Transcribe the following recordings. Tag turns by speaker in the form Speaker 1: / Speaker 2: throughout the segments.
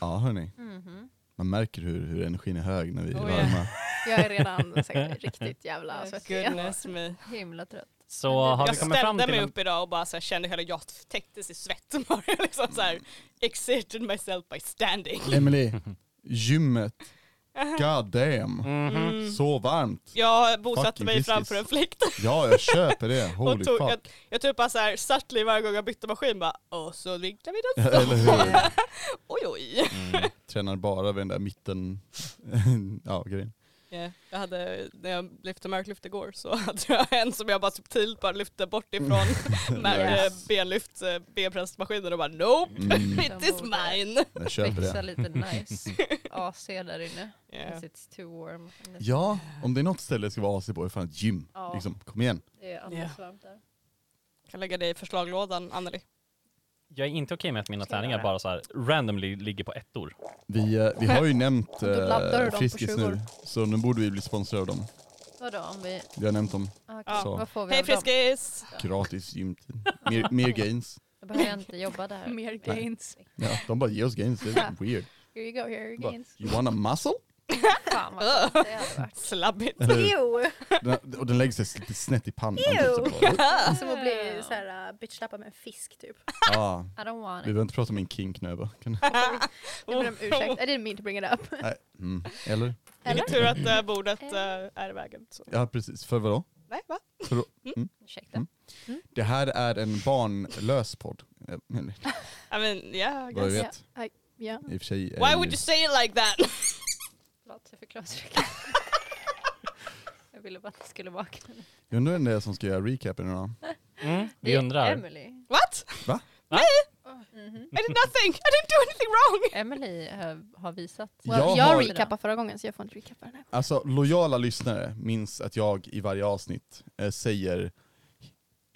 Speaker 1: Ja hörni,
Speaker 2: Mhm.
Speaker 1: man märker hur, hur energin är hög när vi är
Speaker 3: Oh, ja.
Speaker 1: varma.
Speaker 2: Jag är redan säkert riktigt jävla
Speaker 3: Alltså,
Speaker 2: svettig.
Speaker 3: Goodness me.
Speaker 2: Himla trött.
Speaker 4: Så har vi
Speaker 3: Jag
Speaker 4: kommit fram
Speaker 3: ställde
Speaker 4: till
Speaker 3: mig
Speaker 4: en,
Speaker 3: upp idag och bara så här, kände hela jag täcktes i svett. Bara liksom så här, exerted myself by standing.
Speaker 1: Emily, gymmet, god damn.
Speaker 4: Mhm.
Speaker 3: Mm.
Speaker 1: Så varmt.
Speaker 3: Jag bosatte
Speaker 1: Fucking
Speaker 3: mig
Speaker 1: business.
Speaker 3: framför en fläkt
Speaker 1: Ja jag köper det, holy
Speaker 3: och tog, jag,
Speaker 1: fuck.
Speaker 3: jag typ bara såhär satte varje gång jag bytte maskin bara och så vinklar vi den
Speaker 1: Eller hur?
Speaker 3: oj oj.
Speaker 4: Mm.
Speaker 1: Tränar bara vid den där mitten, ja grejen.
Speaker 3: Ja, Jag hade, när jag lyfte marklyft igår så hade jag en som jag bara subtilt bara lyfte bort ifrån med
Speaker 2: Nice.
Speaker 3: yes. benlyft, eh, benpressmaskinen och bara nope,
Speaker 1: Mm,
Speaker 3: it is mine.
Speaker 1: jag köper
Speaker 2: Fixa
Speaker 1: det.
Speaker 2: lite nice AC där inne.
Speaker 3: Ja.
Speaker 2: Because It's too warm. and it's-
Speaker 1: Ja, om det är något ställe jag ska vara AC på är fan ett gym.
Speaker 2: Ja.
Speaker 1: Liksom, kom igen.
Speaker 2: Det är alldeles varmt där.
Speaker 3: Kan lägga dig i förslaglådan Anneli.
Speaker 4: Jag är inte okej med att mina
Speaker 2: Ska jag
Speaker 4: tärningar
Speaker 2: göra?
Speaker 4: bara så här randomly ligger på ettor.
Speaker 1: Vi, eh, vi har ju nämnt
Speaker 2: Då laddar du dem
Speaker 1: eh,
Speaker 2: på
Speaker 1: Friskis nu,
Speaker 2: 20.
Speaker 1: så nu borde vi bli sponsrade av dem.
Speaker 2: Vadå om vi...
Speaker 1: Vi har nämnt dem
Speaker 2: Ah, okej.
Speaker 3: Ja.
Speaker 1: Så.
Speaker 2: Vad får vi
Speaker 3: Hej
Speaker 2: av dem?
Speaker 3: Friskis!
Speaker 1: gratis gymtid. Mer, mer gains.
Speaker 2: Då behöver jag inte jobba där.
Speaker 3: Mer
Speaker 1: gains. Ja, de bara ger oss gains, det är weird.
Speaker 2: Here you go, here you
Speaker 1: Bara,
Speaker 2: gains.
Speaker 1: you want a muscle?
Speaker 2: Fan vad konstigt det hade varit.
Speaker 3: Slabbigt.
Speaker 1: Eller hur?
Speaker 5: Ew!
Speaker 1: Den, och den lägger sig lite snett i pannan.
Speaker 5: Ew.
Speaker 1: Typ, så bara,
Speaker 5: Som att bli såhär
Speaker 2: äh,
Speaker 5: uh, bitchlappad med en fisk typ.
Speaker 1: ja,
Speaker 2: I don't
Speaker 1: vi
Speaker 2: want it.
Speaker 1: behöver inte prata om min kink nu. jag bara, Kan,
Speaker 5: Jag ber om ursäkt, I didn't mean to bring it up.
Speaker 1: nej, mm, eller?
Speaker 3: Vilken tur att eh, bordet eh,
Speaker 2: Eller?
Speaker 3: är i vägen. Så.
Speaker 1: Ja, precis. För vadå?
Speaker 3: Nej va?
Speaker 1: Mm.
Speaker 2: Ursäkta.
Speaker 1: Det här är en barnlös podd. Eh, eller,
Speaker 3: I mean yeah. I
Speaker 1: Vad jag
Speaker 3: guess.
Speaker 1: vet.
Speaker 5: Ja, I- ja.
Speaker 1: I och för sig är
Speaker 3: Why
Speaker 1: ju-
Speaker 3: would you say it like that?
Speaker 2: Förlåt, jag fick glasögon. Jag ville bara att det skulle vakna.
Speaker 1: Jag undrar vem det är som ska göra recapen idag.
Speaker 4: Mm.
Speaker 2: Det
Speaker 4: Vi
Speaker 2: är
Speaker 4: undrar.
Speaker 2: Emily. Mhm.
Speaker 3: What?
Speaker 1: Va?
Speaker 3: Nej! I did nothing! I didn't do anything wrong!
Speaker 2: Emily eh, har visat.
Speaker 5: Well,
Speaker 1: Jag
Speaker 5: jag
Speaker 1: har-
Speaker 5: recappade förra gången så jag får inte recappa den här.
Speaker 1: Alltså lojala lyssnare minns att jag i varje avsnitt eh, säger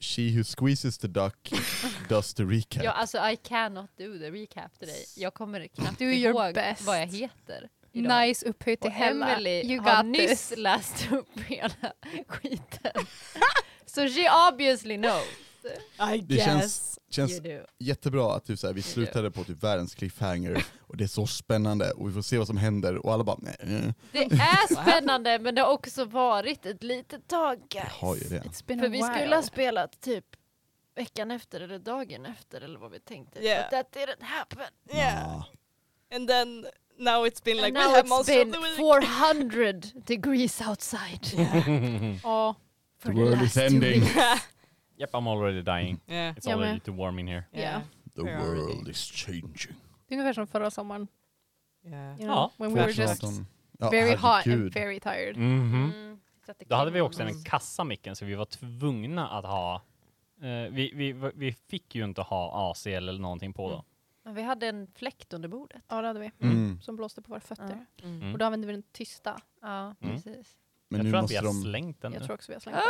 Speaker 1: She who squeezes the duck does the recap.
Speaker 2: Ja, alltså I cannot do the recap till dig. Jag kommer knappt
Speaker 5: Do
Speaker 2: ihåg
Speaker 5: your best.
Speaker 2: vad jag heter. Idag.
Speaker 5: Nice upphöjt till
Speaker 2: Och
Speaker 5: hemma.
Speaker 2: Emily
Speaker 5: You
Speaker 2: har
Speaker 5: got
Speaker 2: nyss
Speaker 5: this.
Speaker 2: läst upp hela skiten. Så she obviously knows
Speaker 3: I
Speaker 1: Det känns,
Speaker 2: you
Speaker 1: känns
Speaker 2: do.
Speaker 1: jättebra att typ, såhär, vi slutade på typ världens cliffhanger och det är så spännande och vi får se vad som händer och alla bara nej, eh,
Speaker 2: Det är spännande men det har också varit ett litet tag
Speaker 1: jag
Speaker 2: guys.
Speaker 1: har ju det.
Speaker 5: It's been
Speaker 2: För
Speaker 5: a
Speaker 2: vi
Speaker 5: while.
Speaker 2: skulle ha spelat typ veckan efter eller dagen efter eller vad vi tänkte.
Speaker 3: Yeah.
Speaker 2: But that didn't happen.
Speaker 3: Yeah.
Speaker 1: Ah,
Speaker 3: And then now it's been like
Speaker 2: And
Speaker 3: we
Speaker 2: now
Speaker 3: have
Speaker 2: it's
Speaker 3: monster of
Speaker 2: been
Speaker 3: the week.
Speaker 2: 400 degrees outside.
Speaker 5: Ja.
Speaker 1: the world is ending.
Speaker 4: Yep, I'm already dying.
Speaker 3: yeah.
Speaker 4: It's
Speaker 5: Jag
Speaker 4: already
Speaker 5: med.
Speaker 4: too warm in here.
Speaker 3: Yeah.
Speaker 1: The world is changing.
Speaker 5: Det är ungefär som förra sommaren.
Speaker 3: Yeah.
Speaker 5: You know,
Speaker 4: Ja.
Speaker 5: when we were just
Speaker 1: 2018. Ja,
Speaker 5: very hot and
Speaker 1: herregud.
Speaker 5: very tired.
Speaker 4: Mhm.
Speaker 2: Mm. Så att det
Speaker 4: Då hade vi
Speaker 2: kan-
Speaker 4: också en kassa micken så vi var tvungna att ha eh, vi, vi, vi fick ju inte ha AC eller någonting på då.
Speaker 2: Men vi hade en fläkt under bordet.
Speaker 5: Ja det hade vi.
Speaker 1: Mm.
Speaker 5: Som blåste på våra fötter.
Speaker 4: Mm.
Speaker 5: Och då använde vi den tysta.
Speaker 2: Ja,
Speaker 4: Mm.
Speaker 2: precis.
Speaker 1: Men
Speaker 4: jag
Speaker 1: nu
Speaker 4: tror att vi
Speaker 1: måste
Speaker 4: har
Speaker 1: de...
Speaker 4: slängt den
Speaker 5: Jag
Speaker 4: nu.
Speaker 5: tror också vi har slängt den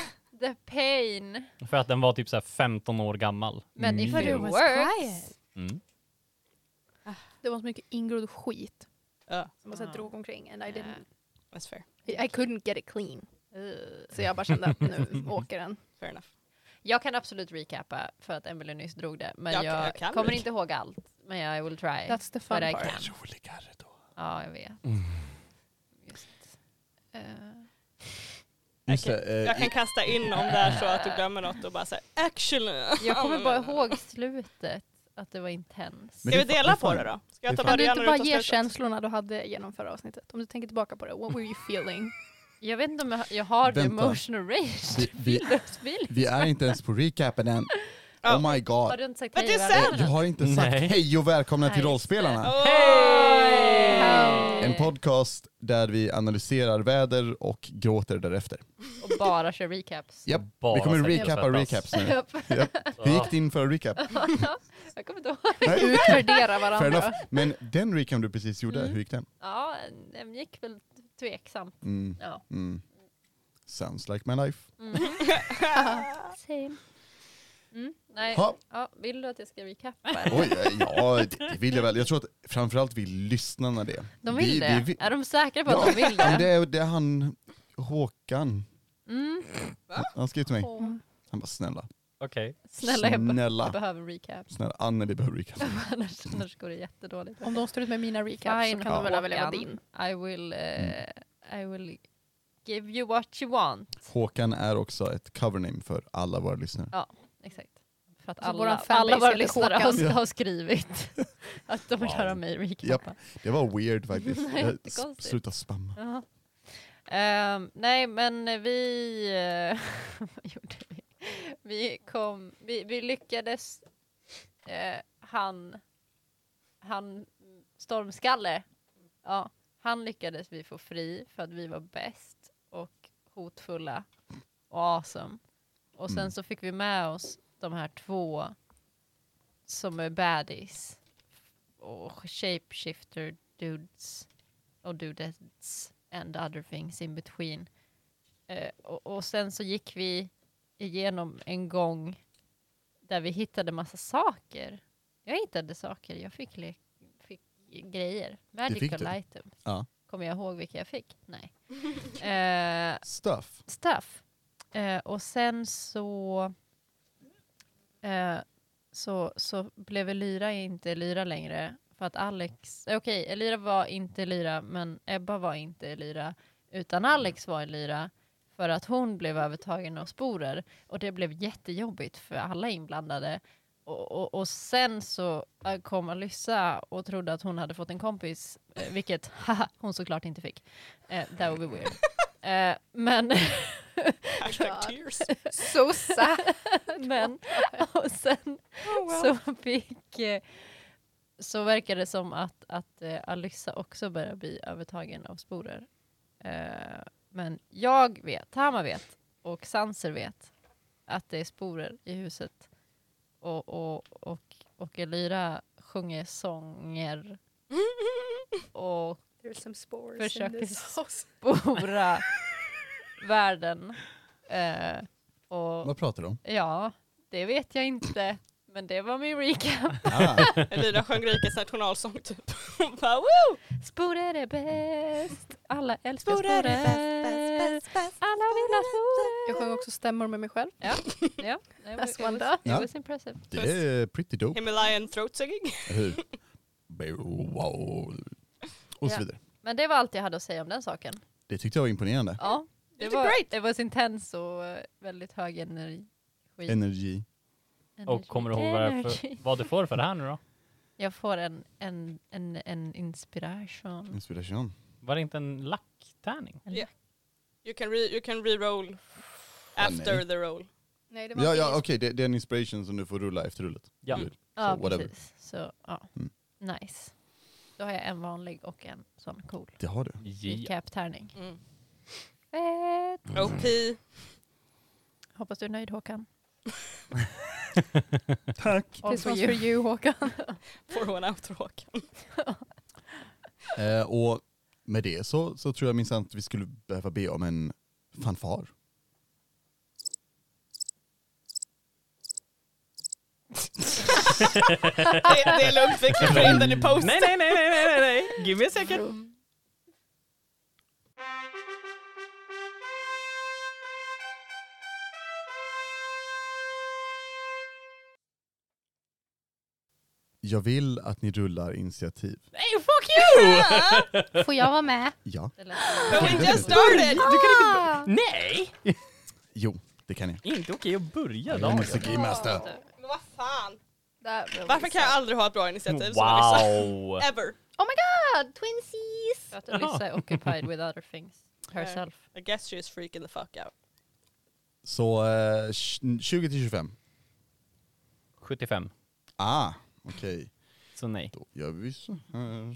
Speaker 3: Why?
Speaker 2: The pain.
Speaker 4: För att den var typ så här 15 år gammal.
Speaker 2: Men
Speaker 1: Mm.
Speaker 2: if
Speaker 1: But
Speaker 2: it
Speaker 1: it
Speaker 5: was
Speaker 2: works.
Speaker 5: quiet.
Speaker 4: Mm.
Speaker 5: Det var så mycket ingrodd skit
Speaker 3: Ja,
Speaker 5: som jag så här drog omkring. And I, didn't,
Speaker 3: Oh, that's fair.
Speaker 5: I I couldn't get it clean.
Speaker 2: Ugh.
Speaker 5: Så jag bara kände att nu åker den.
Speaker 3: Fair enough.
Speaker 2: Jag kan absolut recappa för att Emily nyss drog det. Men jag,
Speaker 3: Jag kan- jag kan
Speaker 2: kommer
Speaker 3: recap-
Speaker 2: inte ihåg allt. Men jag will try.
Speaker 5: That's the
Speaker 2: But I
Speaker 5: fun
Speaker 2: can.
Speaker 5: part.
Speaker 1: Roligare då.
Speaker 2: ja, jag vet.
Speaker 4: Mm.
Speaker 2: Just. Eh,
Speaker 1: Just
Speaker 3: Okej,
Speaker 1: det, eh,
Speaker 3: Jag kan kasta in om det är så att du glömmer något och bara säga actually.
Speaker 2: jag kommer bara ihåg slutet. Att det var intens.
Speaker 1: Men
Speaker 3: Ska
Speaker 1: det är
Speaker 3: vi
Speaker 1: fa-
Speaker 3: dela
Speaker 1: det är
Speaker 3: på
Speaker 1: fan-
Speaker 3: det då? Ska jag
Speaker 1: det
Speaker 3: ta
Speaker 1: är
Speaker 5: Kan du
Speaker 3: början
Speaker 5: inte
Speaker 3: och
Speaker 5: bara
Speaker 3: du tar
Speaker 5: ge
Speaker 3: slutet?
Speaker 5: känslorna du hade genom förra avsnittet? Om du tänker tillbaka på det, what were you feeling?
Speaker 2: Jag vet inte om jag, jag har the
Speaker 1: Vänta.
Speaker 2: emotional rage.
Speaker 1: Vi, vi, vi är inte ens på recapen än.
Speaker 3: Ja.
Speaker 1: Oh my god.
Speaker 2: Har du inte sagt
Speaker 3: Men
Speaker 2: hej?
Speaker 3: det är
Speaker 2: varandra?
Speaker 1: Eh, Jag har inte sagt
Speaker 4: Nej.
Speaker 1: hej och välkomna till
Speaker 2: Nej,
Speaker 1: Rollspelarna.
Speaker 3: Åh!
Speaker 2: Hej.
Speaker 1: En podcast där vi analyserar väder och gråter därefter.
Speaker 2: Och bara kör recaps.
Speaker 1: Japp,
Speaker 4: Bara
Speaker 1: vi kommer
Speaker 4: sätta
Speaker 1: recapa
Speaker 4: svettas.
Speaker 1: recaps nu. Japp. Hur gick det inför recap?
Speaker 2: jag kommer inte ihåg.
Speaker 1: Nej,
Speaker 5: Utvärdera
Speaker 1: fair enough.
Speaker 5: varandra.
Speaker 1: Men den recap du precis gjorde,
Speaker 2: Mm.
Speaker 1: hur gick den?
Speaker 2: Ja, den gick väl tveksamt.
Speaker 1: Mm,
Speaker 2: Ja.
Speaker 1: mm. Sounds like my life.
Speaker 2: Mm. Same. Mm, nej.
Speaker 1: Ha.
Speaker 2: Ja, vill du att jag ska recappa?
Speaker 1: Oj, eh, ja det det vill jag väl. Jag tror att framförallt vill lyssnarna det.
Speaker 2: De vill
Speaker 1: Vi-
Speaker 2: det?
Speaker 1: vi- vi-
Speaker 2: Är de säkra på
Speaker 1: Ja,
Speaker 2: att de vill
Speaker 1: Ja, men
Speaker 2: det?
Speaker 1: det, är, det är han Håkan.
Speaker 2: Mm.
Speaker 1: Han skrev till mig.
Speaker 5: Mm.
Speaker 1: Han bara snälla,
Speaker 4: Okej.
Speaker 2: Snälla, jag, be-
Speaker 1: Snälla.
Speaker 2: jag behöver recap.
Speaker 1: Snälla, Anne vi behöver recap.
Speaker 2: annars, annars går det jättedåligt.
Speaker 5: Om de står ut med mina recaps
Speaker 2: Fine,
Speaker 5: så kan de väl
Speaker 2: Håkan.
Speaker 5: överleva din.
Speaker 2: I will, eh,
Speaker 1: Mm.
Speaker 2: I will give you what you want.
Speaker 1: Håkan är också ett covername för alla våra lyssnare.
Speaker 2: Exakt. För att
Speaker 5: Så våran
Speaker 2: alla,
Speaker 5: fanbase
Speaker 2: alla våra
Speaker 5: heter
Speaker 2: lyssnare
Speaker 5: Håkan.
Speaker 2: har,
Speaker 1: Ja.
Speaker 2: har skrivit att de vill
Speaker 4: Wow.
Speaker 2: höra mig recappa.
Speaker 1: Det var weird faktiskt.
Speaker 2: Nej,
Speaker 1: Jag-
Speaker 2: jättekonstigt.
Speaker 1: Sluta spamma.
Speaker 2: Jaha. Ehm, nej men vi, eh, vad gjorde vi? Vi, kom, vi, vi lyckades, eh, han, han, Stormskalle, ja, han lyckades vi få fri för att vi var bäst och hotfulla och awesome. Och sen
Speaker 1: Mm.
Speaker 2: så fick vi med oss de här två som är baddies och shapeshifter dudes och dudettes and other things in between. Eh, och, och sen så gick vi igenom en gång där vi hittade massa saker. Jag hittade saker, jag fick, le- fick grejer.
Speaker 1: fick
Speaker 2: Magical
Speaker 1: du?
Speaker 2: items.
Speaker 1: Ja.
Speaker 2: Kommer jag ihåg vilka jag fick? Nej. Eh,
Speaker 1: Stuff.
Speaker 2: stuff. Eh, och sen så, eh, så, så blev Elira inte Elira längre. För att Alex, eh, okej Elira var inte Elira men Ebba var inte Elira. Utan Alex var Elira för att hon blev övertagen av sporer. Och det blev jättejobbigt för alla inblandade. Och, och, och sen så eh, kom Alyssa och trodde att hon hade fått en kompis, eh, vilket haha, hon såklart inte fick. Eh, that would be weird. Eh, men
Speaker 3: Hashtag
Speaker 5: God.
Speaker 3: tears.
Speaker 5: So sad.
Speaker 2: Men, och sen
Speaker 6: Oh,
Speaker 2: så fick... eh, Så verkade det som att, att eh, Alyssa också börjar bli övertagen av sporer. Eh, Men jag vet, Tama vet och Sanser vet att det är sporer i huset. Och, och, och, och Elira sjunger sånger och
Speaker 6: There's some spores
Speaker 2: Försöker
Speaker 6: in this house.
Speaker 2: sporar världen. Eh, och,
Speaker 1: Vad pratar du om?
Speaker 2: Ja, det vet jag inte. Men det var min recap.
Speaker 1: Ah,
Speaker 3: Elira sjöng rikets nationalsång typ. Hon bara, "Woo!"
Speaker 2: Sporer är bäst. Alla älskar
Speaker 6: Sporer
Speaker 2: sporer.
Speaker 6: är bäst, bäst, bäst,
Speaker 2: Alla vill ha sporer.
Speaker 5: Jag sjöng också stämmor med mig själv.
Speaker 2: Ja, it was,
Speaker 5: That's
Speaker 2: it was,
Speaker 5: wonderful.
Speaker 1: Ja.
Speaker 2: it was impressive.
Speaker 1: det är pretty dope.
Speaker 3: Himalayan throat singing.
Speaker 1: eller Hur? Wow. Och
Speaker 2: Ja.
Speaker 1: så vidare.
Speaker 2: Men det var allt jag hade att säga om den saken.
Speaker 1: Det tyckte jag var imponerande.
Speaker 2: Ja, det
Speaker 3: You did
Speaker 2: var,
Speaker 3: great.
Speaker 2: det var intens och eh, väldigt hög energi.
Speaker 1: Energi.
Speaker 2: energi.
Speaker 4: Och kommer du ihåg vad, jag
Speaker 2: Energi.
Speaker 4: för, vad du får för det här nu då?
Speaker 2: Jag får en, en, en, en inspiration.
Speaker 1: Mm. Inspiration.
Speaker 4: Var det inte en lacktärning?
Speaker 3: You can, re, you can re-roll after
Speaker 1: nej.
Speaker 3: the roll.
Speaker 5: Nej, det var
Speaker 1: Ja,
Speaker 5: inte
Speaker 1: ja
Speaker 5: min-
Speaker 1: okej, det, det är en inspiration som du får rulla efter rullet.
Speaker 4: Ja.
Speaker 1: Mm.
Speaker 2: Ja,
Speaker 1: So, whatever.
Speaker 2: precis. Så, ja.
Speaker 1: Mm.
Speaker 2: Nice. Då har jag en vanlig och en sån cool
Speaker 1: Det har du.
Speaker 4: Ja.
Speaker 2: recap-tärning.
Speaker 3: Mm.
Speaker 2: Fett!
Speaker 3: OP.
Speaker 2: Hoppas du är nöjd Håkan.
Speaker 1: Tack.
Speaker 2: All
Speaker 5: This
Speaker 2: for
Speaker 5: one's
Speaker 2: you.
Speaker 5: for you Håkan.
Speaker 3: Får hon outro Håkan.
Speaker 1: Eh, och med det så, så tror jag minsann att vi skulle behöva be om en fanfar.
Speaker 3: det, det är lugnt, vi klipper in den i posten.
Speaker 4: Nej, nej, nej, nej, nej, nej, nej, give me a second.
Speaker 1: Jag vill att ni rullar initiativ.
Speaker 2: Nej, fuck you!
Speaker 5: Får jag vara med?
Speaker 1: Ja.
Speaker 2: Det lät-
Speaker 3: But we just started!
Speaker 4: Nej!
Speaker 1: Jo, det kan ni.
Speaker 4: Inte okej att börja
Speaker 1: Jag är
Speaker 4: dagen.
Speaker 1: Mr. Game Master.
Speaker 3: Men vad fan.
Speaker 5: Där
Speaker 3: Varför kan jag aldrig ha ett bra initiativ som Alyssa?
Speaker 4: Wow!
Speaker 3: Ever.
Speaker 5: Oh my god, twinsies!
Speaker 2: För att Alyssa är occupied with other things. Herself.
Speaker 3: I guess she is freaking the fuck out.
Speaker 1: Så eh, tj- 20 till 25.
Speaker 4: 75,
Speaker 1: Ah, okej.
Speaker 4: så nej.
Speaker 1: Då gör vi så här.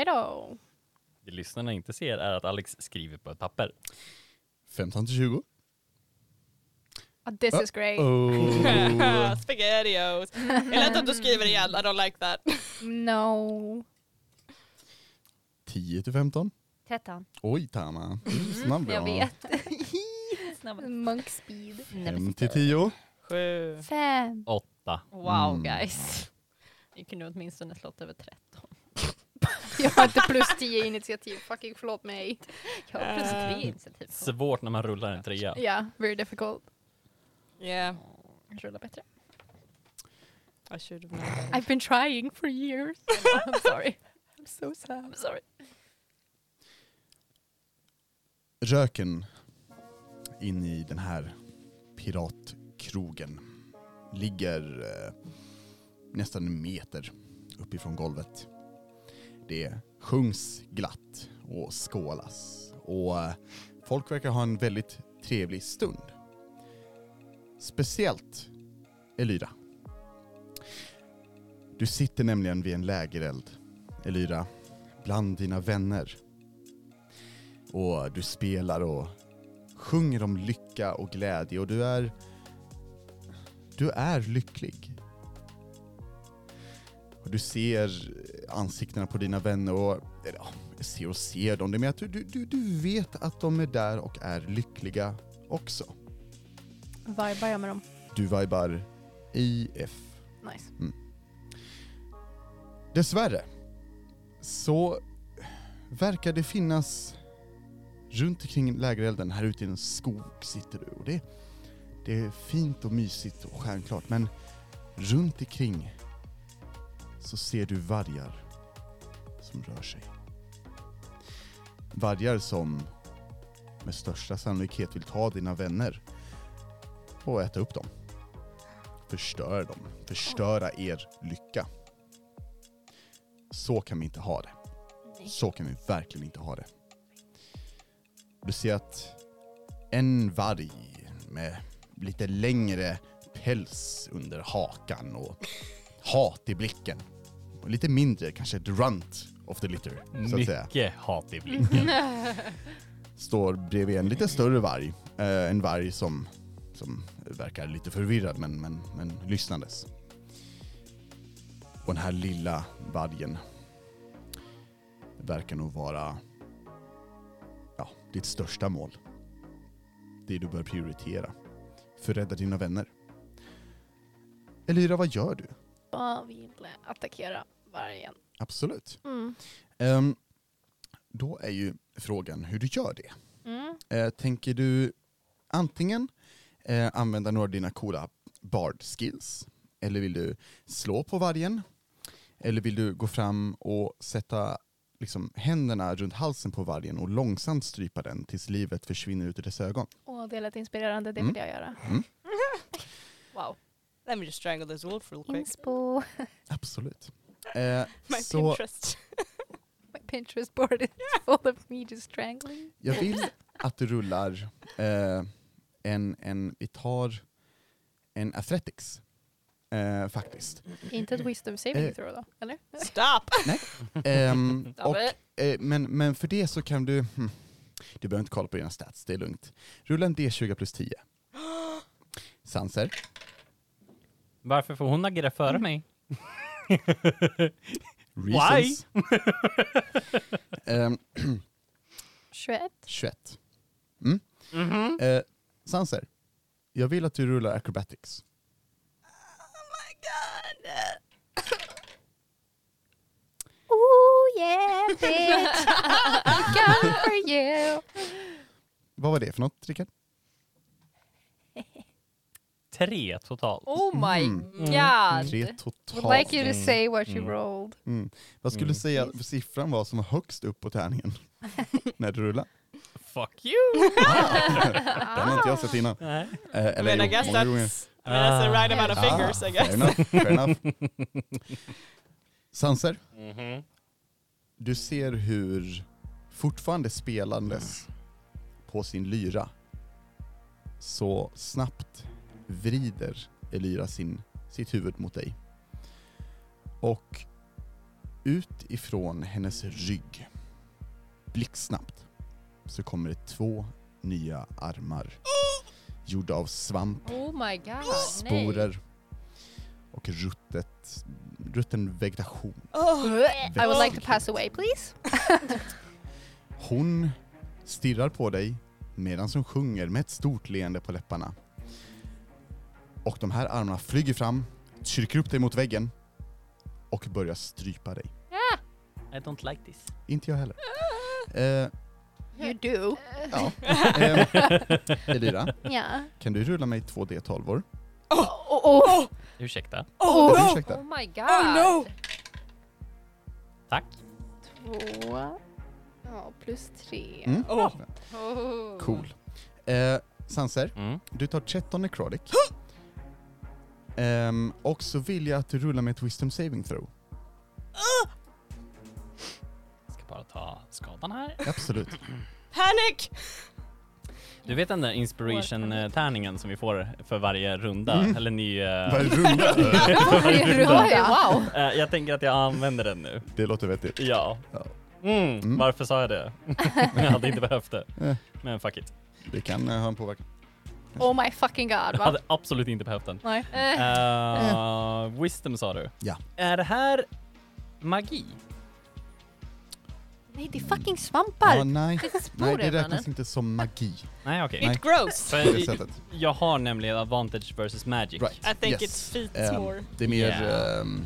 Speaker 5: I know.
Speaker 4: Det lyssnarna inte ser är att Alex skriver på ett papper.
Speaker 1: 15 till 20.
Speaker 5: Ah, This is great.
Speaker 1: Oh.
Speaker 3: Spaghettios. Jag lät att du skriver igen, I don't like that.
Speaker 5: No.
Speaker 1: 10 till 15.
Speaker 2: Tettan.
Speaker 1: Oj, Tama. Snabb
Speaker 2: Mm, Jag vet.
Speaker 5: Monk speed.
Speaker 1: 5 till 10.
Speaker 3: Sju.
Speaker 5: Fem.
Speaker 4: 8.
Speaker 2: Wow
Speaker 1: Mm.
Speaker 2: guys. Ni kunde åtminstone slått över 13.
Speaker 5: Jag har inte plus 10 initiativ. Fucking förlåt mig.
Speaker 2: Jag har plus
Speaker 3: Eh,
Speaker 2: tre initiativ. på.
Speaker 4: Svårt när man rullar en trea.
Speaker 5: Ja, very difficult.
Speaker 3: Yeah,
Speaker 2: Rulla bättre.
Speaker 3: I should have known.
Speaker 5: I've been trying for years.
Speaker 2: I'm sorry.
Speaker 5: I'm so sad.
Speaker 2: I'm sorry.
Speaker 1: röken in i den här piratkrogen ligger eh, nästan en meter uppifrån golvet. Det sjungs glatt och skålas och eh, folk verkar ha en väldigt trevlig stund. Speciellt Elyra. Du sitter nämligen vid en lägereld, Elyra, bland dina vänner. Och du spelar och sjunger om lycka och glädje och du är... Du är lycklig. Och du ser ansiktena på dina vänner och... Eller ja, ser och ser dem. Det med att du, du, du- du vet att de är där och är lyckliga också.
Speaker 5: Vibar jag med dem?
Speaker 1: Du vibar IF.
Speaker 5: Nice.
Speaker 1: Dessvärre så verkar det finnas runt omkring lägerelden, här ute i en skog sitter du och det, det är fint och mysigt och stjärnklart men runt omkring så ser du vargar som rör sig. Vargar som med största sannolikhet vill ta dina vänner och äta upp dem. Förstöra dem, förstöra er lycka. Så kan vi inte ha det. Så kan vi verkligen inte ha det. Du ser att en varg med lite längre päls under hakan och hat i blicken. Och lite mindre, kanske ett runt of the litter, så att säga.
Speaker 4: Mycket hat i blicken.
Speaker 1: Står bredvid en lite större varg. Eh, en varg som, som verkar lite förvirrad men, men, men lyssnandes. Och den här lilla vargen verkar nog vara ja, ditt största mål. Det du bör prioritera. För att rädda dina vänner. Elira, vad gör du?
Speaker 5: Jag vill attackera vargen.
Speaker 1: Absolut.
Speaker 5: Mm.
Speaker 1: Ehm, då är ju frågan hur du gör det.
Speaker 2: Mm.
Speaker 1: Eh, tänker du antingen eh, använda några av dina coola bard skills, eller vill du slå på vargen? Eller vill du gå fram och sätta liksom, händerna runt halsen på vargen och långsamt strypa den tills livet försvinner ut ur dess ögon?
Speaker 5: Åh, det lät inspirerande. Det
Speaker 1: Mm.
Speaker 5: vill jag göra.
Speaker 3: Wow. Let me just strangle this wolf real quick.
Speaker 5: Inspo.
Speaker 1: Absolut. Eh,
Speaker 3: My
Speaker 1: så
Speaker 3: Pinterest.
Speaker 5: My Pinterest board is full of me just strangling.
Speaker 1: jag vill att du rullar eh, en, en, vi tar en athletics. Eh, faktiskt.
Speaker 5: Inte ett wisdom
Speaker 1: Eh.
Speaker 5: saving throw då, eller?
Speaker 3: Stop!
Speaker 1: Ehm,
Speaker 2: Ja,
Speaker 1: och
Speaker 2: men-
Speaker 1: Eh, men, men för det så kan du... hm, Du behöver inte kolla på dina stats, det är lugnt. Rulla en D20 plus 10. Sanser.
Speaker 4: Varför får hon agera före mig?
Speaker 1: Reasons. Ehm,
Speaker 5: 21.
Speaker 1: 21. Mm.
Speaker 3: Mhm.
Speaker 1: Eh, Sanser. Jag vill att du rullar acrobatics.
Speaker 5: Oh yeah bitch! I'm coming for you!
Speaker 1: Vad var det för något, Rickard?
Speaker 4: Tre totalt.
Speaker 2: Oh my
Speaker 1: Mm.
Speaker 2: god!
Speaker 1: Tre
Speaker 5: Would
Speaker 1: totalt.
Speaker 5: like you to say what you
Speaker 4: Mm.
Speaker 5: rolled.
Speaker 1: Mm. Vad skulle du
Speaker 4: Mm.
Speaker 1: säga siffran var som var högst upp på tärningen? när du rullade?
Speaker 4: Fuck you!
Speaker 1: Den har inte jag sett innan.
Speaker 4: Nej.
Speaker 1: Eh,
Speaker 3: I
Speaker 1: eller
Speaker 3: mean, I
Speaker 1: jo,
Speaker 3: guess
Speaker 1: många gånger.
Speaker 3: that's, I mean, that's the right amount of
Speaker 1: Ah,
Speaker 3: fingers, I
Speaker 1: Fair
Speaker 3: guess.
Speaker 1: enough, fair enough. Sanser,
Speaker 4: Mm-hmm.
Speaker 1: du ser hur fortfarande spelandes på sin lyra så snabbt vrider Elira sin, sitt huvud mot dig. Och utifrån hennes rygg, blixtsnabbt, så kommer det två nya armar gjorda av svamp
Speaker 2: Oh my god,
Speaker 1: sporer och ruttet, rutten vegetation.
Speaker 3: Oh.
Speaker 5: I would like to pass away please.
Speaker 1: Hon stirrar på dig medan hon sjunger med ett stort leende på läpparna. Och de här armarna flyger fram, trycker upp dig mot väggen och börjar strypa dig.
Speaker 4: I don't like this.
Speaker 1: Inte jag heller. Eh,
Speaker 5: You do.
Speaker 1: ja. Eh, Elira,
Speaker 5: Ja.
Speaker 1: kan du rulla mig två D12-or?
Speaker 4: Ursäkta.
Speaker 3: Oh,
Speaker 1: Oh,
Speaker 3: no!
Speaker 1: Ursäkta.
Speaker 2: Oh my god!
Speaker 3: Oh no!
Speaker 4: Tack.
Speaker 5: Två. Ja, plus tre.
Speaker 1: Mm.
Speaker 3: Oh.
Speaker 2: Oh.
Speaker 1: Cool. Eh, Sanser,
Speaker 4: Mm.
Speaker 1: du tar 13 necrotic. Ehm, och så vill jag att du rullar med ett wisdom saving throw.
Speaker 4: Ska bara ta skadan här.
Speaker 1: Absolut.
Speaker 3: Panic!
Speaker 4: Du vet den där inspiration-tärningen som vi får för varje runda?
Speaker 1: Mm.
Speaker 4: Eller ny... eh,
Speaker 1: Vad runda?
Speaker 5: Varje
Speaker 2: Oj,
Speaker 5: runda.
Speaker 2: wow!
Speaker 4: eh, jag tänker att jag använder den nu.
Speaker 1: Det låter vettigt.
Speaker 4: Ja.
Speaker 1: Ja.
Speaker 4: Mm.
Speaker 1: Mm.
Speaker 4: Varför sa jag det? jag hade inte behövt det.
Speaker 1: Eh.
Speaker 4: Men fuck it.
Speaker 1: Det kan eh, ha en påverkan.
Speaker 5: Oh my fucking god.
Speaker 4: Jag
Speaker 5: Va?
Speaker 4: hade absolut inte behövt den.
Speaker 5: Nej.
Speaker 1: Eh.
Speaker 4: Eh, wisdom sa du.
Speaker 1: Ja.
Speaker 4: Är det här magi?
Speaker 5: Nej, det är fucking
Speaker 1: Ja,
Speaker 5: svampar.
Speaker 1: nej.
Speaker 2: Det
Speaker 1: nej,
Speaker 2: är
Speaker 1: det
Speaker 2: sporer,
Speaker 1: räknas
Speaker 2: mannen.
Speaker 1: inte som magi
Speaker 4: Nej okej.
Speaker 1: Nej.
Speaker 3: It grows!
Speaker 1: på
Speaker 4: För
Speaker 1: det sättet.
Speaker 4: Jag har nämligen advantage versus magic.
Speaker 1: Right.
Speaker 3: I
Speaker 1: Yes.
Speaker 3: think it's feet
Speaker 1: Ehm,
Speaker 3: more.
Speaker 1: Det är mer...
Speaker 4: Yeah.
Speaker 1: ehm,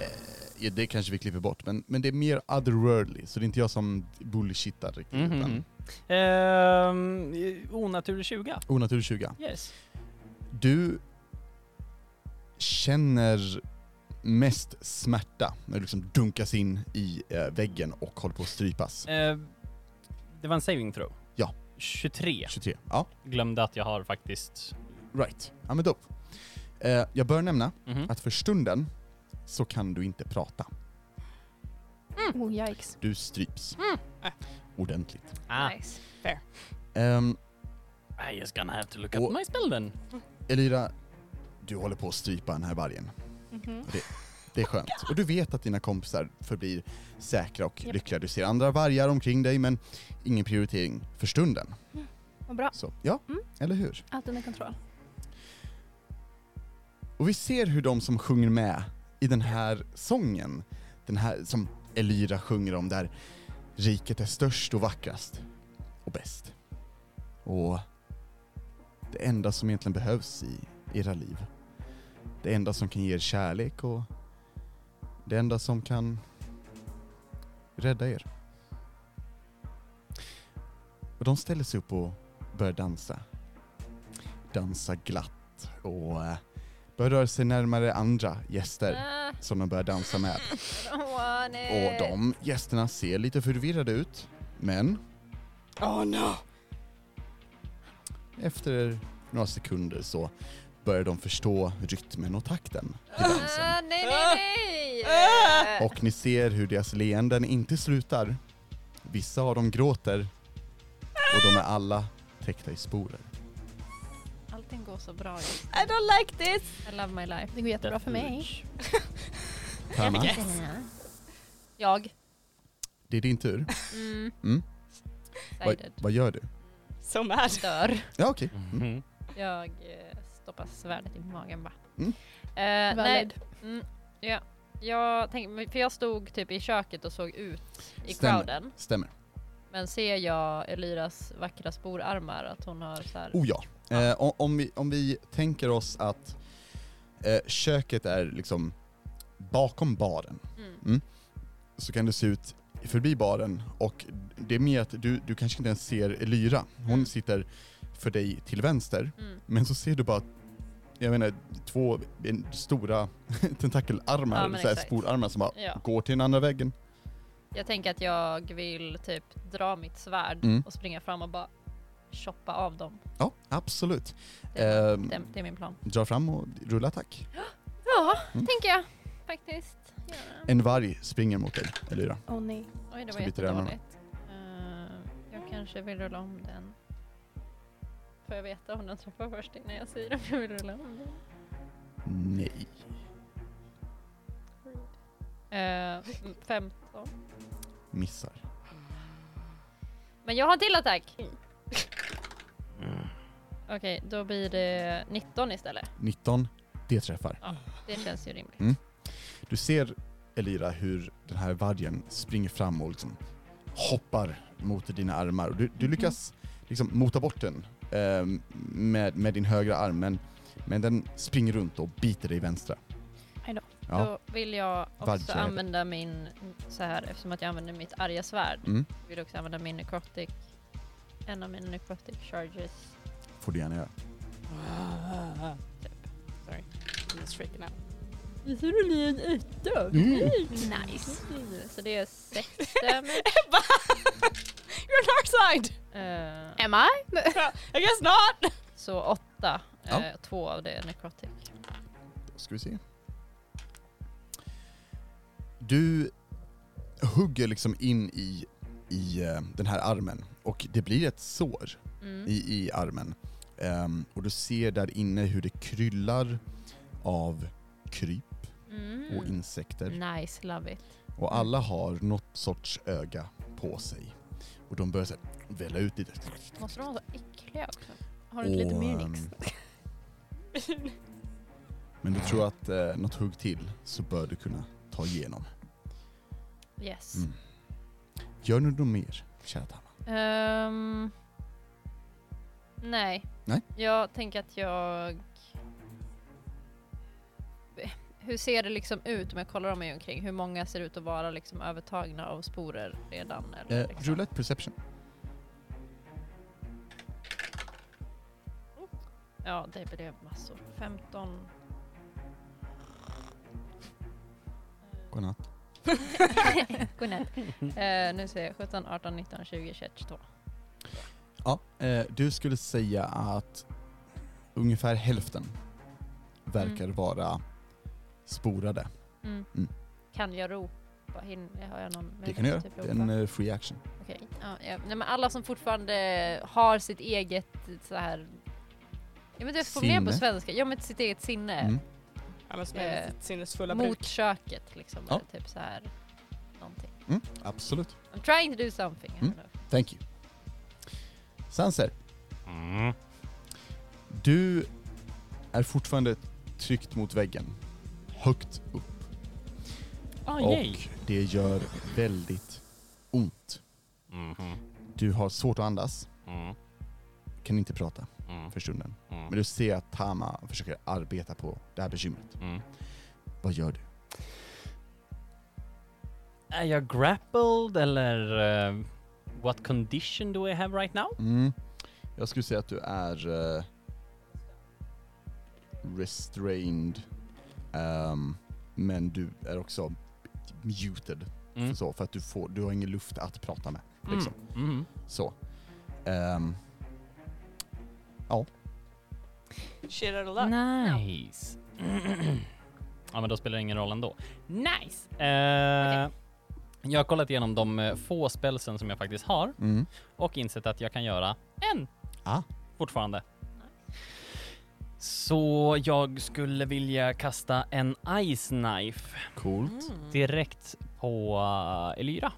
Speaker 1: eh, ja, det kanske vi klipper bort, men, men det är mer otherworldly, så det är inte jag som bullshittar riktigt.
Speaker 4: Mhm.
Speaker 1: utan
Speaker 4: Ehm, onaturlig 20.
Speaker 1: Onatur 20.
Speaker 4: Yes.
Speaker 1: Du känner mest smärta när du liksom dunkas in i eh, väggen och håller på att strypas.
Speaker 4: Ehm, det var en saving throw.
Speaker 1: Ja.
Speaker 4: 23.
Speaker 1: 23. Ja,
Speaker 4: Glömde att jag har faktiskt...
Speaker 1: right. Ja men dope. Eh, jag bör nämna
Speaker 4: Mhm.
Speaker 1: att för stunden så kan du inte prata.
Speaker 5: Oh yikes.
Speaker 1: Du stryps. Ordentligt.
Speaker 4: Ah,
Speaker 2: Nice.
Speaker 1: Ehm,
Speaker 4: I just gonna have to look
Speaker 1: Och-
Speaker 4: up my spell then.
Speaker 1: Elira, du håller på att strypa den här vargen.
Speaker 5: Mhm.
Speaker 1: Och Det, det är skönt. Och du vet att dina kompisar förblir säkra och
Speaker 5: Japp.
Speaker 1: lyckliga. Du ser andra vargar omkring dig men ingen prioritering för stunden.
Speaker 5: Vad bra.
Speaker 1: Så, ja,
Speaker 5: Mm.
Speaker 1: eller hur?
Speaker 5: Allt under kontroll.
Speaker 1: Och vi ser hur de som sjunger med i den här sången, den här som Elira sjunger om där riket är störst och vackrast och bäst. Och det enda som egentligen behövs i era liv. Det enda som kan ge er kärlek och det enda som kan rädda er. Och de ställer sig upp och börjar dansa. Dansa glatt och eh, börjar röra sig närmare andra gäster
Speaker 2: Ah,
Speaker 1: som de börjar dansa med.
Speaker 2: I don't want
Speaker 1: Och
Speaker 2: it.
Speaker 1: de gästerna ser lite förvirrade ut, men
Speaker 3: Oh no!
Speaker 1: efter några sekunder så börjar de förstå rytmen och takten i dansen.
Speaker 2: Ah, nej, nej, nej! Eh.
Speaker 3: Ah.
Speaker 1: Och ni ser hur deras leenden inte slutar. Vissa av dem gråter och de är alla täckta i sporer.
Speaker 2: Allting går så bra just
Speaker 6: I don't like this!
Speaker 2: I love my life.
Speaker 5: Det går jättebra för mig.
Speaker 1: Tana,
Speaker 2: Jag.
Speaker 1: det är din tur.
Speaker 2: Mm.
Speaker 1: Mm. Vad,
Speaker 2: Excited.
Speaker 1: vad gör du?
Speaker 3: So mad. Ah,
Speaker 2: Dör.
Speaker 1: Ja okej. Mm.
Speaker 4: Mhm.
Speaker 2: Jag eh, stoppar svärdet i magen bara.
Speaker 1: Mm.
Speaker 2: Eh, nej,
Speaker 5: Valid.
Speaker 2: Mm, ja. Jag tänkte, för jag stod typ i köket och såg ut i
Speaker 1: Stämmer.
Speaker 2: crowden.
Speaker 1: Stämmer.
Speaker 2: Men ser jag Eliras vackra sporarmar att hon har så här.
Speaker 1: Oh ja. Eh, o- om, vi, om vi tänker oss att eh, köket är liksom bakom baren
Speaker 2: Mm.
Speaker 1: så kan det se ut förbi baren och det är mer att du, du kanske inte ens ser Lyra. Hon
Speaker 2: Mm.
Speaker 1: sitter för dig till vänster,
Speaker 2: Mm.
Speaker 1: men så ser du bara, jag menar, två en, stora
Speaker 2: Ja,
Speaker 1: tentakelarmar, eller
Speaker 2: men
Speaker 1: så här
Speaker 2: exakt.
Speaker 1: sporarmar som bara
Speaker 2: Ja.
Speaker 1: går till den andra väggen.
Speaker 2: Jag tänker att jag vill typ dra mitt svärd
Speaker 1: Mm.
Speaker 2: och springa fram och bara choppa av dem.
Speaker 1: Ja, absolut.
Speaker 2: Det är,
Speaker 1: Ehm.
Speaker 2: det, det är min plan.
Speaker 1: Dra fram och rulla attack.
Speaker 2: Ja,
Speaker 1: Mm.
Speaker 2: tänker jag faktiskt. Ja.
Speaker 1: En varg springer mot dig, Lyra.
Speaker 5: Åh nej.
Speaker 2: Oj, det
Speaker 1: Ska
Speaker 2: var
Speaker 1: byta det här med
Speaker 2: jättedåligt. Ehm, jag kanske vill rulla om den. Får jag veta om den träffar först innan jag säger om jag vill rulla om den?
Speaker 1: Nej.
Speaker 2: Eh, m- 15.
Speaker 1: Missar.
Speaker 2: Men jag har en till attack!
Speaker 4: Mm.
Speaker 2: Okej, då blir det 19 istället.
Speaker 1: 19, det träffar.
Speaker 2: Det känns ju
Speaker 1: Mm,
Speaker 2: rimligt.
Speaker 1: Du ser Elira hur den här vargen springer fram och liksom hoppar mot dina armar. Och Du, du lyckas liksom mota bort den eh, med, med din högra arm men, men den springer runt och biter dig i vänstra.
Speaker 5: Aj då.
Speaker 1: Ja.
Speaker 2: Då vill jag också
Speaker 1: Vardshred.
Speaker 2: använda min, så här, eftersom att jag använder mitt arga svärd,
Speaker 1: Mm,
Speaker 2: vill jag också använda min necrotic, en av mina necrotic charges.
Speaker 1: får du gärna göra.
Speaker 3: Typ. ah, Sorry. I'm just freaking out.
Speaker 2: Visar du blir en etta?
Speaker 1: Mm.
Speaker 5: Nice.
Speaker 2: Så det är sex damage.
Speaker 3: Ebba! You're dark side!
Speaker 2: Eh,
Speaker 5: Am I?
Speaker 3: I guess not!
Speaker 2: så åtta,
Speaker 1: Ja.
Speaker 2: eh, två av det är necrotic.
Speaker 1: Ska vi se. Du hugger liksom in i, i eh, den här armen och det blir ett sår
Speaker 2: Mm.
Speaker 1: i, i armen. Ehm, och du ser där inne hur det kryllar av kryp
Speaker 2: Mm.
Speaker 1: och insekter.
Speaker 2: Nice, love it.
Speaker 1: Och alla har något sorts öga på sig. Och de börjar så här välla ut lite.
Speaker 2: Måste de vara så äckliga också?
Speaker 5: Har du inte lite
Speaker 1: Och,
Speaker 5: myrnix?
Speaker 1: ehm, Men du tror att eh, något hugg till så bör du kunna ta igenom.
Speaker 2: Yes.
Speaker 1: Mm. Gör nu något mer, kära Tamma.
Speaker 2: Ehm, nej.
Speaker 1: Nej.
Speaker 2: Jag tänker att jag... Hur ser det liksom ut om jag kollar om mig omkring? Hur många ser ut att vara liksom övertagna av sporer redan? Eller
Speaker 1: Eh,
Speaker 2: liksom?
Speaker 1: roulette perception.
Speaker 2: Ja, det blev massor. 15.
Speaker 1: Godnatt.
Speaker 2: Godnatt. Eh, nu ser jag 17, 18, 19, 20, 21, 22.
Speaker 1: Ja, eh, du skulle säga att ungefär hälften verkar vara sporade.
Speaker 2: Mm.
Speaker 1: Mm.
Speaker 2: Kan jag ropa? Hin- har jag någon
Speaker 1: Det
Speaker 2: möjlighet
Speaker 1: kan du göra.
Speaker 2: att typ
Speaker 1: Det är
Speaker 2: ropa?
Speaker 1: en eh, free action.
Speaker 2: Okej. Ja, ja. Nej, men alla som fortfarande har sitt eget så här... Ja, men det får ner på
Speaker 1: Sinne.
Speaker 2: svenska. Ja, men sitt eget sinne.
Speaker 1: Mm.
Speaker 3: Ja men som
Speaker 2: Eh,
Speaker 3: är sitt sinnesfulla bruk.
Speaker 2: Mot köket liksom.
Speaker 1: Ja.
Speaker 2: Eller typ så här någonting.
Speaker 1: Mm, absolut.
Speaker 2: I'm trying to do something.
Speaker 1: Mm. Thank you. Sanser,
Speaker 4: Mm.
Speaker 1: du är fortfarande tryckt mot väggen. Högt upp.
Speaker 4: Oh,
Speaker 1: och det gör väldigt ont.
Speaker 4: Mhm.
Speaker 1: Du har svårt att andas,
Speaker 4: Mm.
Speaker 1: kan inte prata
Speaker 4: Mm.
Speaker 1: för stunden. Men
Speaker 4: Mm.
Speaker 1: du ser att Tama försöker arbeta på det här bekymret.
Speaker 4: Mm.
Speaker 1: Vad gör du?
Speaker 4: Är jag grappled eller eh, what condition do I have right now?
Speaker 1: Mm. Jag skulle säga att du är eh, restrained, ehm, men du är också muted.
Speaker 4: Mm.
Speaker 1: Så, för att du, får, du har ingen luft att prata med.
Speaker 4: Mm.
Speaker 1: Liksom.
Speaker 4: Mm.
Speaker 1: Så. Ehm,
Speaker 3: Shit out of luck.
Speaker 4: Nice. ja, men då spelar det ingen roll ändå. Nice! Eh, Jag har kollat igenom de eh, få spelsen som jag faktiskt har
Speaker 1: mm.
Speaker 4: och insett att jag kan göra en
Speaker 1: Ah.
Speaker 4: fortfarande. Så jag skulle vilja kasta en Ice Knife
Speaker 1: Coolt.
Speaker 2: Mm.
Speaker 4: direkt på eh, Elyra.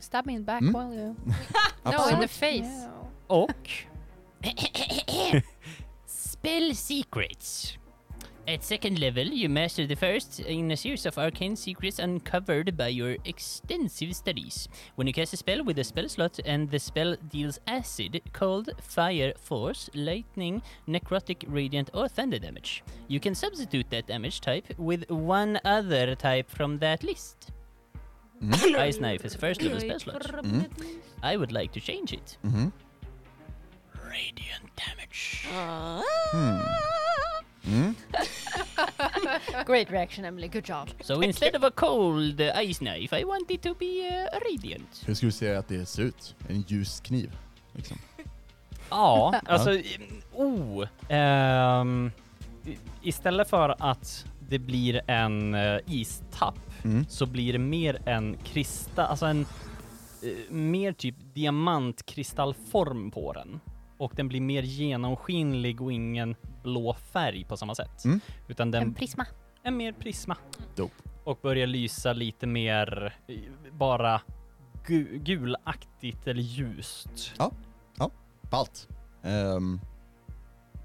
Speaker 5: Stab me in the back
Speaker 1: Mm.
Speaker 5: while you...
Speaker 2: No, in the
Speaker 1: Absolut.
Speaker 2: face.
Speaker 5: No.
Speaker 4: Och... Spell secrets. At second level, you master the first in a series of arcane secrets uncovered by your extensive studies. When you cast a spell with a spell slot and the spell deals acid, cold, fire, force, lightning, necrotic, radiant, or thunder damage, you can substitute that damage type with one other type from that list. Ice Knife is first level spell slot.
Speaker 1: Mm.
Speaker 4: I would like to change it.
Speaker 1: Mhm.
Speaker 4: Radiant damage.
Speaker 3: Ah.
Speaker 1: Mm.
Speaker 2: Great reaction, Emily. Good job.
Speaker 4: So instead of a cold uh, ice knife, I want it to be uh, radiant.
Speaker 1: Hur skulle du säga att det ser ut? En ljus kniv. Liksom.
Speaker 4: Ja, alltså... mm, Oh! Ehm, i- istället för att det blir en uh, istapp
Speaker 1: Mm.
Speaker 4: så blir det mer en kristall, alltså en eh, mer typ diamantkristalform på den. Och den blir mer genomskinlig och ingen blå färg på samma sätt.
Speaker 1: Mm.
Speaker 4: Utan den
Speaker 5: En prisma.
Speaker 4: en mer prisma.
Speaker 1: Dope.
Speaker 4: Och börjar lysa lite mer eh, bara gu- gulaktigt eller ljust.
Speaker 1: Ballt. Ehm,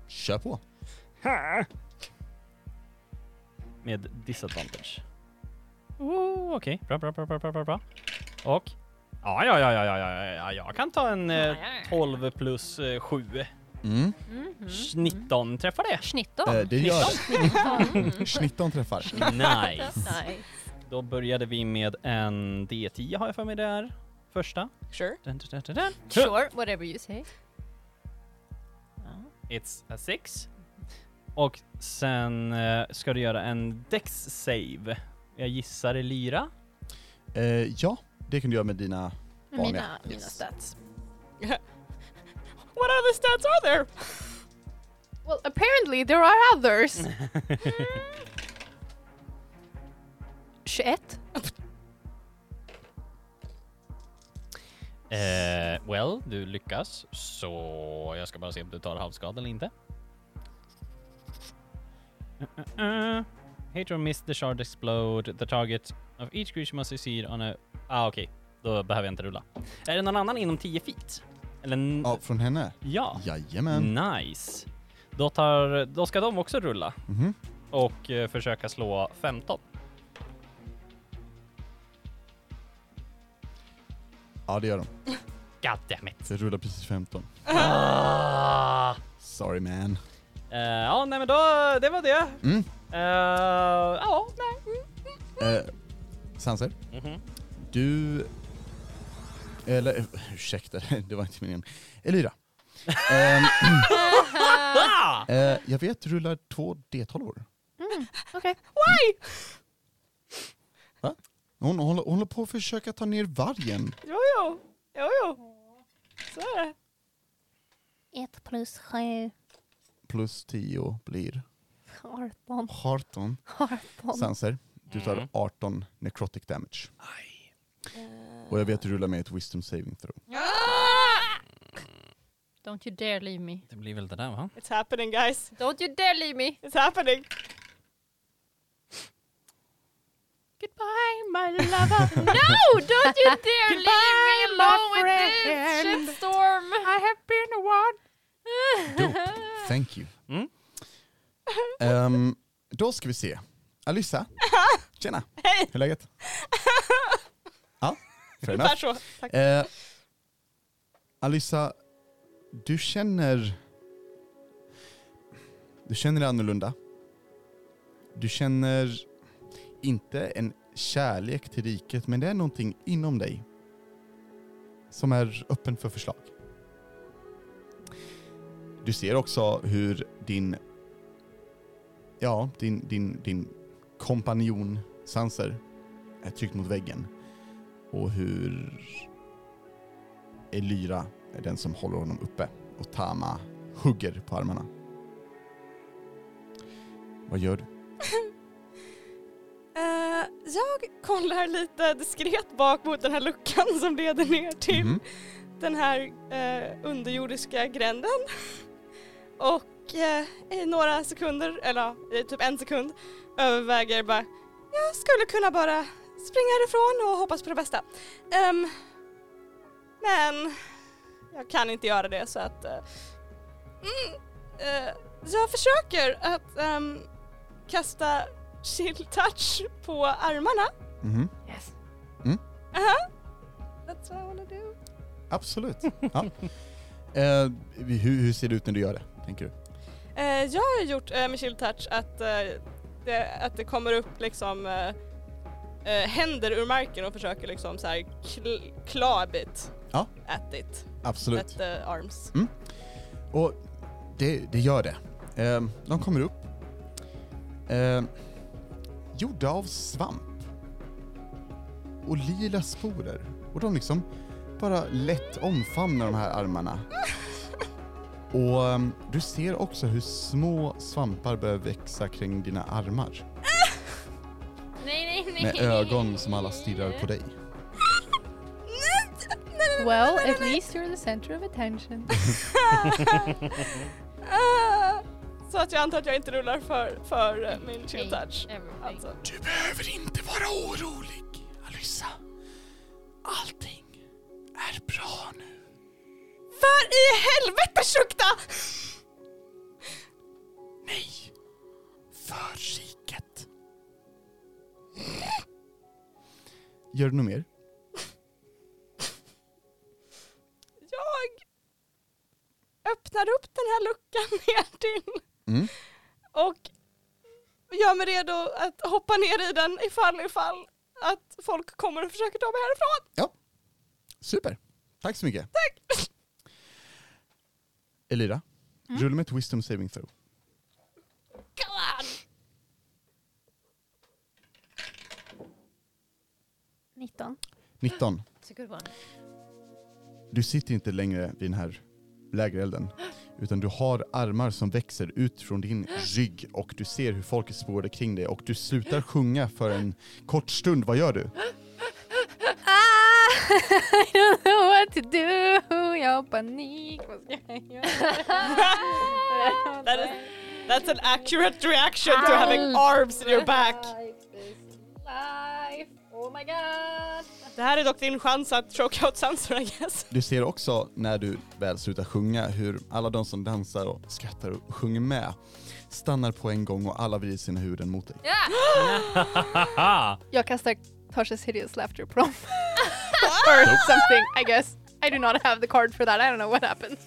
Speaker 1: kör på.
Speaker 4: Med disadvantage. Oh, Okej, bra, bra, bra, bra, bra, bra, bra. Och? Ja, ja, ja, ja, ja, ja, ja, ja, jag kan ta en eh, 12 plus eh, 7.
Speaker 1: Mm.
Speaker 2: Mhm.
Speaker 4: Sch- 19 träffar det.
Speaker 2: Snitton.
Speaker 1: Eh, det gör
Speaker 2: Snitton.
Speaker 1: Snitton träffar.
Speaker 4: Nice.
Speaker 2: Nej.
Speaker 4: Då började vi med en D10 har jag för mig det är. Första.
Speaker 3: Sure.
Speaker 4: Dun, dun, dun, dun, dun.
Speaker 2: Sure, whatever you say. Ja.
Speaker 4: It's a six. Och sen eh, ska du göra en dex save. Jag gissar Lyra.
Speaker 1: Eh, ja, det kan du göra med dina... Vanliga.
Speaker 2: Mina, mina
Speaker 1: Yes.
Speaker 2: stats.
Speaker 3: What other stats are there?
Speaker 5: Well, apparently there are others. 21.
Speaker 4: Eh, well, du lyckas. Så jag ska bara se om du tar halvskada eller inte. Uh, uh, uh. Hit or miss the shard explode. The target of each creature must succeed on a... Ah okej, då behöver jag inte rulla. Är det någon annan inom 10 feet? Eller... n-
Speaker 1: Ja, från henne?
Speaker 4: ja.
Speaker 1: Jajamän.
Speaker 4: Nice. Då, tar, då ska de också rulla
Speaker 1: Mhm.
Speaker 4: och eh, försöka slå 15.
Speaker 1: Ja, det gör de.
Speaker 4: God damn it.
Speaker 1: Det rullar precis 15.
Speaker 4: Ah.
Speaker 1: Sorry man.
Speaker 4: Eh, ja, nej men då, det var det.
Speaker 1: Mm.
Speaker 4: Eh, ja, nej.
Speaker 1: Eh, Sanser,
Speaker 4: Mhm.
Speaker 1: du... Eller eh, ursäkta, det var inte meningen. Elira. Ehm,
Speaker 4: Ah!
Speaker 1: eh, jag vet du rullar två D12.
Speaker 5: Okej.
Speaker 1: Hon håller, hon håller på att försöka ta ner vargen.
Speaker 3: Jo, jo. Jo, jo. Så är det.
Speaker 6: Ett plus sju.
Speaker 1: Plus 10 blir
Speaker 5: 18.
Speaker 1: 18.
Speaker 5: 18.
Speaker 1: Sanser, du tar
Speaker 4: Mm.
Speaker 1: 18 necrotic damage. Och jag vet du rullar med ett wisdom saving throw.
Speaker 2: Don't you dare leave me.
Speaker 4: Det blir väl det där va?
Speaker 3: It's happening guys.
Speaker 2: Don't you dare leave me.
Speaker 3: It's happening.
Speaker 2: Goodbye my lover.
Speaker 5: Oh,
Speaker 2: no, don't you dare leave me alone with this shitstorm. I have been one.
Speaker 1: Dope. Thank you.
Speaker 4: Mm.
Speaker 1: Ehm, då ska vi se. Alyssa, tjena. Hej. Hur är läget? ja, fair enough.
Speaker 3: Ungefär så. Tack.
Speaker 1: Eh, Alyssa, du känner... Du känner dig annorlunda. Du känner inte en kärlek till riket, men det är någonting inom dig som är öppen för förslag. Du ser också hur din... Ja, din, din, din kompanjon Sanser är tryckt mot väggen och hur Elyra är den som håller honom uppe och Tama hugger på armarna. Vad gör du?
Speaker 3: Eh, jag kollar lite diskret bak mot den här luckan som leder ner till
Speaker 1: Mhm.
Speaker 3: den här eh, underjordiska gränden. Och eh, i några sekunder, eller ja, i typ en sekund, överväger bara jag skulle kunna bara springa härifrån och hoppas på det bästa. Ehm, men jag kan inte göra det så att eh, mm, eh, jag försöker att ehm, kasta chill touch på armarna.
Speaker 1: Mhm.
Speaker 5: Yes.
Speaker 3: Aha. That's what I wanna do.
Speaker 1: Absolut. Ja. Eh, hur, hur ser det ut när du gör det, tänker du?
Speaker 3: Eh, jag har gjort eh, med chill touch att, eh, det, att det kommer upp liksom eh, eh, händer ur marken och försöker liksom så här kl- claw a bit
Speaker 1: Ja.
Speaker 3: at it,
Speaker 1: Absolut.
Speaker 3: at the arms.
Speaker 1: Och det, det gör det. Ehm, de kommer upp. Ehm, gjorda av svamp. Och lila sporer. Och de liksom bara lätt omfamnar de här armarna. Och ehm, du ser också hur små svampar börjar växa kring dina armar.
Speaker 2: nej, nej, nej.
Speaker 1: Med ögon som alla stirrar på dig.
Speaker 5: Well, at least you're the center of attention.
Speaker 3: Ah, så att jag antar att jag inte rullar för, för eh, min chill touch.
Speaker 2: Everything.
Speaker 3: Alltså.
Speaker 1: Du behöver inte vara orolig, Alyssa. Allting är bra nu.
Speaker 3: För i helvete Shukta!
Speaker 1: Nej! För riket. Gör du något mer?
Speaker 3: Jag öppnar upp den här ner till
Speaker 1: Mm.
Speaker 3: och gör mig redo att hoppa ner i den ifall, ifall att folk kommer och försöker ta mig härifrån.
Speaker 1: Super. Tack så mycket. Tack. Elira, rulla med ett wisdom saving throw.
Speaker 3: Come on!
Speaker 6: 19.
Speaker 1: 19.
Speaker 2: It's a good one.
Speaker 1: Du sitter inte längre vid den här lägerelden. Utan du har armar som växer ut från din rygg och du ser hur folk är spårade kring dig och du slutar sjunga för en kort stund. Vad gör du?
Speaker 5: Ah! I don't know what to do. Jag har panik. Vad ska jag göra?
Speaker 3: That is- That's an accurate reaction to having arms in your back.
Speaker 5: Life. Oh my god.
Speaker 3: Det här är dock din chans att choke out Samson I guess.
Speaker 1: Du ser också när du väl slutar sjunga hur alla de som dansar och skrattar och sjunger med stannar på en gång och alla vrider sina huvuden mot dig.
Speaker 5: Jag kastar Tasha's hideous laughter prom. Or something, I guess. I do not have the card for that. I don't know what happened.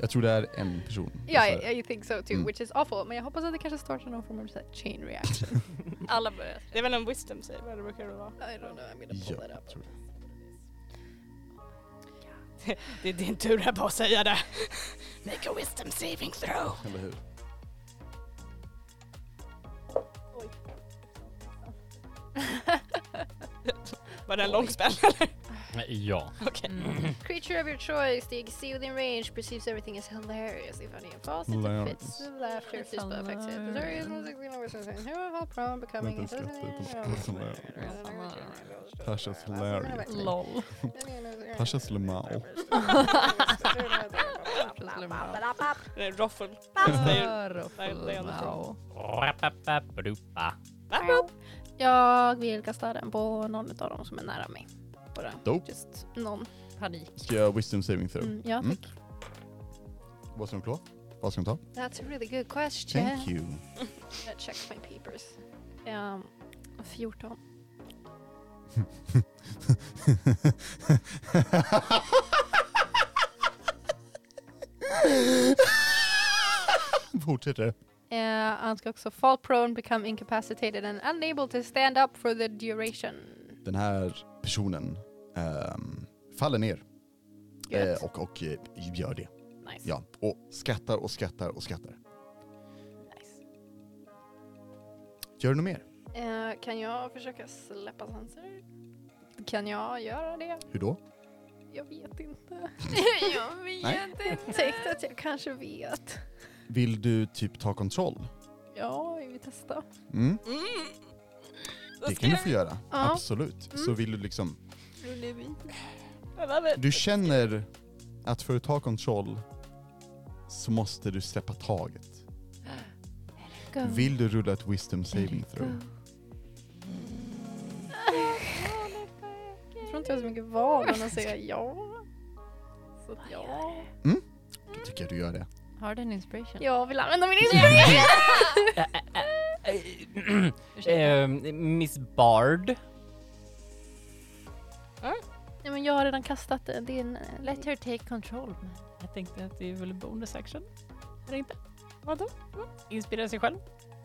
Speaker 1: Jag tror det är en person.
Speaker 5: Yeah, I, I think so too,
Speaker 1: Mm.
Speaker 5: which is awful. Men jag hoppas att det kanske startar någon form av så här chain reaction.
Speaker 2: Alla börjar.
Speaker 3: Det är väl en wisdom save eller brukar det vara?
Speaker 5: I don't know, I'm gonna
Speaker 1: Alltså, Ja,
Speaker 5: pull that
Speaker 1: jag
Speaker 5: up.
Speaker 1: tror det.
Speaker 3: Det är din tur här på att säga det. Make a wisdom saving throw.
Speaker 1: Eller hur?
Speaker 3: Var det en lång spel eller?
Speaker 4: Ja.
Speaker 3: Okej.
Speaker 2: Mm.
Speaker 5: Creature of your choice, the exceed within range, perceives everything as hilarious if any of us
Speaker 1: Hilarious.
Speaker 5: fits the laughter fist buff affects it. The story is not exactly what we're saying. Here we fall from becoming
Speaker 1: Vänta, jag skrattar inte. Tasha's hilarious.
Speaker 2: LOL.
Speaker 1: Tasha's Lemao.
Speaker 3: Det är Ruffle.
Speaker 5: Jag vill kasta den på någon av dem som är nära mig. Bara.
Speaker 1: Dope.
Speaker 5: Just någon.
Speaker 2: Panik.
Speaker 1: Ska jag wisdom saving throw?
Speaker 5: Mm, ja,
Speaker 1: Mm.
Speaker 5: tack.
Speaker 1: Vad ska de klå? Vad ska de ta?
Speaker 5: That's a really good question.
Speaker 1: Thank you.
Speaker 5: Jag check my papers. Um, 14.
Speaker 1: Fortsätter.
Speaker 5: Eh, han ska också fall prone, become incapacitated and unable to stand up for the duration.
Speaker 1: Den här personen ehm, faller ner
Speaker 5: Gött.
Speaker 1: eh, och, och eh, gör det.
Speaker 5: nice.
Speaker 1: Ja, och skrattar och skrattar och skrattar.
Speaker 5: nice.
Speaker 1: Gör du något mer?
Speaker 5: Eh, kan jag försöka släppa sanser? Kan jag göra det?
Speaker 1: Hur då?
Speaker 5: Jag vet inte. jag vet
Speaker 1: Nej.
Speaker 5: inte. Tänkte att jag kanske vet.
Speaker 1: Vill du typ ta kontroll?
Speaker 5: Ja, vi testar.
Speaker 1: Mm,
Speaker 3: Mm.
Speaker 1: det kan du få göra.
Speaker 5: Ja. Mm.
Speaker 1: Absolut. Så vill du liksom
Speaker 3: I love it.
Speaker 1: Du känner att för att ta kontroll så måste du släppa taget. Vill du rulla ett wisdom saving throw?
Speaker 5: Jag tror inte jag har så mycket val än att säga ja. Så att ja.
Speaker 1: Då tycker jag du gör det.
Speaker 2: Har du en inspiration?
Speaker 5: Jag vill använda min inspiration.
Speaker 4: Eh, Miss Bard.
Speaker 5: Nej men jag har redan kastat det. Det är en eh, lätt
Speaker 2: Let her take control. man.
Speaker 4: Jag tänkte att det är väl en bonusaction? Eller inte? Mm.
Speaker 3: Vadå?
Speaker 4: Inspirera sig själv?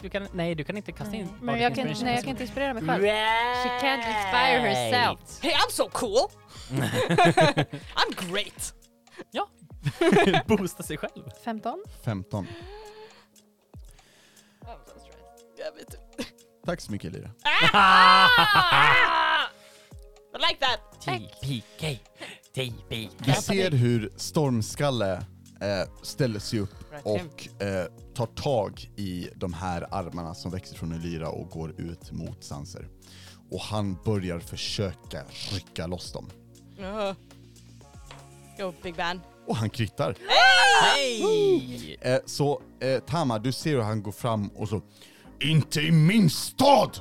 Speaker 4: Du kan, nej, du kan inte kasta in
Speaker 2: Nej.
Speaker 5: Men
Speaker 4: Bardic
Speaker 5: jag kan,
Speaker 4: Inspiration.
Speaker 5: nej, jag kan inte inspirera mig själv.
Speaker 2: She can't inspire herself.
Speaker 3: Hey I'm so cool! I'm great!
Speaker 4: Right. Boosta sig själv.
Speaker 5: 15.
Speaker 1: 15.
Speaker 3: Jag vet inte.
Speaker 1: Tack så mycket Elira.
Speaker 3: Ah! I like that!
Speaker 4: TPK. TPK.
Speaker 1: Du ser hur Stormskalle eh, ställer sig upp och eh, tar tag i de här armarna som växer från Elira och går ut mot Sanser. Och han börjar försöka rycka loss dem.
Speaker 3: Uh. Go Big Ben.
Speaker 1: Och han krittar.
Speaker 4: Hej!
Speaker 1: Eh, så eh, Tama, du ser hur han går fram och så Inte i min stad!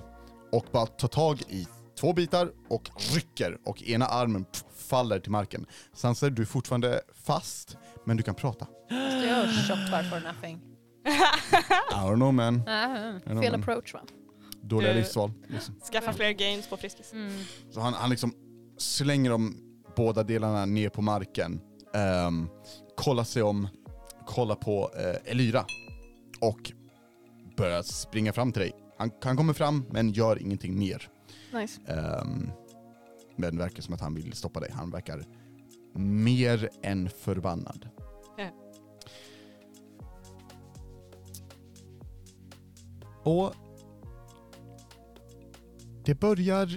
Speaker 1: Och bara tar tag i två bitar och rycker och ena armen pff, faller till marken. Sanser, du är fortfarande fast, men du kan prata.
Speaker 2: Måste jag shoppa for nothing?
Speaker 1: I don't know man.
Speaker 2: Mm.
Speaker 1: I don't
Speaker 5: Ah. Fel
Speaker 1: know, man.
Speaker 5: approach va?
Speaker 1: Dåliga
Speaker 3: Du-
Speaker 1: livsval. Liksom.
Speaker 3: Skaffa fler gains på Friskis.
Speaker 1: Så han, han liksom slänger de båda delarna ner på marken. ehm, kollar sig om, kollar på eh, Elira och börjar springa fram till dig. Han, han kommer fram men gör ingenting mer.
Speaker 5: Nice.
Speaker 1: Ehm, men det verkar som att han vill stoppa dig. Han verkar mer än förbannad.
Speaker 3: Ja.
Speaker 1: Och det börjar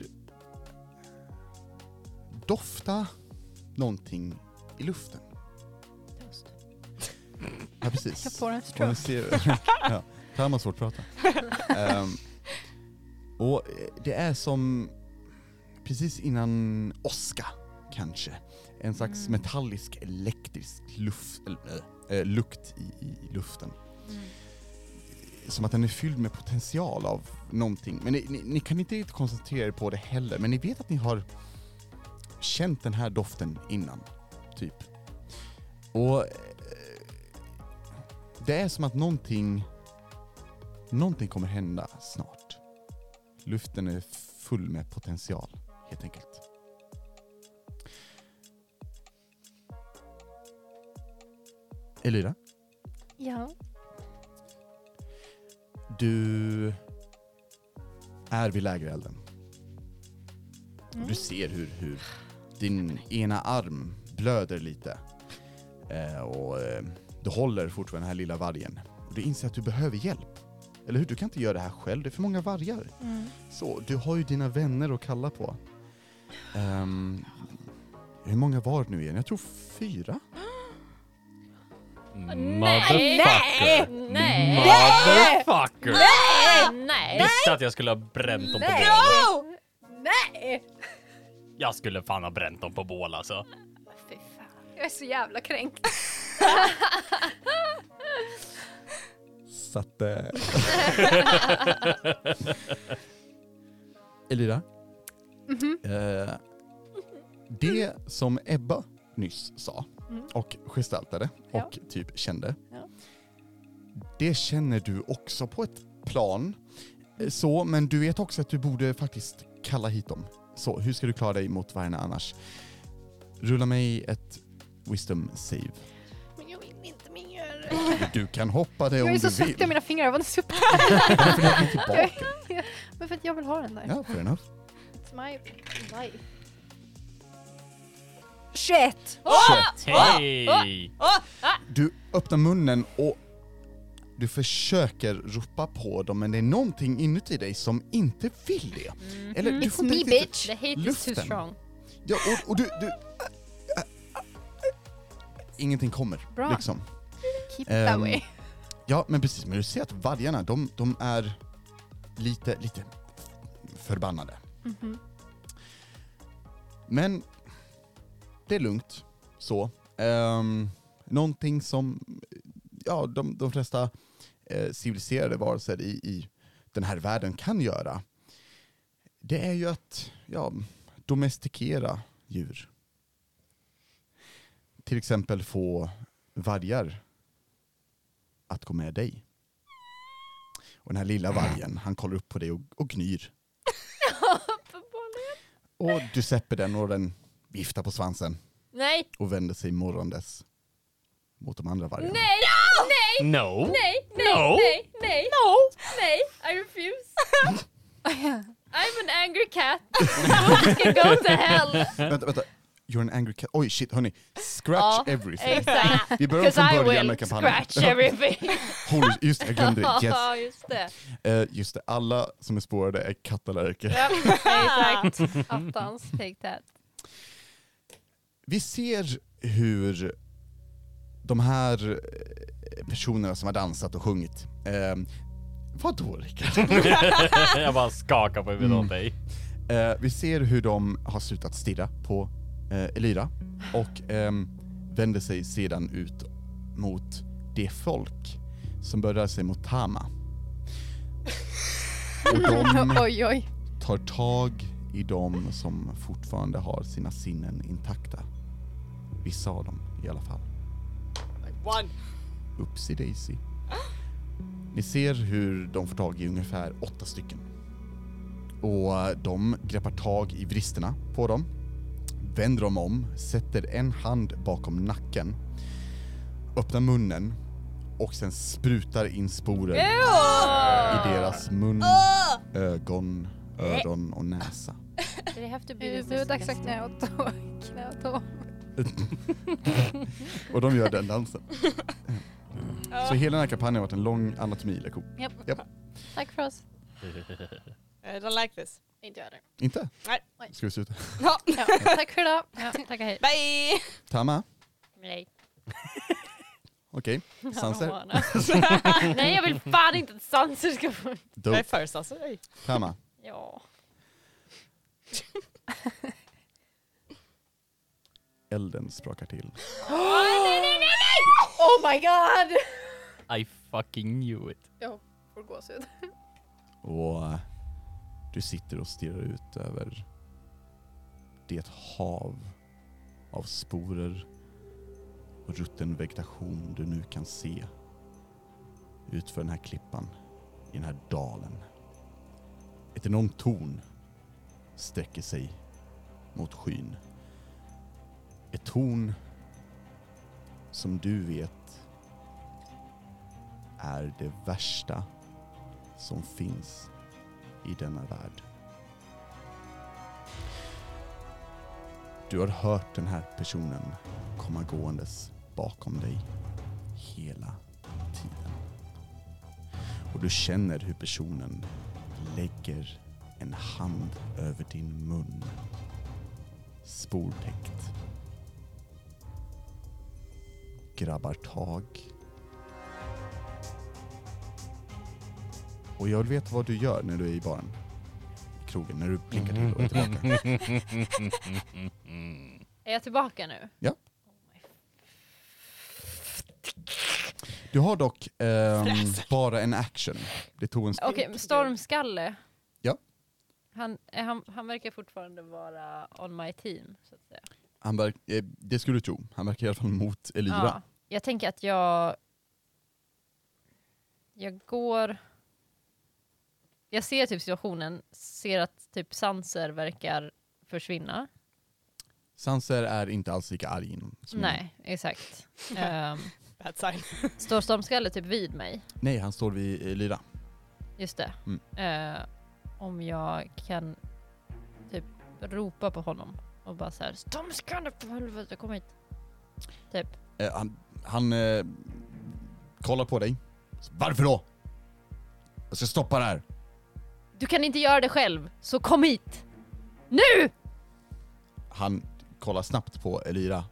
Speaker 1: dofta någonting i luften.
Speaker 2: Toast.
Speaker 1: Ja, precis.
Speaker 5: Jag får en
Speaker 1: Och ni
Speaker 5: stroke.
Speaker 1: ser, ja, Tam har svårt att prata. Ehm, och eh, det är som precis innan åska, kanske. En slags
Speaker 2: Mm.
Speaker 1: metallisk elektrisk luft, eller, eh, lukt i, i, i luften.
Speaker 2: Mm.
Speaker 1: Som att den är fylld med potential av någonting. Men ni, ni, ni kan inte riktigt koncentrera er på det heller, men ni vet att ni har känt den här doften innan, typ. Och eh, det är som att någonting, någonting kommer hända snart. Luften är full med potential, helt enkelt. Elira?
Speaker 6: Ja.
Speaker 1: Du är vid lägerelden. Och
Speaker 2: Mm.
Speaker 1: Du ser hur, hur din ena arm blöder lite. Eh, och eh, du håller fortfarande den här lilla vargen. Och du inser att du behöver hjälp. Eller hur? Du kan inte göra det här själv, det är för många vargar.
Speaker 5: Mm.
Speaker 1: Så, du har ju dina vänner att kalla på. Ehm, hur många var det nu igen? Jag tror fyra.
Speaker 7: Motherfucker!
Speaker 2: Nej.
Speaker 7: Motherfucker!
Speaker 2: Nej!
Speaker 7: Visste att jag skulle ha bränt dem på
Speaker 5: Nej.
Speaker 7: bål.
Speaker 5: Oh! Nej!
Speaker 7: Jag skulle fan ha bränt dem på bål alltså.
Speaker 5: Fy fan. Jag är så jävla kränkt.
Speaker 1: Så att... Eh... Elira.
Speaker 5: Mm-hmm.
Speaker 1: Eh, det som Ebba nyss sa
Speaker 5: Mm.
Speaker 1: och gestaltade
Speaker 2: Ja.
Speaker 1: och typ kände.
Speaker 2: Ja.
Speaker 1: Det känner du också på ett plan. Eh, Så, men du vet också att du borde faktiskt kalla hit dem. Så hur ska du klara dig mot vargarna annars? Rulla mig ett wisdom save.
Speaker 5: Men jag vill inte mer.
Speaker 1: Du kan hoppa det om du
Speaker 5: Jag är
Speaker 1: vill.
Speaker 5: så svettig av mina fingrar. Jag var så upp.
Speaker 1: Varför lägger du tillbaka?
Speaker 5: Men för att jag vill ha den där.
Speaker 1: Ja, fair enough.
Speaker 5: It's my life.
Speaker 6: Shit!
Speaker 7: Hej!
Speaker 1: Du öppnar munnen och du försöker ropa på dem men det är någonting inuti dig som inte vill det. Eller, du får
Speaker 6: Mm. It's
Speaker 1: inte
Speaker 6: me
Speaker 1: riktigt-
Speaker 6: bitch!
Speaker 2: Mm. The hate is too
Speaker 1: Luften.
Speaker 2: strong.
Speaker 1: Ja, och, och du, du... Ingenting kommer.
Speaker 5: Bra.
Speaker 1: Liksom.
Speaker 5: Keep it that
Speaker 1: Ehm,
Speaker 5: way.
Speaker 1: Ja, men precis. Men du ser att vargarna, de, de är lite, lite förbannade.
Speaker 5: Mhm.
Speaker 1: Men det är lugnt så. Um, någonting som ja, de, de flesta eh, civiliserade varelser i, i den här världen kan göra, det är ju att ja, domestikera djur. Till exempel få vargar att gå med dig. Och den här
Speaker 2: Äh.
Speaker 1: lilla vargen, han kollar upp på dig och, och gnyr. och du släpper den och den viftar på svansen
Speaker 2: Nej!
Speaker 1: och vänder sig morgondes mot de andra vargarna.
Speaker 2: Nej! Nej!
Speaker 7: No!
Speaker 2: Nej! Nej!
Speaker 7: No.
Speaker 2: Nej! Nej! Nej! I refuse! I'm an angry cat. Books can go to hell!
Speaker 1: Vänta, vänta. You're an angry cat. Oj shit hörni, scratch
Speaker 2: Ja,
Speaker 1: everything.
Speaker 2: Exakt!
Speaker 1: Vi börjar om
Speaker 2: Because
Speaker 1: från
Speaker 2: I
Speaker 1: början
Speaker 2: will
Speaker 1: med kampanjen.
Speaker 2: scratch everything!
Speaker 1: Holy, just det, jag glömde det. Yes.
Speaker 2: Ja, just det.
Speaker 1: Eh, just det, alla som är spårade är kattalärker.
Speaker 2: Ja, exakt. Attans, take that.
Speaker 1: Vi ser hur de här eh, personerna som har dansat och sjungit, eh, vadå Rickard?
Speaker 7: jag bara skakar på huvudet
Speaker 1: Mm.
Speaker 7: åt dig.
Speaker 1: Eh, vi ser hur de har slutat stirra på eh, Elira och ehm, vänder sig sedan ut mot det folk som börjar röra sig mot Tama. Och de
Speaker 5: oj, oj.
Speaker 1: tar tag i de som fortfarande har sina sinnen intakta. Vissa av dem i alla fall.
Speaker 3: One.
Speaker 1: Upsi Daisy. Ni ser hur de får tag i ungefär åtta stycken. Och de greppar tag i vristerna på dem, vänder dem om, sätter en hand bakom nacken öppnar munnen och sen sprutar in sporer i deras mun,
Speaker 3: Ah!
Speaker 1: ögon, öron och näsa.
Speaker 2: Did it have to be
Speaker 5: Är
Speaker 2: this
Speaker 5: det
Speaker 2: disgusting?
Speaker 5: dags att knä och tå? Knä och tå.
Speaker 1: Och de gör den dansen.
Speaker 3: Ah.
Speaker 1: Så hela den här kampanjen har varit en lång anatomilektion.
Speaker 2: Japp.
Speaker 1: Japp.
Speaker 2: Tack för oss.
Speaker 3: I don't like this.
Speaker 5: Inte jag det.
Speaker 1: Inte?
Speaker 3: Nej.
Speaker 1: Ska vi sluta?
Speaker 3: Ja.
Speaker 5: Ja.
Speaker 2: Tack för idag. Ja, tack och hej.
Speaker 3: Bye!
Speaker 1: Tama?
Speaker 2: Nej.
Speaker 1: Okej. Sanser?
Speaker 2: Moana. Nej jag vill fan inte att Sanser ska få...
Speaker 3: Jag är
Speaker 1: Dope.
Speaker 3: först alltså. Oj.
Speaker 1: Tama?
Speaker 2: Ja.
Speaker 1: Elden sprakar till.
Speaker 5: Oh my god!
Speaker 7: I fucking knew it.
Speaker 5: Får gåshud.
Speaker 1: Och eh, du sitter och stirrar ut över det hav av sporer och rutten vegetation du nu kan se utför den här klippan, i den här dalen. Ett enormt torn sträcker sig mot skyn. Ett torn som du vet är det värsta som finns i denna värld. Du har hört den här personen komma gåendes bakom dig hela tiden. Och du känner hur personen lägger en hand över din mun. Sportäckt. Grabbar tag Och jag vill veta vad du gör när du är i baren. I krogen, när du blinkar till och är tillbaka.
Speaker 2: Är jag tillbaka nu?
Speaker 1: Du har dock ehm, bara en action. Det tog en...
Speaker 2: Okej, men Stormskalle.
Speaker 1: Ja.
Speaker 2: Han, eh, han, han verkar fortfarande vara on my team. Så att säga.
Speaker 1: Han verk, eh, det skulle du tro. Han verkar i alla fall mot Elira.
Speaker 2: Jag tänker att jag... Jag går... Jag ser typ situationen, ser att typ Sanser verkar försvinna.
Speaker 1: Sanser är inte alls lika arg inom. som-
Speaker 2: Nej, exakt. Ehm,
Speaker 3: Bad sign.
Speaker 2: står Stormskalle typ vid mig?
Speaker 1: Nej, han står vid Elira.
Speaker 2: Just det.
Speaker 1: Mm.
Speaker 2: Eh, om jag kan typ ropa på honom och bara så här Stormskalle för helvete kom hit. Typ.
Speaker 1: Eh, han han eh, kollar på dig. Varför då? Jag ska stoppa det här.
Speaker 2: Du kan inte göra det själv, så kom hit! Nu!
Speaker 1: Han kollar snabbt på Elira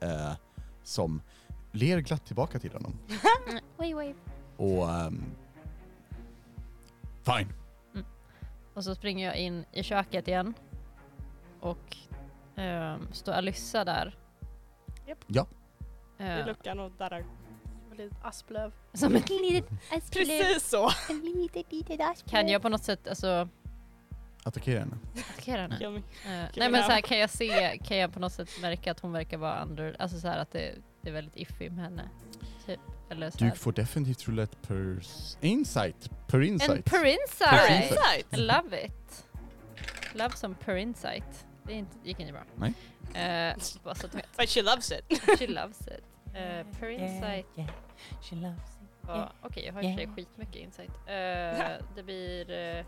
Speaker 1: eh, som ler glatt tillbaka till honom.
Speaker 2: Wave, wave.
Speaker 1: Och... ehm, Fine.
Speaker 2: Och så springer jag in i köket igen. Och ehm, står Alyssa där.
Speaker 3: Japp.
Speaker 1: Ja.
Speaker 3: I
Speaker 2: Eh,
Speaker 3: luckan och darrar.
Speaker 5: Asplöv.
Speaker 2: som ett litet...
Speaker 3: Precis så!
Speaker 6: En liten, liten ask.
Speaker 2: Kan jag på något sätt alltså...
Speaker 1: Attackera henne.
Speaker 2: Attackera henne?
Speaker 3: Yummy.
Speaker 2: Eh,
Speaker 3: Kul
Speaker 2: nej men
Speaker 3: namn.
Speaker 2: så här, kan jag se, kan jag på något sätt märka att hon verkar vara under, alltså så här att det, det är väldigt iffy med henne. Typ. Eller så
Speaker 1: Du
Speaker 2: här.
Speaker 1: får definitivt rulla ett per... Insight. Per
Speaker 2: En
Speaker 1: insight.
Speaker 2: per
Speaker 1: Per
Speaker 2: insight!
Speaker 1: insight.
Speaker 2: I love it. Love some per insight. Det är inte, gick inte bra.
Speaker 1: Nej.
Speaker 2: Eh, bara så att du
Speaker 3: But she loves it.
Speaker 2: vet. She loves it. Eh, per insight
Speaker 4: Yeah, She loves it.
Speaker 2: var...
Speaker 4: Yeah.
Speaker 2: Okej, jag har i och för sig
Speaker 4: Yeah.
Speaker 2: skitmycket insight. Eh, det blir eh,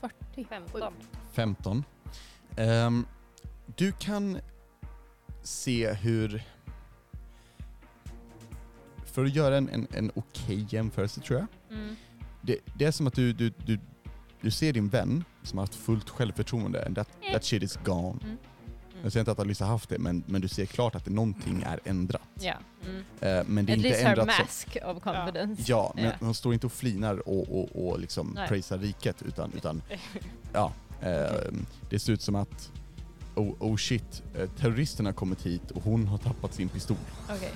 Speaker 5: 40.
Speaker 2: 15.
Speaker 1: 15. Ehm, du kan se hur... För att göra en, en, en okej jämförelse tror jag.
Speaker 2: Mm.
Speaker 1: Det, det är som att du, du, du, du ser din vän som har haft fullt självförtroende. And that, that shit is gone.
Speaker 2: Eh. Mm.
Speaker 1: Jag säger inte att Alyssa haft det, men, men du ser klart att det, någonting är ändrat.
Speaker 2: Ja. Mm.
Speaker 1: Eh, men det är
Speaker 2: At
Speaker 1: inte
Speaker 2: least her
Speaker 1: ändrat så-
Speaker 2: mask of confidence.
Speaker 1: Ja, men
Speaker 2: Ja.
Speaker 1: hon står inte och flinar och, och, och liksom
Speaker 2: Nej.
Speaker 1: prisar riket utan, utan ja, eh, det ser ut som att oh, oh shit, eh, terroristerna har kommit hit och hon har tappat sin pistol.
Speaker 2: Okej.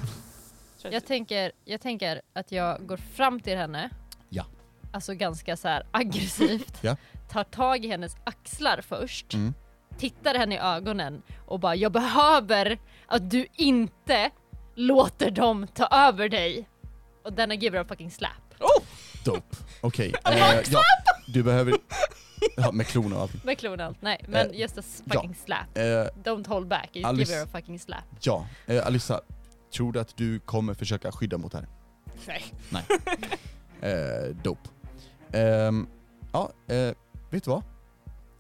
Speaker 3: Tror
Speaker 2: Jag tänker, jag tänker att jag går fram till henne.
Speaker 1: Ja.
Speaker 2: Alltså ganska så här aggressivt.
Speaker 1: Ja.
Speaker 2: Tar tag i hennes axlar först.
Speaker 1: Mm.
Speaker 2: Tittar henne i ögonen och bara jag behöver att du inte låter dem ta över dig. Och denna give her a fucking slap.
Speaker 1: Dope. Okej. eh, ja, du behöver... Ja, med klon och allt.
Speaker 2: Med klon och allt. Nej men
Speaker 1: Eh,
Speaker 2: just a fucking slap.
Speaker 1: Eh,
Speaker 2: Don't hold back, just
Speaker 1: Alice-
Speaker 2: give her a fucking slap.
Speaker 1: ja, eh, Alyssa, Tror du att du kommer försöka skydda mot det här?
Speaker 3: Nej.
Speaker 1: Eh, dope. Ehm, ja, eh, vet du vad?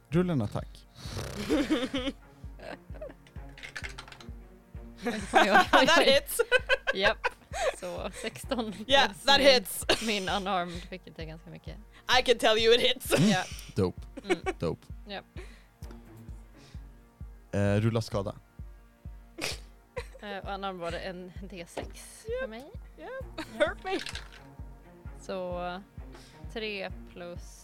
Speaker 1: Rulla en attack.
Speaker 3: that hits!
Speaker 2: Japp. Så 16
Speaker 3: Yeah,
Speaker 2: plus
Speaker 3: that
Speaker 2: min-
Speaker 3: hits!
Speaker 2: min unarmed, vilket är ganska mycket.
Speaker 3: I can tell you it hits!
Speaker 2: Ja.
Speaker 1: Dope.
Speaker 2: Mm.
Speaker 1: Dope.
Speaker 2: Japp.
Speaker 1: Eh, rulla skada.
Speaker 2: Eh, Och unarmed var det en D6 för mig.
Speaker 3: Hurt me!
Speaker 2: Så 3 plus...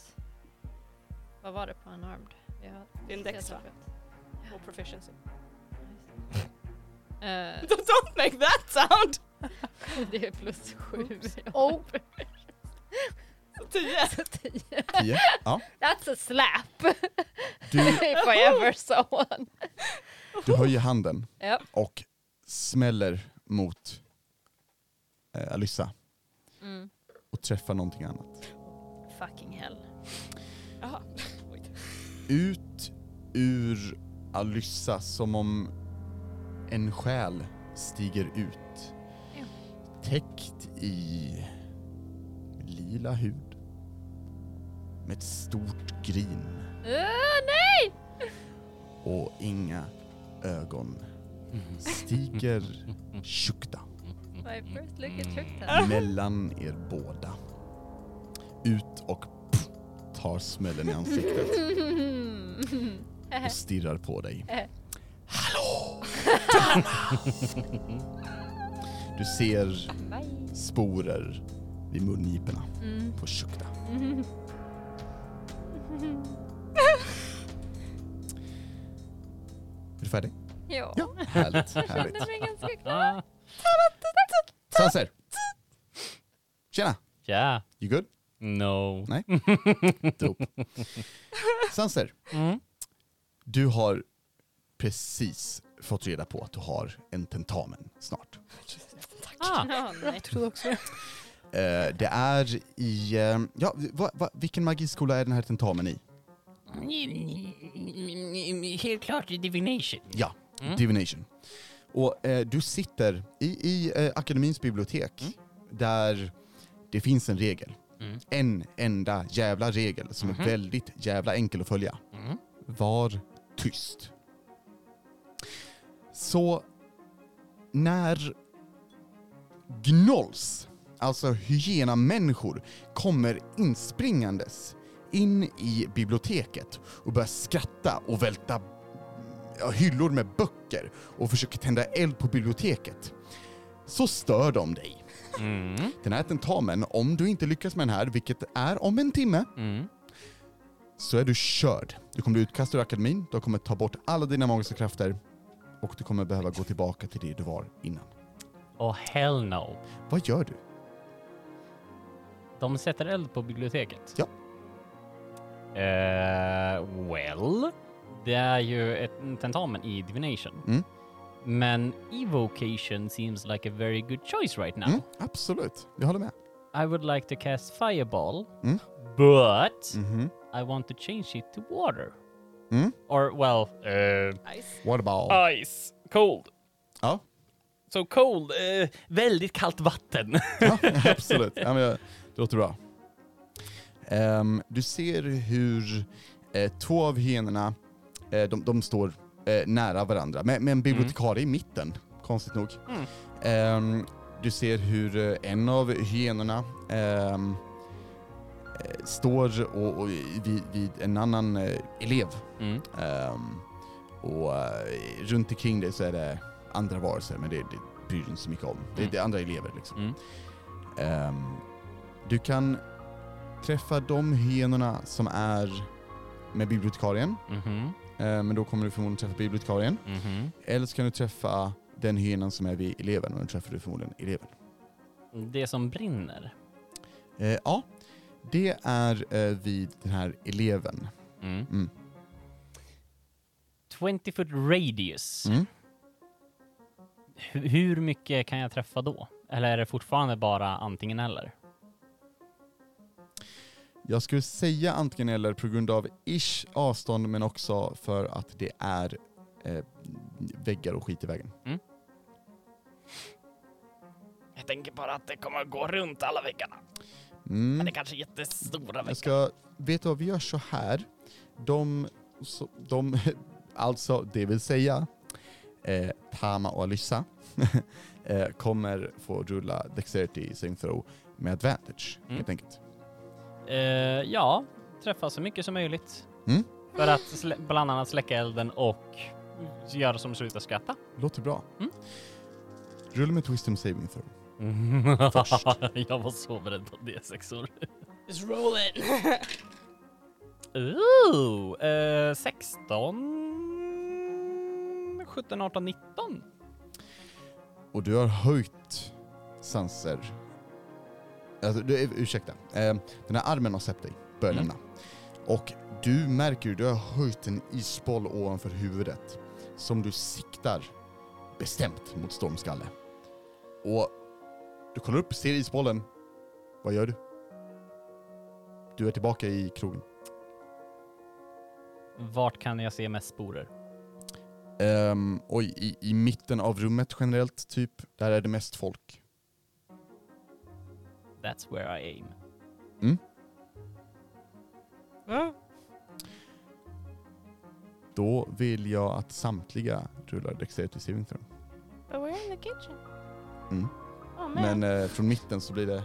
Speaker 2: Vad var det på unarmed? Vi har-
Speaker 3: Det är en
Speaker 2: jag
Speaker 3: dex
Speaker 2: tror
Speaker 3: va? Och proficiency.
Speaker 2: att- Eh,
Speaker 3: Don't make that sound!
Speaker 2: Det är plus 7.
Speaker 5: Oh.
Speaker 3: Tio!
Speaker 1: Tio. Ja.
Speaker 2: That's a slap!
Speaker 1: Du,
Speaker 2: If I ever saw one.
Speaker 1: du höjer handen
Speaker 2: Japp.
Speaker 1: och smäller mot eh, Alyssa
Speaker 2: Mm.
Speaker 1: och träffar någonting annat.
Speaker 2: Fucking hell.
Speaker 3: Jaha.
Speaker 1: Ut ur Alyssa som om en själ stiger ut.
Speaker 2: Ja.
Speaker 1: Täckt i lila hud. Med ett stort grin.
Speaker 2: Eh, nej!
Speaker 1: och inga ögon stiger tjukta Mm,
Speaker 2: My first look at
Speaker 1: mellan er båda. Ut och pff, tar smällen i ansiktet och stirrar på dig. Hallå! Thomas! Du ser sporer vid mungiporna på tjukta. Är du färdig?
Speaker 2: Ja.
Speaker 1: Härligt, härligt.
Speaker 2: Det är ganska klart.
Speaker 1: Sanser! Tjena!
Speaker 7: Yeah.
Speaker 1: You good?
Speaker 7: No.
Speaker 1: Nej? Dope. Sanser, du har precis fått reda på att du har en tentamen snart.
Speaker 7: Ah,
Speaker 2: Ja, nej.
Speaker 1: Eh, det är i... eh, ja, va, va, vilken magiskola är den här tentamen i?
Speaker 4: Helt klart divination.
Speaker 1: Ja,
Speaker 7: Mm.
Speaker 1: Divination. Och eh, du sitter i, i eh, akademins bibliotek där det finns en regel.
Speaker 7: Mm.
Speaker 1: En enda jävla regel som är
Speaker 7: Mhm.
Speaker 1: väldigt jävla enkel att följa.
Speaker 7: Mm.
Speaker 1: Var tyst. Så när gnolls, alltså hyena-människor, kommer inspringandes in i biblioteket och börjar skratta och välta ja, hyllor med böcker och försöker tända eld på biblioteket, så stör de dig.
Speaker 7: Mm.
Speaker 1: Den här tentamen, om du inte lyckas med den här, vilket är om en timme,
Speaker 7: Mm.
Speaker 1: så är du körd. Du kommer bli utkastad ur akademin, du kommer ta bort alla dina magiska krafter och du kommer behöva gå tillbaka till det du var innan.
Speaker 7: Oh hell no.
Speaker 1: Vad gör du?
Speaker 7: De sätter eld på biblioteket.
Speaker 1: Ja.
Speaker 7: Eh, well, det är ju ett en tentamen i divination.
Speaker 1: Mm.
Speaker 7: Men evocation seems like a very good choice right now.
Speaker 1: Mm, absolut, jag håller med.
Speaker 7: I would like to cast fireball,
Speaker 1: Mm.
Speaker 7: but
Speaker 1: Mhm.
Speaker 7: I want to change it to water.
Speaker 1: Mm.
Speaker 7: Or well, uh,
Speaker 3: Nice.
Speaker 1: What about...
Speaker 7: ice, cold.
Speaker 1: Ja.
Speaker 7: So cold, eh, väldigt kallt vatten.
Speaker 1: Ja, absolut. Ja, men, jag- det låter bra. Ehm, du ser hur eh, två av hyenorna, eh, de, de står eh, nära varandra, med, med en bibliotekarie i mitten, konstigt nog.
Speaker 7: Mm.
Speaker 1: Ehm, du ser hur eh, en av hyenorna ehm, eh, står och, och, vid, vid en annan eh, elev.
Speaker 7: Mm.
Speaker 1: Ehm, och eh, runt omkring dig så är det andra varelser, men det, det bryr du inte så mycket om. Det,
Speaker 7: Mm.
Speaker 1: det är andra elever liksom.
Speaker 7: Mm.
Speaker 1: Ehm, du kan träffa de hyenorna som är med bibliotekarien,
Speaker 7: Mhm.
Speaker 1: eh, men då kommer du förmodligen träffa bibliotekarien.
Speaker 7: Mhm.
Speaker 1: Eller så kan du träffa den hyenan som är vid eleven, och då träffar du förmodligen eleven.
Speaker 7: Det som brinner.
Speaker 1: Eh, ja, det är eh, vid den här eleven.
Speaker 7: Mm.
Speaker 1: Mm.
Speaker 7: 20 foot radius.
Speaker 1: Mm.
Speaker 7: Hu- Hur mycket kan jag träffa då? Eller är det fortfarande bara antingen eller?
Speaker 1: Jag skulle säga antingen eller på grund av ish avstånd men också för att det är eh, väggar och skit i vägen.
Speaker 8: Jag tänker bara att det kommer gå runt alla väggarna. Men
Speaker 1: Mm.
Speaker 8: det kanske är jättestora
Speaker 1: Jag
Speaker 8: väggar.
Speaker 1: ska, vet du vad, vi gör så här. De, så, de alltså det vill säga eh, Tama och Alyssa eh, kommer få rulla Dexterity Saving Throw med advantage
Speaker 4: Mm.
Speaker 1: helt enkelt.
Speaker 4: Eh, ja, träffa så mycket som möjligt.
Speaker 1: Mm.
Speaker 4: För att slä, bland annat släcka elden och göra som slutar skratta.
Speaker 1: Låter bra.
Speaker 4: Mm.
Speaker 1: Rulla med ett Wisdom Saving Throw.
Speaker 4: jag var så beredd på det sexor.
Speaker 8: Just roll it!
Speaker 4: Ooh, eh, 16, 17, 18, 19.
Speaker 1: Och du har höjt sanser. Alltså, du, ursäkta. Eh, den här armen har släppt dig, börjar
Speaker 4: Mm.
Speaker 1: lämna. Och du märker ju, du har höjt en isboll ovanför huvudet som du siktar bestämt mot stormskalle. Och du kollar upp, ser isbollen. Vad gör du? Du är tillbaka i krogen.
Speaker 4: Vart kan jag se mest sporer?
Speaker 1: Ehm, oj, i, i mitten av rummet generellt, typ. Där är det mest folk.
Speaker 4: That's where I aim.
Speaker 1: Mm. Då vill jag att samtliga rullar Dexterity Saving Throw.
Speaker 3: But we're in the kitchen.
Speaker 1: Mm.
Speaker 3: Oh man.
Speaker 1: Men eh, från mitten så blir det...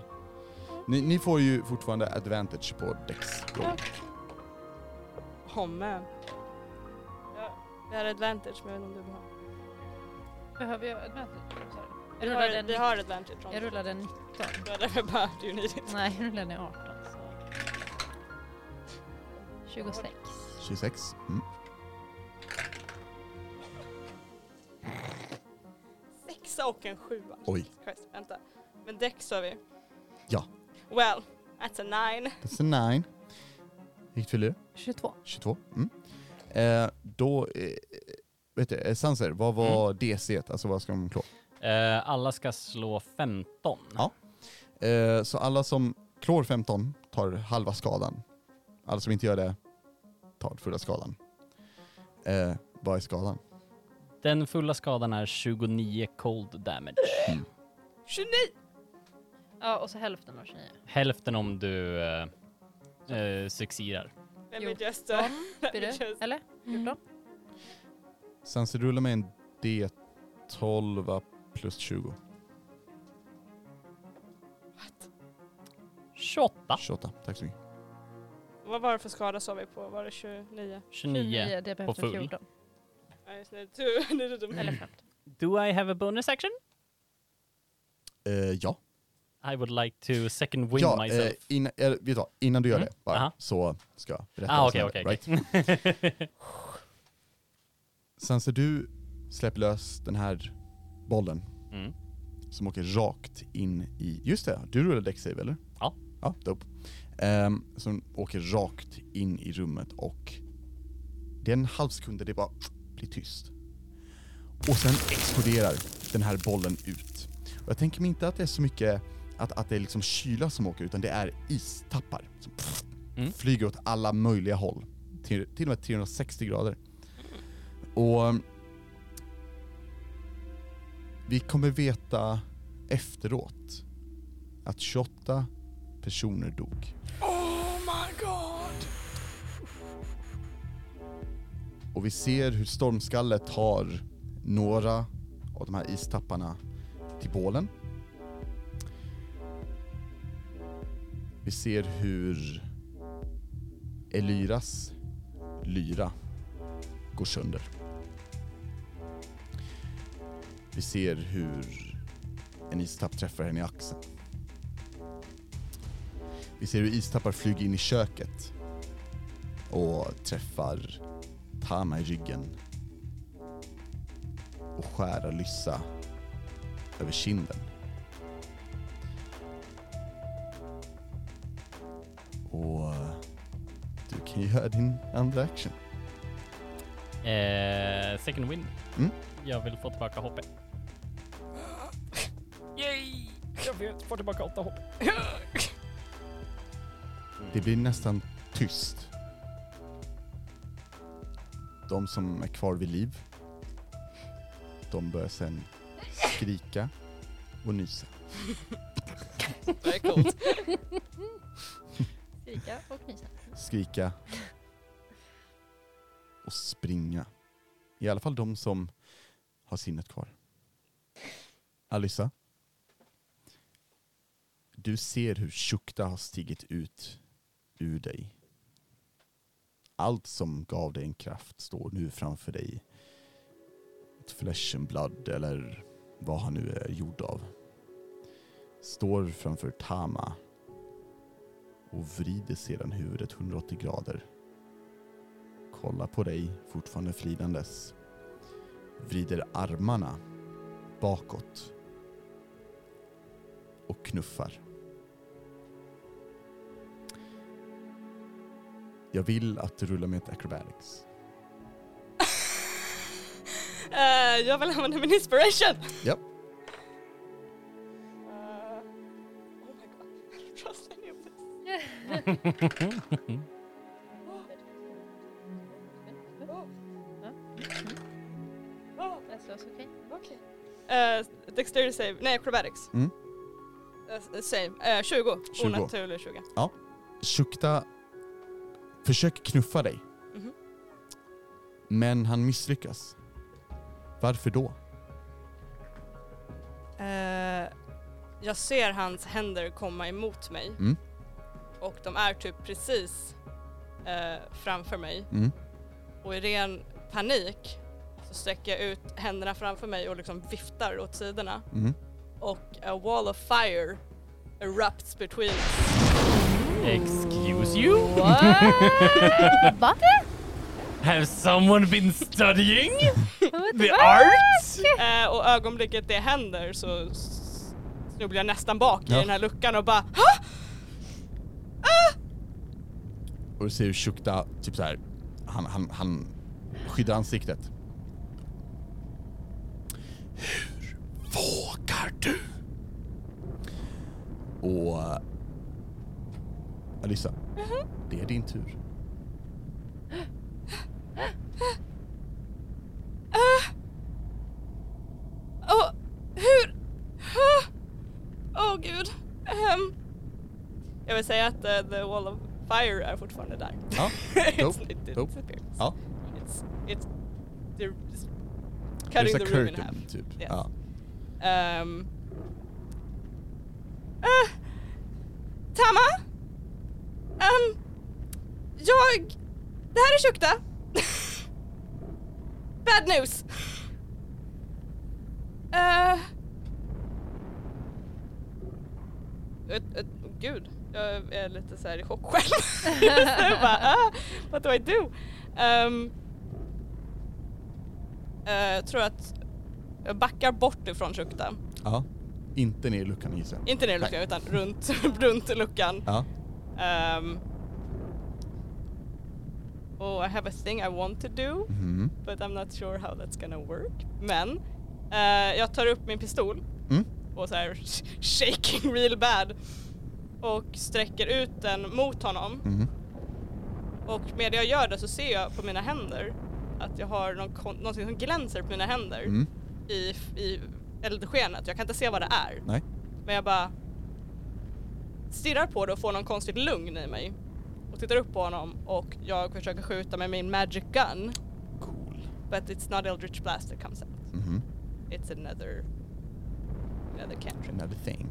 Speaker 1: Ni, ni får ju fortfarande advantage på dex roll.
Speaker 3: Oh man. Ja, vi har advantage, men jag vet inte om du vill ha.
Speaker 2: Behöver jag advantage? Sorry.
Speaker 3: Vi
Speaker 2: Jag
Speaker 3: har,
Speaker 2: rullade, en,
Speaker 3: vi har advantage.
Speaker 2: jag rullade en 19.
Speaker 3: Det var därför jag bara, do you need it?
Speaker 2: Nej, jag rullade en 18. Så. 26.
Speaker 1: 26. Mm.
Speaker 3: 6 och en 7.
Speaker 1: Oj.
Speaker 3: Christ, vänta. Men däck sa vi.
Speaker 1: Ja.
Speaker 3: Well, that's a 9.
Speaker 1: That's a nine. Vilket fyller du?
Speaker 9: 22.
Speaker 1: 22. Mm. Eh, då... Eh, vet du, eh, Sanser, vad var DC? Alltså vad ska de klå?
Speaker 4: Eh, alla ska slå 15.
Speaker 1: Ja. Eh, så alla som klår 15 tar halva skadan. Alla som inte gör det tar fulla skadan. Eh, vad är skadan?
Speaker 4: Den fulla skadan är 29 cold damage.
Speaker 3: 29!
Speaker 2: Ja, och så hälften av 29.
Speaker 4: Hälften om du eh, eh, succeedar.
Speaker 3: Let
Speaker 2: Jo.
Speaker 3: me just... Uh, let
Speaker 2: Blir
Speaker 3: me
Speaker 2: det?
Speaker 3: just...
Speaker 2: Eller?
Speaker 5: Mm.
Speaker 2: 14?
Speaker 1: Sanser, rulla med en D12 plus 20.
Speaker 4: 28.
Speaker 1: 28. Tack så mycket.
Speaker 3: Vad var det för skada sa vi på? Var det 29?
Speaker 4: 29.
Speaker 2: det behövs
Speaker 4: full.
Speaker 2: 14.
Speaker 3: Nej, just det. Du- det är
Speaker 1: Mm.
Speaker 3: dumt.
Speaker 2: Eller 15.
Speaker 4: Do I have a bonus action?
Speaker 1: Eh, ja.
Speaker 4: I would like to second win
Speaker 1: ja,
Speaker 4: myself.
Speaker 1: eh, innan, eh, vet du vad, innan du gör
Speaker 4: Mm.
Speaker 1: det bara,
Speaker 4: Aha.
Speaker 1: så ska jag berätta
Speaker 4: Ah,
Speaker 1: vad som
Speaker 4: okej,
Speaker 1: händer,
Speaker 4: okej, okej.
Speaker 1: right? Sen så du släpper lös den här bollen
Speaker 4: Mm.
Speaker 1: som åker rakt in i, just det, du rullar däcksave eller?
Speaker 4: Ja.
Speaker 1: Ja, dope. Ehm, som åker rakt in i rummet och det är en halv sekund där det bara blir tyst. Och sen exploderar den här bollen ut. Och jag tänker mig inte att det är så mycket att, att det är liksom kyla som åker, utan det är istappar som pff,
Speaker 4: Mm.
Speaker 1: flyger åt alla möjliga håll. Till, till och med 360 grader. Och um, vi kommer veta efteråt att 28 personer dog.
Speaker 8: Oh my god!
Speaker 1: Och vi ser hur stormskallet tar några av de här istapparna till bålen. Vi ser hur Elyras lyra går sönder. Vi ser hur en istapp träffar henne i axeln. Vi ser hur istappar flyger in i köket och träffar Tama i ryggen och skära Lyssa över kinden. Och du kan ju göra din andra action.
Speaker 4: Eh, second win.
Speaker 1: Mm.
Speaker 4: Jag vill få tillbaka HP.
Speaker 8: Yay! Jag vet, får tillbaka åtta hopp.
Speaker 1: Det blir nästan tyst. De som är kvar vid liv, de börjar sen skrika och nysa.
Speaker 10: Det är coolt.
Speaker 2: Skrika och fnysa.
Speaker 1: skrika och springa. I alla fall de som har sinnet kvar. Alyssa. Du ser hur Shukta har stigit ut ur dig. Allt som gav dig en kraft står nu framför dig. Ett flesh and blood eller vad han nu är gjord av. Står framför Tama och vrider sedan huvudet 180 grader. Kollar på dig, fortfarande fridandes. Vrider armarna bakåt och knuffar. Jag vill att du rullar med ett acrobatics.
Speaker 3: Eh, jag vill använda min inspiration.
Speaker 1: Japp.
Speaker 3: Eh, oh my god, I trust any of this. Oh,
Speaker 2: That's also okay.
Speaker 3: okay. Eh, dexterity save, nej acrobatics.
Speaker 1: Mm.
Speaker 3: Eh, save, Eh, 20.
Speaker 1: 20.
Speaker 3: Onaturlig 20.
Speaker 1: Shukta försöker knuffa dig.
Speaker 3: Mhm.
Speaker 1: Men han misslyckas. Varför då?
Speaker 3: Eh, jag ser hans händer komma emot mig
Speaker 1: Mm.
Speaker 3: och de är typ precis eh, framför mig
Speaker 1: Mm.
Speaker 3: och i ren panik så sträcker jag ut händerna framför mig och liksom viftar åt sidorna
Speaker 1: Mm.
Speaker 3: och a wall of fire erupts between us.
Speaker 7: Excuse you?
Speaker 5: Va?
Speaker 7: Have someone been studying the art?
Speaker 3: Eh, och ögonblicket det händer så s- snubblar jag nästan bak
Speaker 1: Ja.
Speaker 3: i den här luckan och bara
Speaker 1: Och du ser hur Shukta, typ så här, han, han, han skyddar ansiktet. Hur vågar du? Och... eh, Alyssa,
Speaker 3: Mm-hmm.
Speaker 1: det är din tur.
Speaker 3: Äh. Åh, hur? Huh? Åh oh, gud. Ehm, jag vill säga att eh, the wall of fire är fortfarande där.
Speaker 1: Ja,
Speaker 3: it's,
Speaker 1: dope,
Speaker 3: it, it
Speaker 1: dope.
Speaker 3: disappears.
Speaker 1: Ja.
Speaker 3: It's, it's, they're just
Speaker 1: There's
Speaker 3: cutting
Speaker 1: a
Speaker 3: the room in
Speaker 1: curtain,
Speaker 3: half.
Speaker 1: Typ.
Speaker 3: Yes.
Speaker 1: Ja.
Speaker 3: Ehm. Eh, Tama? Ehm, jag... Det här är Shukta. Bad news. Eh. ett, ett, gud, jag är lite så här i chock själv. så jag bara, ah, what do I do? Ehm. Eh, jag tror att jag backar bort ifrån Shukta.
Speaker 1: ja. Inte ner i luckan gissar jag.
Speaker 3: Inte ner i luckan
Speaker 1: Nej.
Speaker 3: utan runt, runt luckan.
Speaker 1: Ja.
Speaker 3: Um, oh, I have a thing I want to do
Speaker 1: Mhm.
Speaker 3: but I'm not sure how that's gonna work. Men eh, jag tar upp min pistol
Speaker 1: Mm.
Speaker 3: och så här shaking real bad och sträcker ut den mot honom
Speaker 1: Mhm.
Speaker 3: och medan jag gör det så ser jag på mina händer att jag har någon, kon- någonting som glänser på mina händer
Speaker 1: Mm.
Speaker 3: i, i eldskenet. Jag kan inte se vad det är.
Speaker 1: Nej.
Speaker 3: Men jag bara stirrar på det och får någon konstigt lugn i mig. Och tittar upp på honom och jag försöker skjuta med min magic gun.
Speaker 1: Cool.
Speaker 3: But it's not Eldritch Blast that comes out.
Speaker 1: Mhm.
Speaker 3: It's another... Another cantrip.
Speaker 1: Another thing.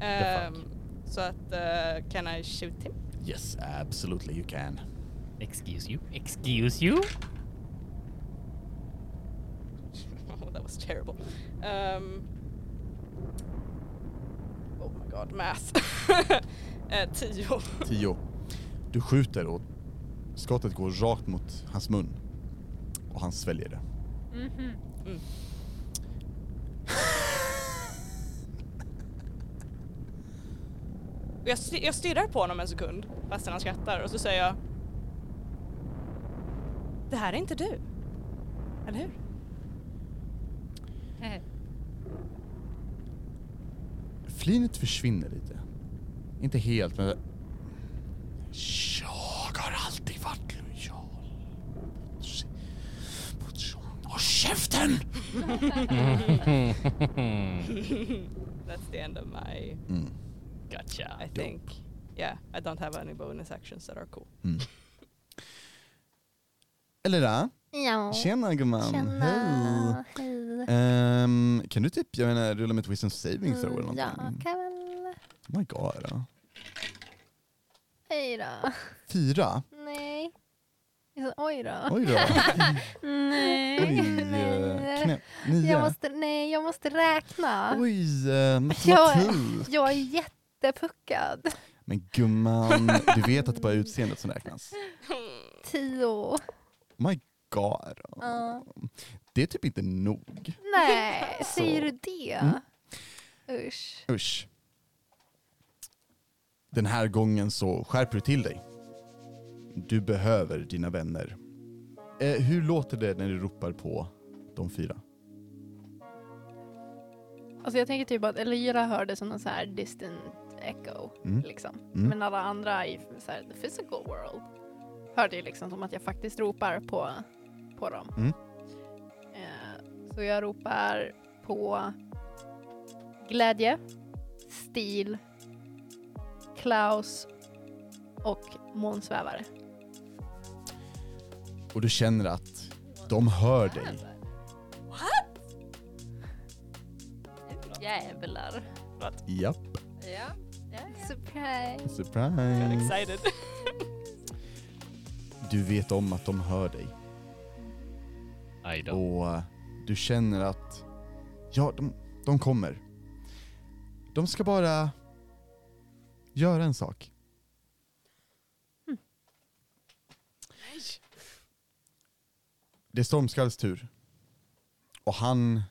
Speaker 3: Ehm,
Speaker 1: fuck?
Speaker 3: så att, eh, can I shoot him?
Speaker 1: Yes, absolutely you can.
Speaker 4: Excuse you? Excuse you?
Speaker 3: oh, that was terrible. Um, oh my god, math. Eh, tio.
Speaker 1: Tio. Du skjuter och skottet går rakt mot hans mun. Och han sväljer det.
Speaker 3: Mm. Och Jag, sti- jag stirrar på honom en sekund fastän han skrattar och så säger jag Det här är inte du, eller hur?
Speaker 1: Flinet försvinner lite. Inte helt, men... Jag har alltid varit lojal. mot- mot- Håll käften!
Speaker 3: That's the end of my,
Speaker 1: Mm.
Speaker 4: Gotcha.
Speaker 3: I think. Yeah, I don't have any bonus actions that are cool.
Speaker 1: Mm. Elira,
Speaker 6: Ja.
Speaker 1: tjena gumman. Hej.
Speaker 6: Tjena. Hej.
Speaker 1: Ehm, kan du typ, jag menar, rulla med ett wisdom saving throw eller
Speaker 6: Mm, Ja,
Speaker 1: någonting?
Speaker 6: kan väl.
Speaker 1: Oh my god. ja.
Speaker 6: Hej då.
Speaker 1: Fyra?
Speaker 6: Nej.
Speaker 5: Jag sa, Alltså, Oj då.
Speaker 1: Oj då. Oj,
Speaker 6: Nej.
Speaker 1: eh,
Speaker 6: Nej.
Speaker 1: knä, nio.
Speaker 5: Jag måste, nej, jag måste räkna.
Speaker 1: Oj, eh, matematik.
Speaker 5: Jag är jättepuckad.
Speaker 1: Men gumman, du vet att det bara är utseendet som räknas.
Speaker 5: Tio.
Speaker 1: Oh my god.
Speaker 6: Ja.
Speaker 1: Det är typ inte nog.
Speaker 5: Nej, säger du det?
Speaker 1: Mm.
Speaker 5: Usch.
Speaker 1: Usch. Den här gången så skärper du till dig. Du behöver dina vänner. Eh, hur låter det när du ropar på de fyra?
Speaker 5: Alltså jag tänker typ att Elira hörde som någon så här distant echo.
Speaker 1: Mm.
Speaker 5: Liksom.
Speaker 1: Mm.
Speaker 5: Men alla andra i så här, the physical world hörde ju liksom som att jag faktiskt ropar på, på dem.
Speaker 1: Mm.
Speaker 5: Eh, så jag ropar på glädje, stil, Klaus och månsvävare.
Speaker 1: Och du känner att de hör dig.
Speaker 2: Jävlar.
Speaker 1: Japp,
Speaker 2: Ja.
Speaker 6: Surprise.
Speaker 1: surprise.
Speaker 3: Excited.
Speaker 1: Du vet om att de hör dig.
Speaker 7: Aj då.
Speaker 1: Och eh, du känner att, ja, de, de kommer. De ska bara göra en sak. Det är Stormskalls tur. Och han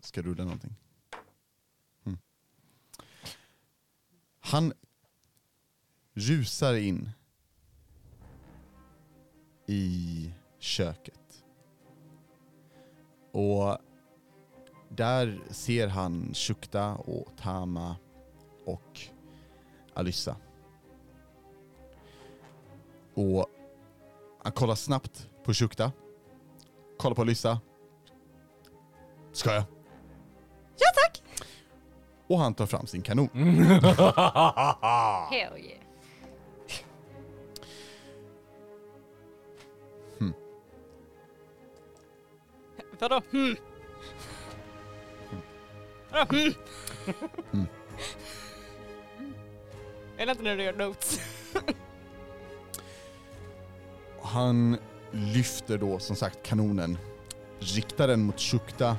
Speaker 1: ska rulla någonting. Mm. Han rusar in i köket. Och där ser han Shukta och Tama och Alyssa. Och han kollar snabbt på Shukta. Kollar på Alyssa. Ska jag? Ja tack! Och han tar fram sin kanon. Ah.
Speaker 2: Hell yeah.
Speaker 3: Vadå? Hmm. Vadå? Hmm.
Speaker 1: Mm.
Speaker 3: Är det inte när du gör notes?
Speaker 1: Han lyfter då som sagt kanonen, riktar den mot Shukta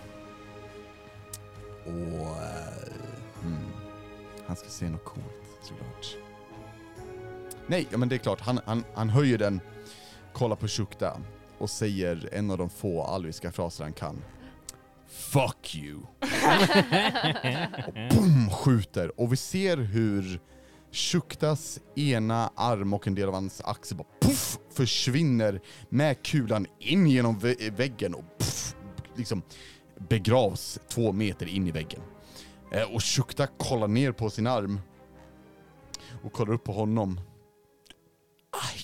Speaker 1: och... eh, Mm, han ska se något coolt såklart. Nej, ja, men det är klart, han, han, han höjer den, kollar på Shukta och säger en av de få alviska fraser han kan. Fuck you! och boom, skjuter och vi ser hur Shuktas ena arm och en del av hans axel bara puff, försvinner med kulan in genom vä- väggen och puff, liksom begravs två meter in i väggen. Eh, och Shukta kollar ner på sin arm och kollar upp på honom. Aj.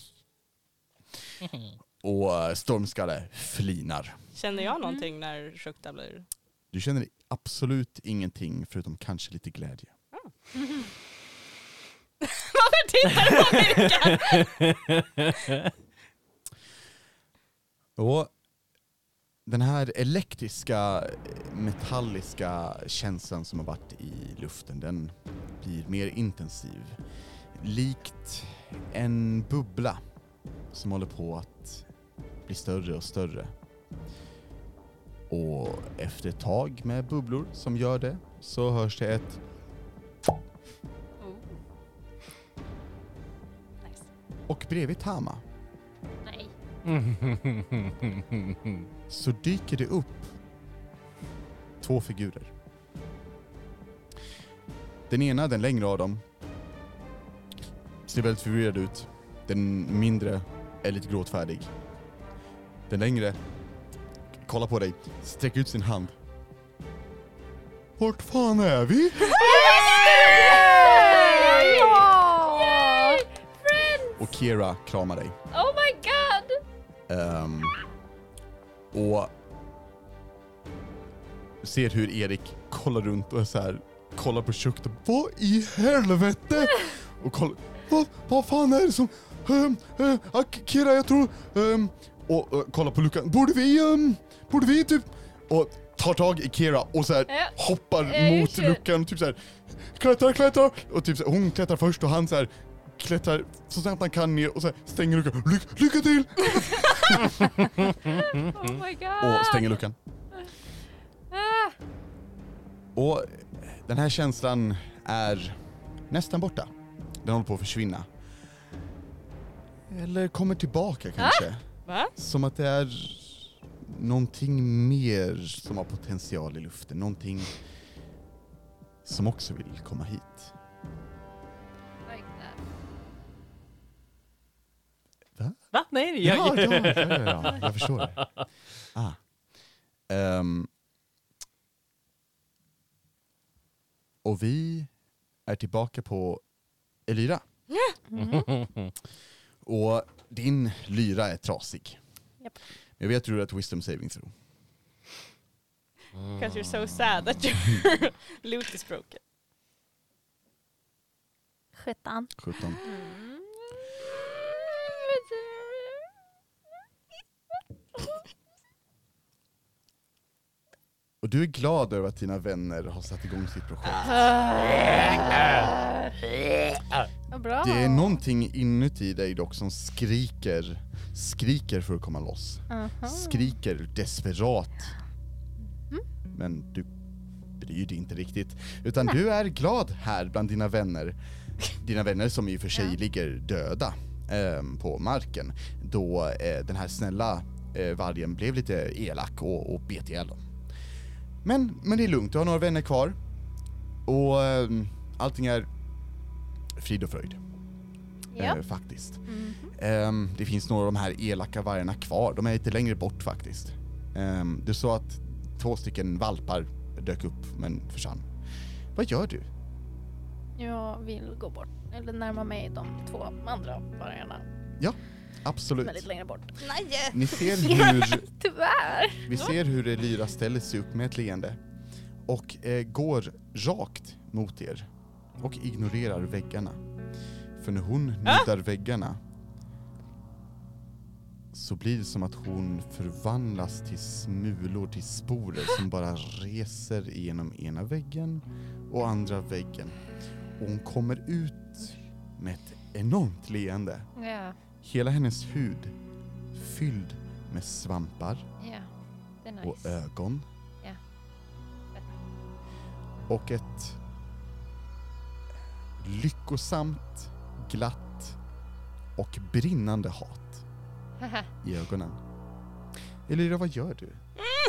Speaker 1: Och eh, Stormskalle flinar.
Speaker 3: Känner jag någonting när Shukta blir...
Speaker 1: Du känner absolut ingenting förutom kanske lite glädje.
Speaker 3: Varför tittar du på mig?
Speaker 1: Och den här elektriska, metalliska känslan som har varit i luften, den blir mer intensiv. Likt en bubbla som håller på att bli större och större. Och efter ett tag med bubblor som gör det så hörs det ett
Speaker 2: Oh. Nice.
Speaker 1: och bredvid Tama
Speaker 2: Nej.
Speaker 1: så dyker det upp två figurer. Den ena, den längre av dem, ser väldigt förvirrad ut. Den mindre är lite gråtfärdig. Den längre kollar på dig, sträcker ut sin hand. Vart fan är vi?
Speaker 5: Ja!
Speaker 1: Och Kira kramar dig.
Speaker 2: Oh my god!
Speaker 1: Ehm, och ser hur Erik kollar runt och är så här, kollar på köket och vad i helvete? Och kollar, vad, vad fan är det som, um, uh, Kira jag tror, ehm, och eh, kollar på luckan, borde vi, ehm, borde vi typ, och tar tag i Kira och så här
Speaker 2: Ja.
Speaker 1: hoppar
Speaker 2: Ja, jag
Speaker 1: mot
Speaker 2: ser.
Speaker 1: luckan, typ så här, klättrar, klättrar, och typ så här, hon klättrar först och han så här klättrar så snabbt han kan ner och så här, stänger luckan, Ly- lycka till! Mm-hmm.
Speaker 2: Oh my god!
Speaker 1: Och stänger luckan.
Speaker 2: Ah,
Speaker 1: Och eh, den här känslan är nästan borta. Den håller på att försvinna. Eller kommer tillbaka kanske.
Speaker 3: Va?
Speaker 1: Som att det är någonting mer som har potential i luften. Någonting som också vill komma hit.
Speaker 2: like that.
Speaker 7: Va? Nej, jag,
Speaker 1: Ja, ja, ja, ja, ja. jag förstår det. Ah. Ehm. och vi är tillbaka på Elira. Och din lyra är trasig.
Speaker 2: Japp.
Speaker 1: Jag vet att du har ett wisdom saving throw.
Speaker 3: Because you're so sad that your loot is broken.
Speaker 6: 17.
Speaker 1: 17. Och du är glad över att dina vänner har satt igång sitt projekt.
Speaker 5: Vad bra.
Speaker 1: Det är någonting inuti dig dock som skriker, skriker för att komma loss. Skriker desperat. Men du bryr dig inte riktigt. Utan du är glad här bland dina vänner. Dina vänner som i och för sig ligger döda ehm, på marken. Då eh, den här snälla eh, vargen blev lite elak och, och bet ihjäl dem. Men, men det är lugnt, du har några vänner kvar. Och ehm, allting är frid och fröjd.
Speaker 2: Ja.
Speaker 1: Eh, faktiskt.
Speaker 5: Mm.
Speaker 1: Ehm, det finns några av de här elaka vargarna kvar, de är lite längre bort faktiskt. Ehm, du sa att två stycken valpar dök upp men försvann. Vad gör du?
Speaker 5: Jag vill gå bort. Eller närma mig de två andra vargarna.
Speaker 1: Absolut.
Speaker 5: Men lite längre bort.
Speaker 6: Nej!
Speaker 1: Ni ser hur,
Speaker 6: Tyvärr!
Speaker 1: vi ser hur Elira ställer sig upp med ett leende och eh, går rakt mot er och ignorerar väggarna. För när hon nuddar väggarna så blir det som att hon förvandlas till smulor, till sporer som bara reser genom ena väggen och andra väggen. Och hon kommer ut med ett enormt leende.
Speaker 2: Ja,
Speaker 1: Hela hennes hud fylld med svampar
Speaker 2: ja. Det är
Speaker 1: och
Speaker 2: nice.
Speaker 1: ögon.
Speaker 2: Ja.
Speaker 1: Och ett lyckosamt, glatt och brinnande hat i ögonen. Elira, vad gör du?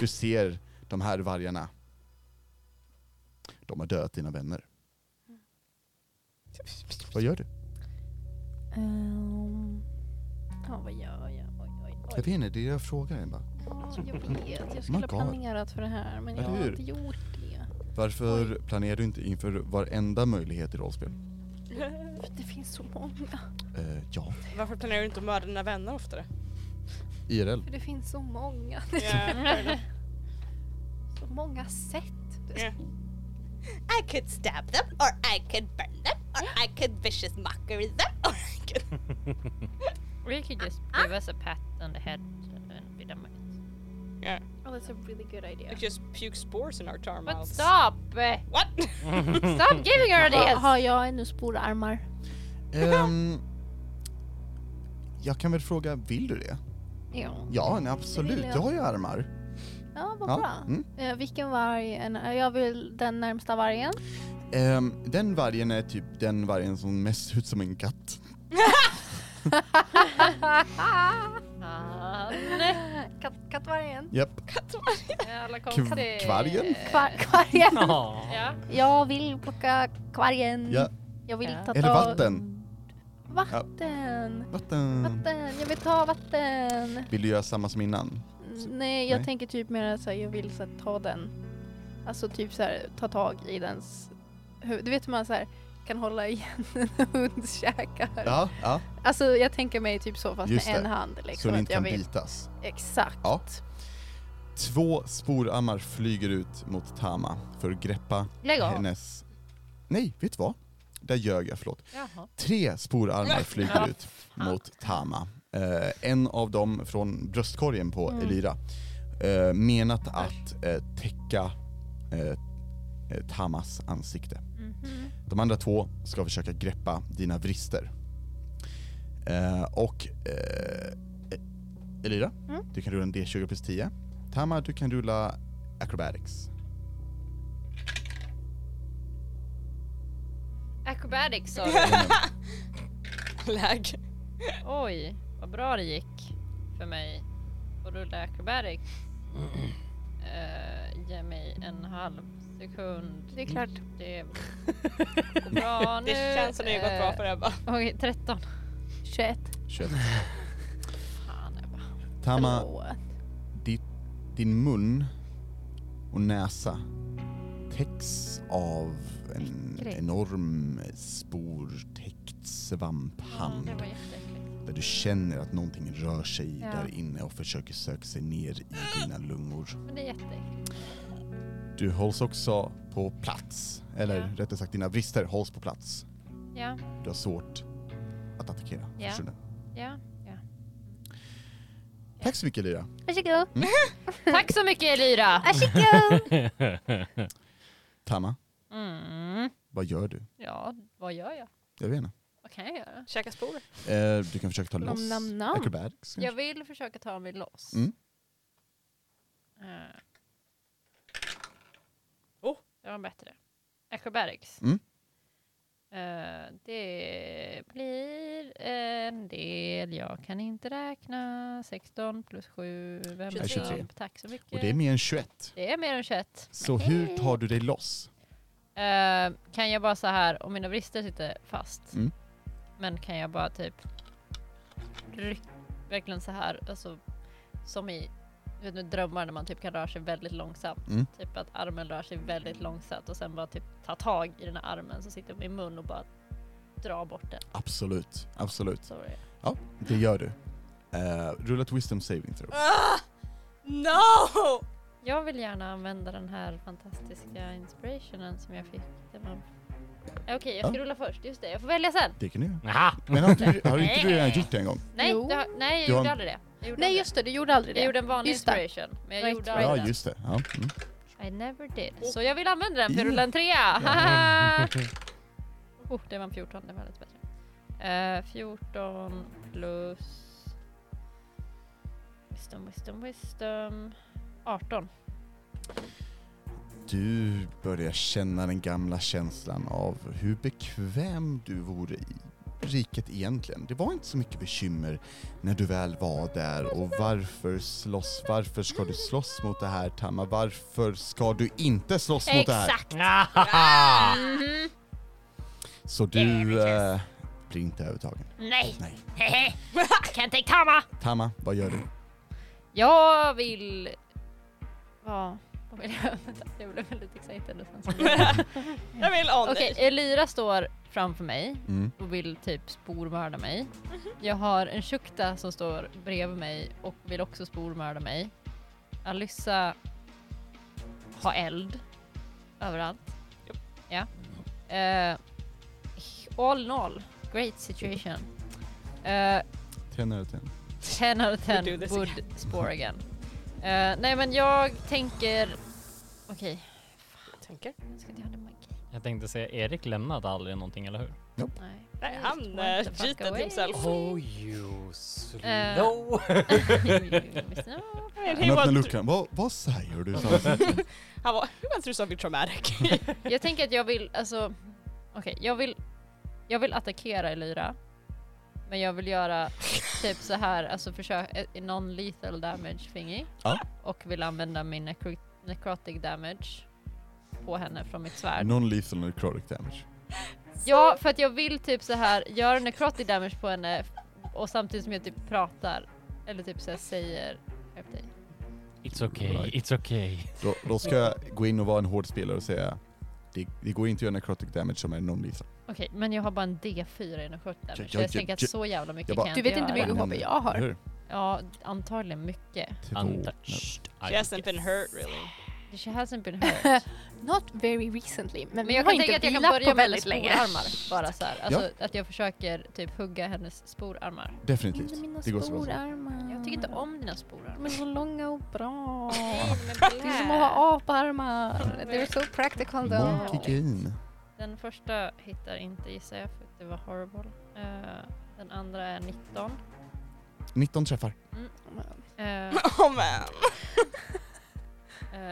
Speaker 1: Du ser de här vargarna. De har dödat dina vänner. Vad gör du?
Speaker 5: Ehm, Ja, vad gör jag? Oj, oj, oj.
Speaker 1: Jag vet inte, det är det jag frågar. Emma.
Speaker 5: Ja, Jag vet, jag skulle ha
Speaker 1: God.
Speaker 5: planerat för det här men jag
Speaker 1: Eller
Speaker 5: har
Speaker 1: hur?
Speaker 5: inte gjort det.
Speaker 1: Varför planerar du inte inför varenda möjlighet i rollspel?
Speaker 5: För det finns så många.
Speaker 1: Eh, ja,
Speaker 3: Varför planerar du inte att mörda dina vänner oftare?
Speaker 1: IRL.
Speaker 5: För det finns så många.
Speaker 3: Yeah,
Speaker 5: Så många sätt.
Speaker 3: Ja.
Speaker 6: I could stab them, or I could burn them, or I could vicious mockery them, or I could...
Speaker 2: We could just give us a pat on the head and be done with it.
Speaker 5: Oh, that's a really good idea.
Speaker 3: like just puke spores in our tar
Speaker 2: But
Speaker 3: mouths.
Speaker 2: stop! eh,
Speaker 3: What?
Speaker 2: Stop giving her
Speaker 5: Ha,
Speaker 2: this!
Speaker 5: har jag ännu sporarmar?
Speaker 1: Ehm, jag kan väl fråga, vill du det?
Speaker 5: Ja.
Speaker 1: Ja, nej, absolut.
Speaker 5: vill jag.
Speaker 1: Jag har ju armar.
Speaker 5: Ja, vad
Speaker 1: Ja,
Speaker 5: bra.
Speaker 1: mm.
Speaker 5: Eh, vilken varg? En, eh, jag vill den närmsta vargen.
Speaker 1: Ehm, den vargen är typ den vargen som mest ser ut som en katt.
Speaker 2: Han.
Speaker 5: Katt, kattvargen.
Speaker 1: Japp.
Speaker 2: Jävla
Speaker 1: Kv- kvargen?
Speaker 5: Kvar, kvargen.
Speaker 7: Ja.
Speaker 2: Ja.
Speaker 5: Jag vill plocka kvargen.
Speaker 1: Ja.
Speaker 5: Jag vill
Speaker 2: Ja.
Speaker 5: ta
Speaker 1: Eller
Speaker 5: tag-
Speaker 1: vatten. Mm.
Speaker 5: Vatten.
Speaker 1: Vatten.
Speaker 5: Vatten. Jag vill ta vatten.
Speaker 1: Vill du göra samma som innan?
Speaker 5: Mm, Nej, jag
Speaker 1: Nej.
Speaker 5: tänker typ mer att jag vill så här, ta den. Alltså typ så här, ta tag i dens huvud. Du vet hur man så här, kan hålla igen en hunds käkar.
Speaker 1: Ja, ja.
Speaker 5: Alltså jag tänker mig typ så fast
Speaker 1: Just
Speaker 5: med en
Speaker 1: det.
Speaker 5: hand.
Speaker 1: Så
Speaker 5: Liksom,
Speaker 1: den
Speaker 5: att
Speaker 1: inte
Speaker 5: jag
Speaker 1: kan
Speaker 5: vill.
Speaker 1: bitas.
Speaker 5: Exakt.
Speaker 1: Ja. Två sporarmar flyger ut mot Tama för att greppa
Speaker 2: Lägg av.
Speaker 1: hennes... Nej, vet du vad? Där ljög jag, förlåt.
Speaker 2: Jaha.
Speaker 1: Tre sporarmar flyger
Speaker 2: Ja,
Speaker 1: ut mot Tama. Eh, en av dem från bröstkorgen på
Speaker 2: Mm.
Speaker 1: Elira. Eh, menat att eh, täcka eh, eh, Tamas ansikte.
Speaker 2: Mhm.
Speaker 1: De andra två ska försöka greppa dina vrister. Eh, och eh, Elira,
Speaker 2: Mm.
Speaker 1: du kan rulla en D20 plus 10. Tama, du kan rulla Acrobatics.
Speaker 2: Acrobatics sa du.
Speaker 3: Läg.
Speaker 2: Oj, vad bra det gick för mig att rulla acrobatics. Eh, ge mig en halv sekund.
Speaker 5: Det är klart.
Speaker 2: Det går bra nu.
Speaker 3: Det känns som det har gått bra
Speaker 2: Eh,
Speaker 3: för Ebba.
Speaker 2: Okej, 13.
Speaker 5: 21.
Speaker 1: 21.
Speaker 2: Fan, Ebba.
Speaker 1: Tama,
Speaker 5: Hallå.
Speaker 1: din mun och näsa täcks av en
Speaker 2: Äckligt.
Speaker 1: enorm sportäckt svamphand.
Speaker 2: det var jätteäckligt.
Speaker 1: Där du känner att någonting rör sig
Speaker 2: Ja.
Speaker 1: där inne och försöker söka sig ner i dina lungor.
Speaker 2: Men det är jätteäckligt.
Speaker 1: Du hålls också på plats. Eller
Speaker 2: Ja.
Speaker 1: rättare sagt, dina vrister hålls på plats.
Speaker 2: Ja,
Speaker 1: Du har svårt att attackera.
Speaker 2: Ja.
Speaker 1: Förstår du?
Speaker 2: ja.
Speaker 1: Tack så mycket Lyra.
Speaker 5: Varsågod.
Speaker 2: Tack så mycket Elira!
Speaker 5: Varsågod.
Speaker 1: Tama,
Speaker 2: Mm.
Speaker 1: vad gör du?
Speaker 2: Ja, vad gör jag?
Speaker 1: Jag vet inte.
Speaker 2: Vad kan jag göra?
Speaker 3: Käka sporer.
Speaker 1: Eh, du kan försöka ta loss
Speaker 5: nam, nam.
Speaker 1: Acrobatics.
Speaker 2: Jag vill försöka ta mig loss.
Speaker 1: Mm.
Speaker 2: Eh.
Speaker 3: Oh.
Speaker 2: Det var bättre. Acrobatics.
Speaker 1: Mm.
Speaker 2: Eh, det blir en del. Jag kan inte räkna. 16 plus 7. Vem
Speaker 3: 23.
Speaker 1: tjugotre.
Speaker 2: Tack så mycket.
Speaker 1: Och det är mer än 21.
Speaker 2: det är mer än 21.
Speaker 1: Så hur tar du dig loss?
Speaker 2: Eh, kan jag bara så här, om mina vrister sitter fast,
Speaker 1: Mm.
Speaker 2: men kan jag bara typ ryck, verkligen så här, alltså som i du vet nu, drömmar när man typ kan röra sig väldigt långsamt.
Speaker 1: Mm.
Speaker 2: Typ att armen rör sig väldigt långsamt och sen bara typ ta tag i den här armen som sitter i min mun och bara dra bort den.
Speaker 1: Absolut, absolut.
Speaker 2: Så är det.
Speaker 1: Ja, det gör du. Eh, rulla ett wisdom saving throw.
Speaker 3: Ah! No!
Speaker 2: Jag vill gärna använda den här fantastiska inspirationen som jag fick. Den var... Okej, jag ska
Speaker 1: Ja.
Speaker 2: rulla först. Just det, jag får välja sen.
Speaker 1: Det kan du göra.
Speaker 7: Aha.
Speaker 1: Men har inte, du- har inte du redan gjort det en gång?
Speaker 2: Nej,
Speaker 5: Jo.
Speaker 2: det har, nej jag
Speaker 1: Du har
Speaker 2: gjorde
Speaker 1: en-
Speaker 2: aldrig det. Jag gjorde
Speaker 5: Nej
Speaker 2: aldrig det.
Speaker 5: just det, du gjorde aldrig det.
Speaker 2: Jag gjorde en vanlig
Speaker 5: Just det.
Speaker 2: inspiration, men jag
Speaker 5: Right,
Speaker 2: gjorde
Speaker 5: right.
Speaker 2: aldrig
Speaker 1: Ja,
Speaker 2: den.
Speaker 1: just det. Ja. Mm.
Speaker 2: I never did. Så jag vill använda den för jag
Speaker 1: Ja.
Speaker 2: rullade en trea! Haha. oh, det var en 14, det var lite bättre. Eh, 14 plus... Wisdom, wisdom, wisdom. 18.
Speaker 1: Du börjar känna den gamla känslan av hur bekväm du vore i riket egentligen. Det var inte så mycket bekymmer när du väl var där och varför slåss, varför ska du slåss mot det här Tamma? Varför ska du inte slåss mot det här?
Speaker 2: Exakt! Mhm.
Speaker 1: Så du eh, blir inte övertagen.
Speaker 2: Nej!
Speaker 1: Nej.
Speaker 2: Hehe. Can't take Tama!
Speaker 1: Tamma, vad gör du?
Speaker 2: Jag vill... Ja, vad vill jag? Vänta, Jag blev väldigt excited. och sen så-
Speaker 3: Jag vill on
Speaker 2: Okej,
Speaker 3: dig.
Speaker 2: Elira står framför mig.
Speaker 1: Mm.
Speaker 2: och vill typ spormörda mig.
Speaker 3: Mhm.
Speaker 2: Jag har en Shukta som står bredvid mig och vill också spormörda mig. Alyssa har eld överallt. Ja. Eh, all in all, great situation. Eh,
Speaker 1: Tränar och tränar.
Speaker 2: 10 out of 10
Speaker 3: We'll do this
Speaker 2: would spore again. Eh, nej men jag tänker... Okej,
Speaker 3: Tänker.
Speaker 2: jag ska inte ha det magi.
Speaker 7: Jag tänkte säga, Erik lämnade aldrig någonting, eller hur?
Speaker 2: Nej.
Speaker 3: Nej,
Speaker 2: Just
Speaker 3: han
Speaker 2: want
Speaker 3: eh,
Speaker 2: the fuck
Speaker 3: cheated
Speaker 2: away.
Speaker 3: himself.
Speaker 7: Oh you slow.
Speaker 4: Eh.
Speaker 3: And he
Speaker 1: Han öppnar
Speaker 3: went
Speaker 1: luckan. Vad, vad säger du? Sam?
Speaker 3: through- Han var, he went through something traumatic.
Speaker 2: Jag tänker att jag vill, alltså, okej, jag vill, jag vill attackera Elira. Men jag vill göra typ så här, alltså försöka, någon lethal damage thingy.
Speaker 1: Ja.
Speaker 2: Och vill använda min necro- necrotic damage på henne från mitt svärd.
Speaker 1: Non-lethal necrotic damage.
Speaker 2: Ja, för att jag vill typ så här göra necrotic damage på henne f- och samtidigt som jag typ pratar, eller typ så här säger Skärp dig.
Speaker 7: It's okay, it's okay.
Speaker 1: Då, då ska jag gå in och vara en hård spelare och säga det, det går inte att göra necrotic damage som är non-lethal.
Speaker 2: Okej, men jag har bara en D4 i necrotic damage.
Speaker 1: Jag-
Speaker 2: så jag
Speaker 1: jag-
Speaker 2: tänker att
Speaker 1: jag-
Speaker 2: så jävla mycket
Speaker 1: jag bara-
Speaker 2: kan jag
Speaker 5: Du vet inte hur
Speaker 2: göra.
Speaker 5: mycket HP jag har.
Speaker 1: Eller hur?
Speaker 2: Ja, antagligen mycket.
Speaker 1: Två.
Speaker 4: Untouched.
Speaker 3: She hasn't been hurt really.
Speaker 2: She hasn't been hurt.
Speaker 5: Not very recently, men,
Speaker 2: Men jag
Speaker 5: vi har
Speaker 2: kan tänka
Speaker 5: inte
Speaker 2: att jag kan
Speaker 5: vilat
Speaker 2: börja
Speaker 5: på
Speaker 2: med hennes
Speaker 5: väldigt länge.
Speaker 2: sporarmar. Bara så här. Alltså att jag försöker typ hugga hennes sporarmar.
Speaker 1: Definitivt.
Speaker 5: mina
Speaker 1: Det går så bra.
Speaker 5: sporarmar.
Speaker 2: Jag tycker inte om dina sporarmar.
Speaker 5: Men så långa och bra.
Speaker 2: Men
Speaker 5: Det är som att ha aparmar. They're so practical though.
Speaker 1: Monkey Gain.
Speaker 2: Den första hittar inte gissar jag för det var horrible. Eh, den andra är 19.
Speaker 1: 19 träffar.
Speaker 2: Eh,
Speaker 3: Oh man,
Speaker 2: eh,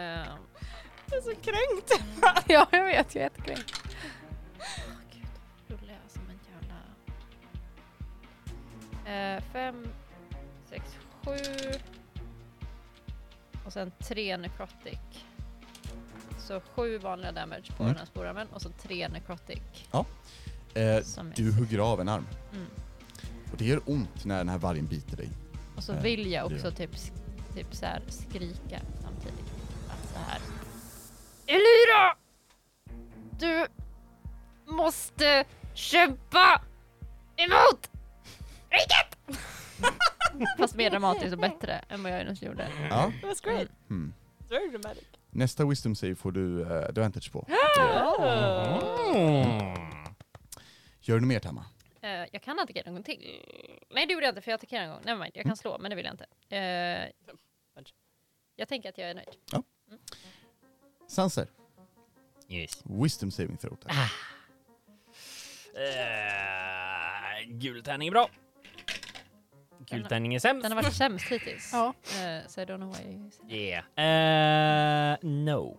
Speaker 3: jag är så kränkt.
Speaker 5: ja, jag vet. Jag är jättekränkt.
Speaker 2: åh gud, rullar jag som en jävla... Eh, fem, sex, sju. Och sen tre necrotic. Så sju vanliga damage på
Speaker 1: Mm.
Speaker 2: den här sporarmen och så tre necrotic.
Speaker 1: Eh,
Speaker 2: Som
Speaker 1: du
Speaker 2: är-
Speaker 1: hugger av en arm.
Speaker 2: Mm.
Speaker 1: Och det gör ont när den här vargen biter dig.
Speaker 2: Och så
Speaker 1: Eh,
Speaker 2: vill jag
Speaker 1: det
Speaker 2: också
Speaker 1: gör-
Speaker 2: typ, sk- typ så här skrika samtidigt. Att så här. Elira! Du måste kämpa emot riket! Fast mer dramatiskt och bättre än vad jag just gjorde.
Speaker 1: Ja.
Speaker 3: That was great.
Speaker 1: Mm.
Speaker 3: It's very dramatic.
Speaker 1: Nästa wisdom save får du eh, du har advantage på. Gör du mer Tamma?
Speaker 2: Eh, jag kan attackera en gång till. Nej det gjorde jag inte för jag attackerar en gång. Nej, jag kan slå men det vill jag inte. Eh, jag tänker att jag är nöjd.
Speaker 1: Sanser,
Speaker 11: Yes.
Speaker 1: wisdom saving throw. tack.
Speaker 5: Ah.
Speaker 4: Eh, gul tärning är bra. Gul tärning är sämst.
Speaker 2: Den har varit sämst hittills.
Speaker 5: Ja.
Speaker 2: Eh, so I don't know why you
Speaker 4: Yeah. Eh, no.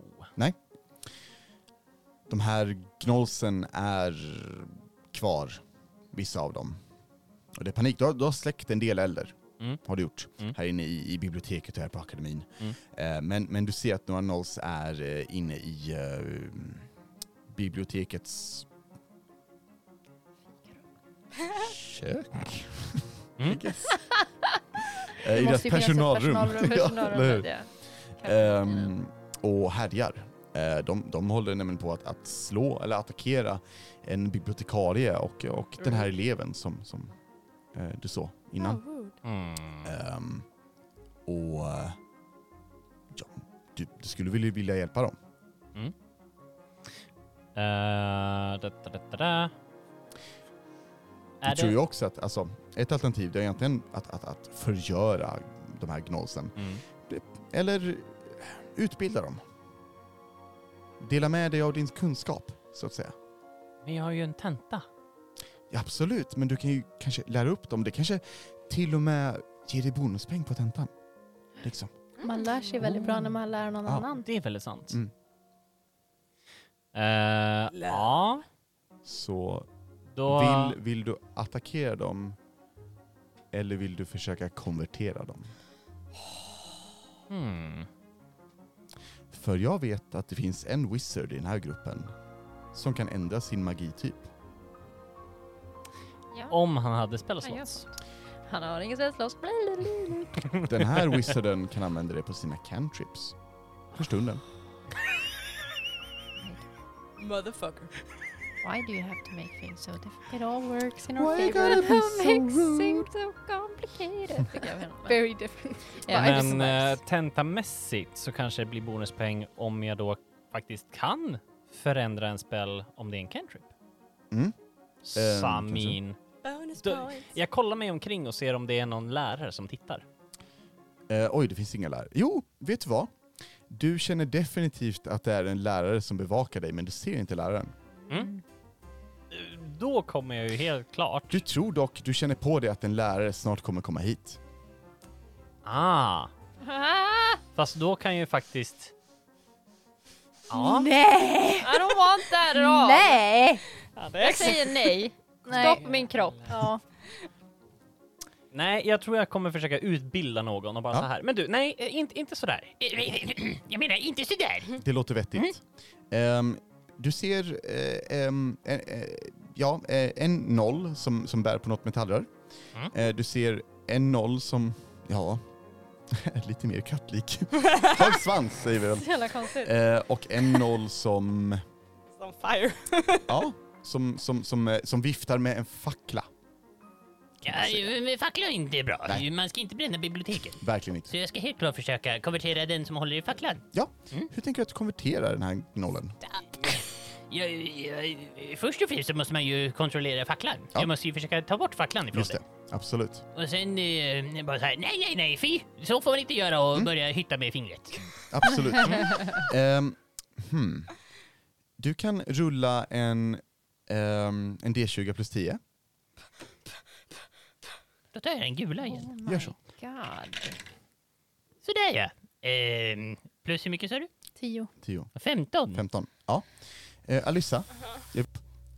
Speaker 1: De här gnolsen är kvar, vissa av dem. Och det är panik. Du har, du har släckt en del elder,
Speaker 4: Mm.
Speaker 1: har du gjort,
Speaker 4: Mm.
Speaker 1: här inne i, i biblioteket och här på akademin.
Speaker 4: Mm.
Speaker 1: Eh, men, men du ser att några nolls är eh, inne i eh, bibliotekets kök.
Speaker 4: Mm.
Speaker 1: I guess. Eh, I
Speaker 5: måste
Speaker 1: deras
Speaker 5: ju finnas ett
Speaker 1: personalrum.
Speaker 5: personalrum.
Speaker 1: Ja, eller hur?
Speaker 2: personalrummet.
Speaker 1: Ehm, och härjar. Eh, de, de håller nämligen på att, att slå eller attackera en bibliotekarie och, och den
Speaker 4: Mm.
Speaker 1: här eleven som, som eh, du såg innan.
Speaker 2: Oh,
Speaker 7: Eh.
Speaker 1: Ehm, och eh, ja, du, du skulle vilja, vilja hjälpa dem.
Speaker 4: Eh, da, da, da, da, da.
Speaker 1: Du
Speaker 4: Är
Speaker 1: tror
Speaker 4: det...
Speaker 1: ju också att alltså, ett alternativ det är egentligen att, att, att förgöra de här gnolsen.
Speaker 4: Mm.
Speaker 1: Eller utbilda dem. Dela med dig av din kunskap, så att säga.
Speaker 4: Men jag har ju en tenta.
Speaker 1: Ja, Absolut, men du kan ju kanske lära upp dem. Det kanske till och med ger dig bonuspeng på tentan. Liksom.
Speaker 5: Man lär sig väldigt bra när man lär någon
Speaker 1: Ja.
Speaker 5: annan.
Speaker 4: Det är väldigt sant.
Speaker 1: Mm.
Speaker 4: Eh, ja,
Speaker 1: Så
Speaker 4: då...
Speaker 1: vill, vill du attackera dem eller vill du försöka konvertera dem?
Speaker 4: Hmm.
Speaker 1: För jag vet att det finns en wizard i den här gruppen som kan ändra sin typ. magityp.
Speaker 4: Om han hade
Speaker 2: Han gör
Speaker 4: spelslots.
Speaker 2: sånt. Han har ingen spelslåss.
Speaker 1: Den här wizarden kan använda det på sina cantrips. För stunden.
Speaker 3: Motherfucker.
Speaker 2: Why do you have to make things so difficult?
Speaker 5: It all works in
Speaker 1: Why
Speaker 5: our
Speaker 1: you
Speaker 5: favor.
Speaker 1: gotta be so rude?
Speaker 2: so complicated. Fick jag henne. Men-
Speaker 5: Very different.
Speaker 2: Ja,
Speaker 4: Men eh,
Speaker 2: nice.
Speaker 4: tentamässigt så kanske det blir bonuspeng om jag då faktiskt kan förändra en spel om det är en cantrip.
Speaker 1: Mm.
Speaker 4: Samin.
Speaker 3: Bonus
Speaker 4: Du-
Speaker 3: points.
Speaker 4: Jag kollar mig omkring och ser om det är någon lärare som tittar.
Speaker 1: Eh, oj, det finns inga lärare. Jo, vet du vad? Du känner definitivt att det är en lärare som bevakar dig, men du ser inte läraren.
Speaker 4: Då kommer jag ju helt klart...
Speaker 1: Du tror dock, du känner på dig att en lärare snart kommer komma hit.
Speaker 4: Ah! Fast då kan jag ju faktiskt... Ja.
Speaker 5: Nej!
Speaker 2: I don't want that at all.
Speaker 5: Nej!
Speaker 3: Ja,
Speaker 2: Jag
Speaker 3: det
Speaker 2: säger nej.
Speaker 5: Nej.
Speaker 2: Stopp min kropp.
Speaker 5: Ja.
Speaker 4: Nej, jag tror jag kommer försöka utbilda någon och bara
Speaker 1: Ja.
Speaker 4: så här. Men du, nej, eh, inte, inte sådär.
Speaker 11: Jag menar, inte sådär.
Speaker 1: Det låter vettigt. Ehm, du ser eh, ehm, eh, eh, ja, eh, en noll som, som bär på något metallrör.
Speaker 4: Mm.
Speaker 1: Eh, du ser en noll som, ja, är lite mer kattlik. Har en svans säger vi väl.
Speaker 2: Så jävla konstigt.
Speaker 1: Eh, och en noll som,
Speaker 3: som fire.
Speaker 1: ja, som, som, som, eh, som viftar med en fackla. kan jag säga.
Speaker 4: Ja, fackla är inte bra.
Speaker 1: Nej.
Speaker 4: Man ska inte bränna biblioteken.
Speaker 1: Verkligen inte.
Speaker 4: Så jag ska helt klart försöka konvertera den som håller i facklan.
Speaker 1: Ja, hur tänker du att du konverterar Mm. den här gnollen?
Speaker 4: Jag, jag, eh, först och främst så måste man ju kontrollera facklan.
Speaker 1: Ja.
Speaker 4: Jag måste ju försöka ta bort facklan ifrån
Speaker 1: Just
Speaker 4: den.
Speaker 1: det, absolut.
Speaker 4: Och sen eh, bara så här, nej, nej, nej, fy! Så får man inte göra och
Speaker 1: Mm.
Speaker 4: börja hytta med fingret.
Speaker 1: Absolut. Ehm, hmm. Du kan rulla en, ehm, en D20 plus 10.
Speaker 4: Då tar jag den gula igen.
Speaker 2: Oh
Speaker 1: Gör så.
Speaker 2: God.
Speaker 4: Sådär ja. Ehm, plus hur mycket sa du?
Speaker 5: Tio.
Speaker 1: 10.
Speaker 4: 15?
Speaker 1: 15. Ja. Eh, Alissa, jag,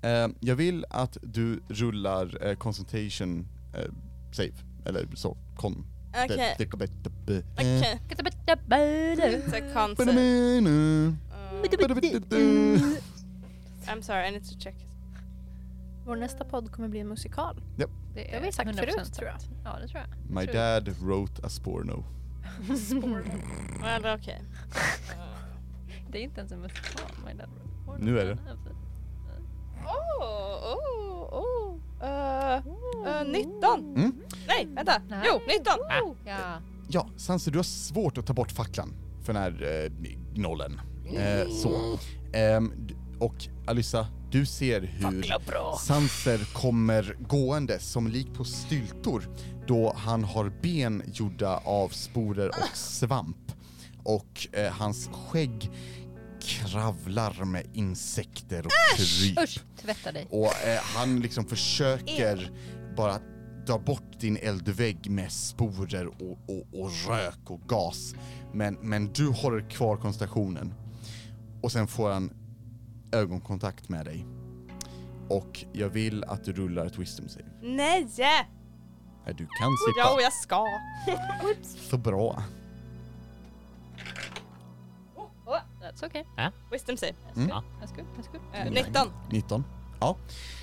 Speaker 1: eh, jag vill att du rullar eh, concentration eh, save. Eller så, kon...
Speaker 3: Okej.
Speaker 1: det- det- det- det-
Speaker 3: Okej. It's a concept. Um, Uh, I'm sorry, I need to check.
Speaker 5: Vår nästa podd kommer bli en musikal.
Speaker 2: Det
Speaker 5: har vi sagt förut, tror jag.
Speaker 2: sant. Ja, det tror jag.
Speaker 1: My dad wrote a sporno.
Speaker 3: Well, Uh, okej.
Speaker 2: Det är inte ens en musikal. My dad wrote
Speaker 1: Nu är det.
Speaker 3: Oh, oh, oh. Eh, eh, 19.
Speaker 1: Mm.
Speaker 3: Nej, Ah. vänta.
Speaker 2: Nej.
Speaker 3: Jo, 19.
Speaker 2: Ja.
Speaker 1: Ja, Sanse, du har svårt att ta bort facklan för den här eh, gnollen. Eh, så. Ehm, d- och Alissa, du ser hur Sanser kommer gående som lik på styltor då han har ben gjorda av sporer och svamp. Och eh, hans skägg kravlar med insekter och kryp.
Speaker 2: Usch, tvätta dig.
Speaker 1: Och eh, han liksom försöker
Speaker 3: Eh.
Speaker 1: bara dra bort din eldvägg med sporer och, och, och rök och gas. Men, men du håller kvar koncentrationen. Och sen får han ögonkontakt med dig. Och jag vill att du rullar ett wisdom save.
Speaker 3: Nej!
Speaker 1: Nej, Du kan
Speaker 3: Ja, och
Speaker 1: slippa.
Speaker 3: jag ska.
Speaker 1: Så bra.
Speaker 2: Oh, that's okay.
Speaker 3: Wisdom save.
Speaker 2: That's good, that's good.
Speaker 3: Eh, 19.
Speaker 1: 19. Ja.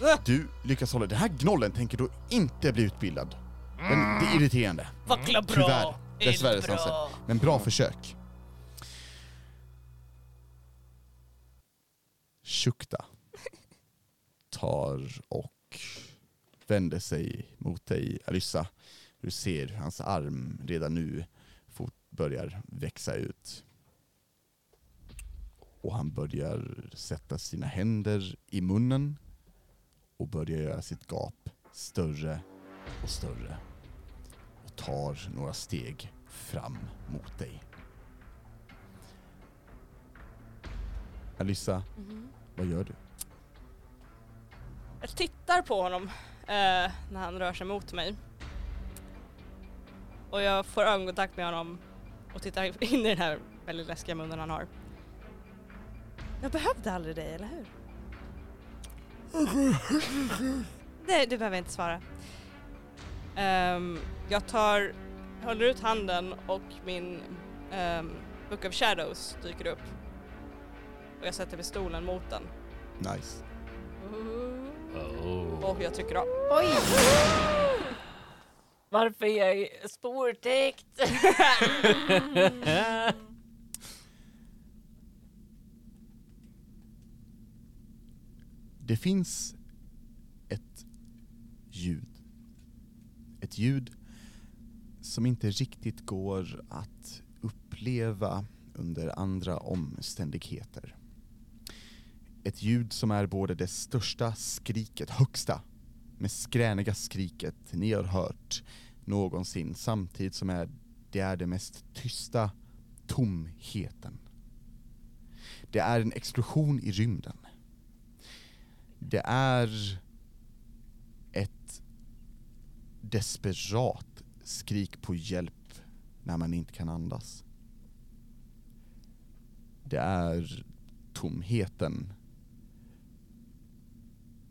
Speaker 3: Ah.
Speaker 1: Du lyckas hålla. Den här gnollen tänker du inte bli utbildad. Den, det är irriterande.
Speaker 10: Fackla bra!
Speaker 1: Tyvärr. Dessvärre Sanse. Men bra försök. Shukta tar och vänder sig mot dig, Alyssa. Du ser hur hans arm redan nu fort börjar växa ut. Och han börjar sätta sina händer i munnen och börjar göra sitt gap större och större och tar några steg fram mot dig. Alyssa, vad gör du?
Speaker 3: Jag tittar på honom eh, när han rör sig mot mig. Och jag får ögonkontakt med honom och tittar in i den här väldigt läskiga munnen han har. Jag behövde aldrig dig, eller hur? Nej, du behöver inte svara. Ehm, jag tar, håller ut handen och min um, Book of Shadows dyker upp. Och jag sätter pistolen mot den.
Speaker 1: Nice.
Speaker 3: Och jag trycker av.
Speaker 10: Varför är jag spårtäckt?
Speaker 1: Det finns ett ljud. Ett ljud som inte riktigt går att uppleva under andra omständigheter. Ett ljud som är både det största skriket, högsta, med skräniga skriket ni har hört någonsin, samtidigt som är, det är det mest tysta tomheten. Det är en explosion i rymden. Det är ett desperat skrik på hjälp när man inte kan andas. Det är tomheten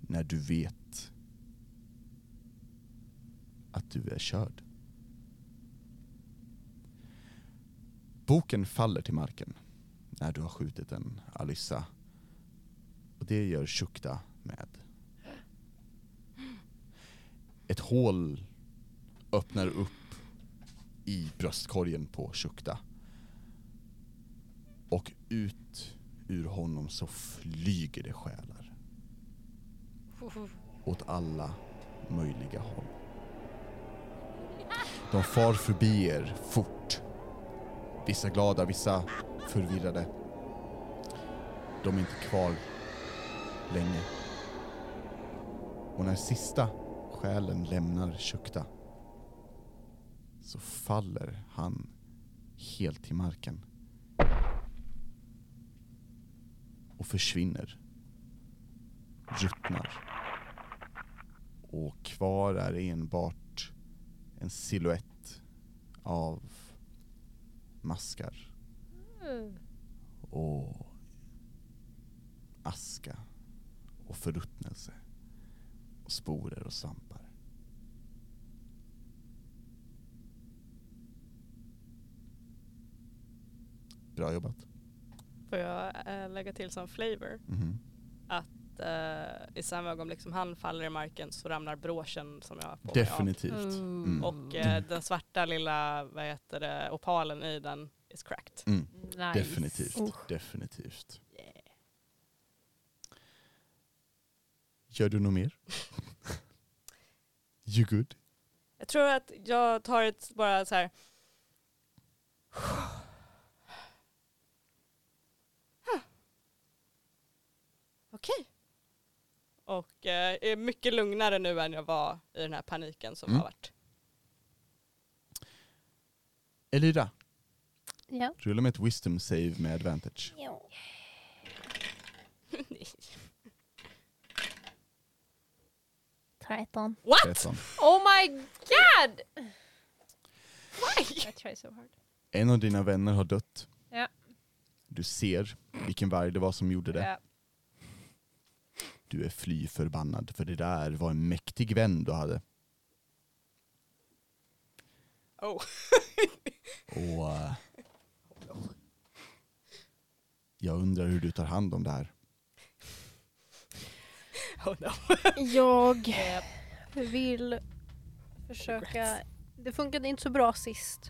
Speaker 1: när du vet att du är körd. Boken faller till marken när du har skjutit den, Alyssa. Och det gör Shukta med. Ett hål öppnar upp i bröstkorgen på Shukta. Och ut ur honom så flyger det själar. Åt alla möjliga håll. De far förbi er fort. Vissa glada, vissa förvirrade. De är inte kvar länge. Och när sista själen lämnar Shukta så faller han helt till marken. Och försvinner. Ruttnar. Och kvar är enbart en silhuett av maskar. Och aska. Och förruttnelse. Och sporer och svampar. Bra jobbat.
Speaker 3: Får jag eh, lägga till som flavor?
Speaker 1: Mhm.
Speaker 3: att eh, i samma ögonblick som han faller i marken så ramlar bråchen som jag har på mig av.
Speaker 1: Definitivt. Mm.
Speaker 3: Och eh, den svarta lilla, vad heter det, opalen i den is cracked.
Speaker 1: Mm.
Speaker 2: Nice.
Speaker 1: Definitivt. Definitivt. Gör du något mer? you good?
Speaker 3: Jag tror att jag tar ett bara så här. Huh. Okej. Och eh, är mycket lugnare nu än jag var i den här paniken som
Speaker 1: Mm.
Speaker 3: har varit.
Speaker 1: Elira,
Speaker 5: Ja.
Speaker 1: rulla med ett wisdom save med advantage.
Speaker 3: Nej.
Speaker 5: 13.
Speaker 3: What?
Speaker 1: 13.
Speaker 2: Oh my god!
Speaker 5: I try so hard.
Speaker 1: En av dina vänner har dött.
Speaker 2: Ja.
Speaker 1: Du ser vilken varg det var som gjorde det.
Speaker 2: Ja.
Speaker 1: Du är fly förbannad, för det där var en mäktig vän du hade.
Speaker 3: Oh.
Speaker 1: Och... eh, jag undrar hur du tar hand om det här.
Speaker 3: Oh no.
Speaker 5: Jag vill försöka... Det funkade inte så bra sist.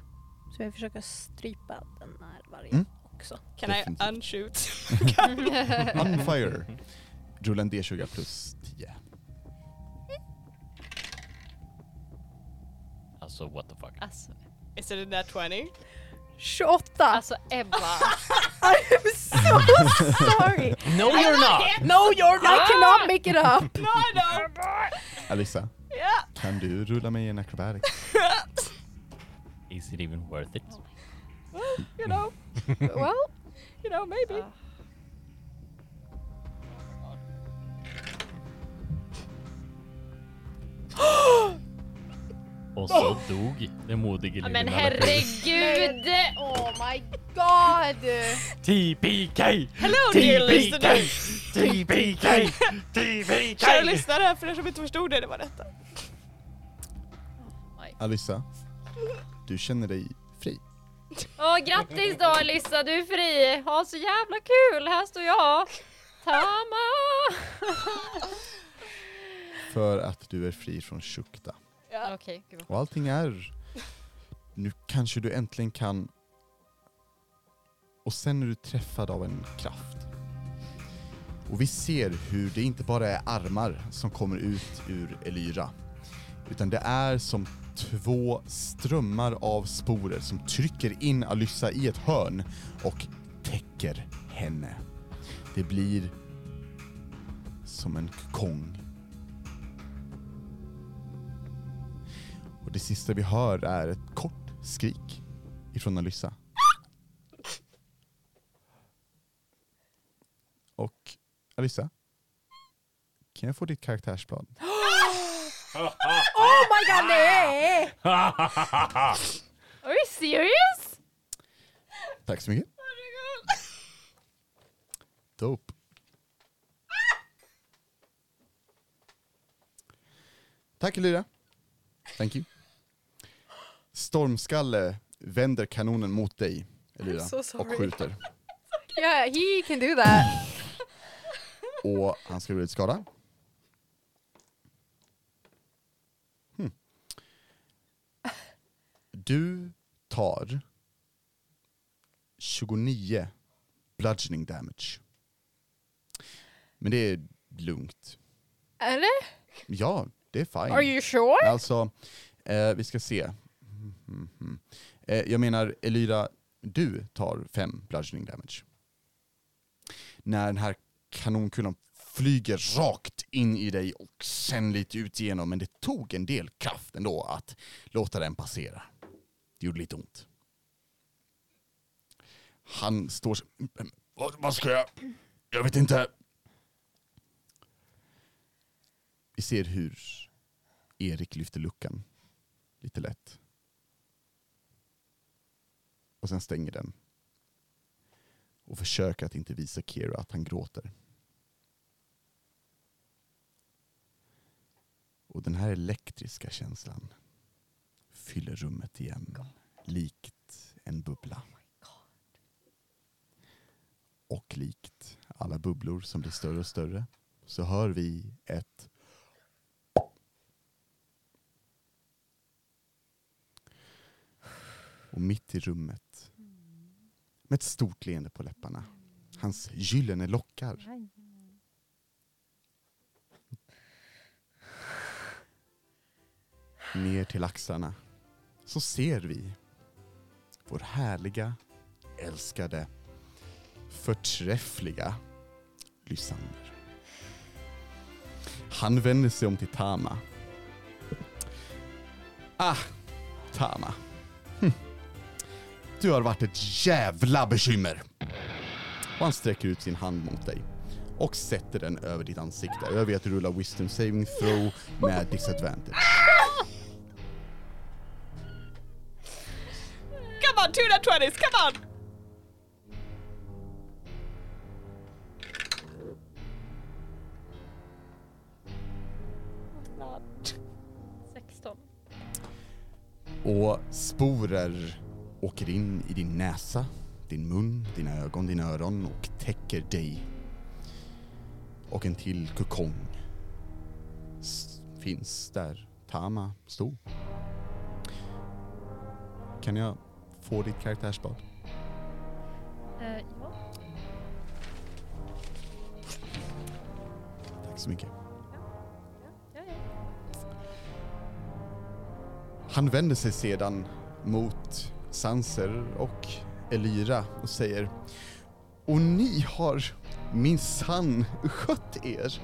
Speaker 5: Så jag vill försöka strypa den här vargen
Speaker 1: Mm.
Speaker 5: också.
Speaker 3: Can I
Speaker 1: Definitivt.
Speaker 3: unshoot?
Speaker 1: On fire. Rulla en D20 plus 10.
Speaker 7: Alltså what the
Speaker 4: Ah,
Speaker 7: fuck.
Speaker 2: Alltså,
Speaker 3: Is it a nat 20?
Speaker 5: 28!
Speaker 2: alltså Ebba.
Speaker 1: Ah.
Speaker 5: Alltså, I'm so sorry!
Speaker 7: No you're not!
Speaker 5: No you're not! I cannot make it up!
Speaker 1: Alissa,
Speaker 3: Ja.
Speaker 1: kan du rulla mig en acrobatic?
Speaker 7: Is it even worth it?
Speaker 3: Oh. You know,
Speaker 5: Well,
Speaker 3: you know, maybe.
Speaker 7: Och så dog den modige
Speaker 2: Ja,
Speaker 7: lille
Speaker 2: Men
Speaker 7: Nalle Puh.
Speaker 2: herregud!
Speaker 5: oh my god!
Speaker 7: TPK!
Speaker 3: Hello dear listener!
Speaker 7: TPK! TPK!
Speaker 3: Kära lyssnare, för er som inte förstod det, det var detta.
Speaker 1: Alissa, du känner dig fri.
Speaker 2: Åh, oh, grattis då Alissa, du är fri! Ha så jävla kul, här står jag! Tama!
Speaker 1: För att du är fri från Shukta.
Speaker 2: Okej, gud.
Speaker 1: Och allting är... Nu kanske du äntligen kan... Och sen är du träffad av en kraft. Och vi ser hur det inte bara är armar som kommer ut ur Elyra. Utan det är som två strömmar av sporer som trycker in Alyssa i ett hörn och täcker henne. Det blir som en kong Och det sista vi hör är ett kort skrik ifrån Alyssa. Och Alyssa, kan jag få ditt karaktärsblad?
Speaker 5: Oh my god nej!
Speaker 2: Are you serious?
Speaker 1: Tack så mycket. Dope. Tack Elira. Thank you. Stormskalle vänder kanonen mot dig, Elira,
Speaker 5: so sorry.
Speaker 1: och skjuter.
Speaker 5: Yeah, he can do that.
Speaker 1: Och han ska bli lite skadad. Hmm. Du tar 29 bludgeoning damage. Men det är lugnt.
Speaker 5: Eller?
Speaker 1: Ja, det är fine.
Speaker 5: Are you sure?
Speaker 1: Alltså, eh, vi ska se. Mm. Mhm. Eh, jag menar, Elyra, du tar fem bludgeoning damage. När den här kanonkulan flyger rakt in i dig och sen lite ut igenom, men det tog en del kraft ändå att låta den passera. Det gjorde lite ont. Han står så... "Men Vad, vad ska jag... Jag vet inte. Vi ser hur Erik lyfter luckan lite lätt. Och sen stänger den. Och försöker att inte visa Kira att han gråter. Och den här elektriska känslan fyller rummet igen. Likt en bubbla. Och likt alla bubblor som blir större och större så hör vi ett Och mitt i rummet, med ett stort leende på läpparna, hans gyllene lockar, ner till axlarna, så ser vi vår härliga, älskade, förträffliga Lysander. Han vänder sig om till Tama. Ah, Tama. Du har varit ett jävla bekymmer. Och han sträcker ut sin hand mot dig och sätter den över ditt ansikte. Jag vet att du rullar wisdom saving throw med disadvantage.
Speaker 3: Come on, two nat 20s, come on! Not.
Speaker 5: 16.
Speaker 1: Och sporer åker in i din näsa, din mun, dina ögon, dina öron och täcker dig. Och en till kokong s- finns där Tama stod. Kan jag få ditt karaktärsblad?
Speaker 2: Eh, ja.
Speaker 1: Tack så mycket.
Speaker 2: Ja, ja.
Speaker 1: Han vänder sig sedan mot Sanser och Elira och säger Och ni har minsann skött er.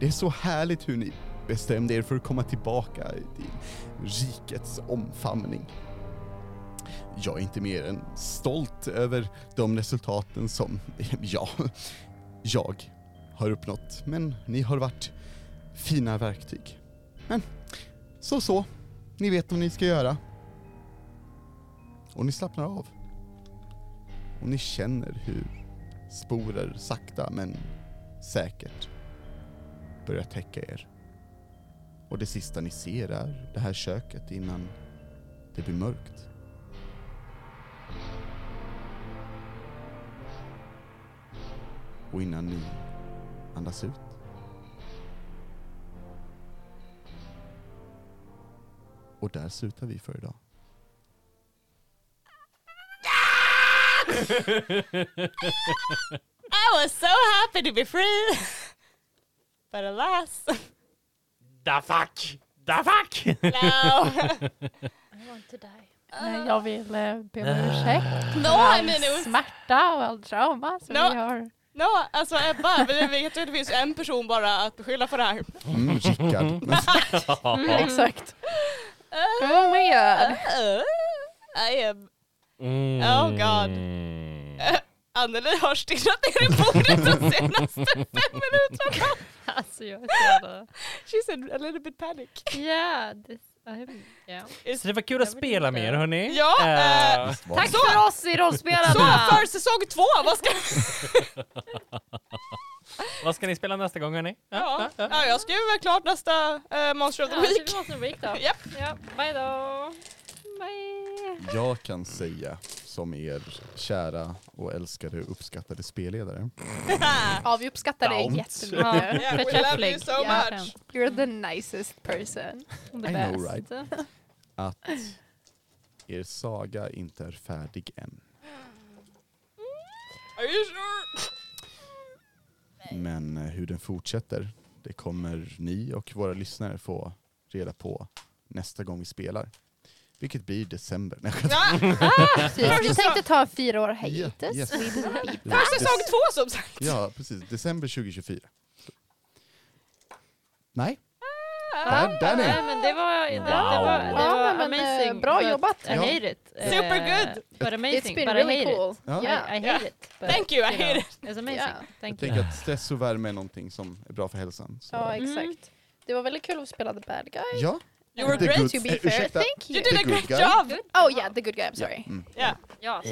Speaker 1: Det är så härligt hur ni bestämde er för att komma tillbaka till rikets omfamning. Jag är inte mer än stolt över de resultaten som ja, jag har uppnått. Men ni har varit fina verktyg. Men så så. Ni vet vad ni ska göra. Och ni slappnar av. Och ni känner hur sporer sakta men säkert börjar täcka er. Och det sista ni ser är det här köket innan det blir mörkt. Och innan ni andas ut. Och där slutar vi för idag.
Speaker 3: I was so happy to be free! But alas,
Speaker 7: Da fuck! Da fuck!
Speaker 3: no.
Speaker 5: I want to die.
Speaker 2: Nej, jag vill eh, be om ursäkt
Speaker 3: no,
Speaker 2: för
Speaker 3: I
Speaker 2: all
Speaker 3: mean it was
Speaker 2: smärta och all trauma som
Speaker 3: No.
Speaker 2: vi har.
Speaker 3: No, alltså Ebba, vi vet ju att det finns en person bara att beskylla för det här.
Speaker 1: Mm, Rickard.
Speaker 2: Exakt.
Speaker 5: Mm, Oh my god.
Speaker 3: Uh, I am...
Speaker 7: Mm.
Speaker 3: Oh god. Anneli har stirrat ner i bordet de senaste fem minuterna.
Speaker 2: Alltså jag är så jävla...
Speaker 3: She's in a little bit panic.
Speaker 2: Yeah, this, I'm, yeah.
Speaker 7: Så det var kul att spela med er hörni.
Speaker 3: Ja,
Speaker 7: Eh,
Speaker 2: Tack för oss i Rollspelarna!
Speaker 3: Så för säsong två, vad ska
Speaker 7: Vad ska ni spela nästa gång hörni?
Speaker 3: ja, ja, jag skriver klart nästa eh, Monster of the
Speaker 2: Ja, så
Speaker 3: Week.
Speaker 2: vi måste en week då.
Speaker 3: Japp.
Speaker 2: Ja, bye då! Bye!
Speaker 1: Jag kan säga som er kära och älskade och uppskattade spelledare.
Speaker 5: Ja, vi uppskattar dig
Speaker 7: Don't.
Speaker 5: jättemycket.
Speaker 3: Yeah, we love you
Speaker 2: Förträfflig.
Speaker 3: so
Speaker 2: Ja.
Speaker 3: much.
Speaker 5: You're the nicest person.
Speaker 2: The
Speaker 1: I know,
Speaker 2: best.
Speaker 1: right? Att er saga inte är färdig än.
Speaker 3: Are you sure?
Speaker 1: Men eh, hur den fortsätter, det kommer ni och våra lyssnare få reda på nästa gång vi spelar. Vilket blir december. Nej,
Speaker 2: Precis. Vi tänkte ta en fyra år hiatus.
Speaker 1: Yes.
Speaker 3: För säsong två som sagt.
Speaker 1: Ja, precis. December 2024. Så. Nej. Där, där
Speaker 2: Nej,
Speaker 1: är
Speaker 2: men det var, det, det var, det
Speaker 5: Wow.
Speaker 2: var
Speaker 5: Ja, men, eh,
Speaker 2: amazing.
Speaker 5: bra
Speaker 2: but
Speaker 5: jobbat.
Speaker 2: I hate it. Eh,
Speaker 3: Supergood.
Speaker 2: But
Speaker 5: It's
Speaker 2: amazing.
Speaker 5: been
Speaker 2: But I
Speaker 5: really
Speaker 2: hate
Speaker 5: cool.
Speaker 2: it.
Speaker 1: Ja.
Speaker 5: Yeah.
Speaker 2: I, I hate it. But,
Speaker 3: Thank you, I
Speaker 2: know,
Speaker 3: hate it.
Speaker 2: It's amazing.
Speaker 5: Yeah.
Speaker 1: Jag
Speaker 2: Thank you.
Speaker 1: tänker att stress och värme är någonting som är bra för hälsan. Så.
Speaker 5: Ja, exakt.
Speaker 2: Mm.
Speaker 5: Det var väldigt kul att vi spelade bad guy.
Speaker 1: Ja.
Speaker 3: You were
Speaker 1: The
Speaker 3: great.
Speaker 1: good-
Speaker 5: To be
Speaker 1: eh,
Speaker 5: fair,
Speaker 1: ursäkta.
Speaker 5: thank
Speaker 3: You
Speaker 5: you.
Speaker 3: did
Speaker 1: The
Speaker 3: a
Speaker 1: good guy.
Speaker 3: great job.
Speaker 5: Oh yeah, the good guy, I'm sorry.
Speaker 1: Mm.
Speaker 2: Ja, så-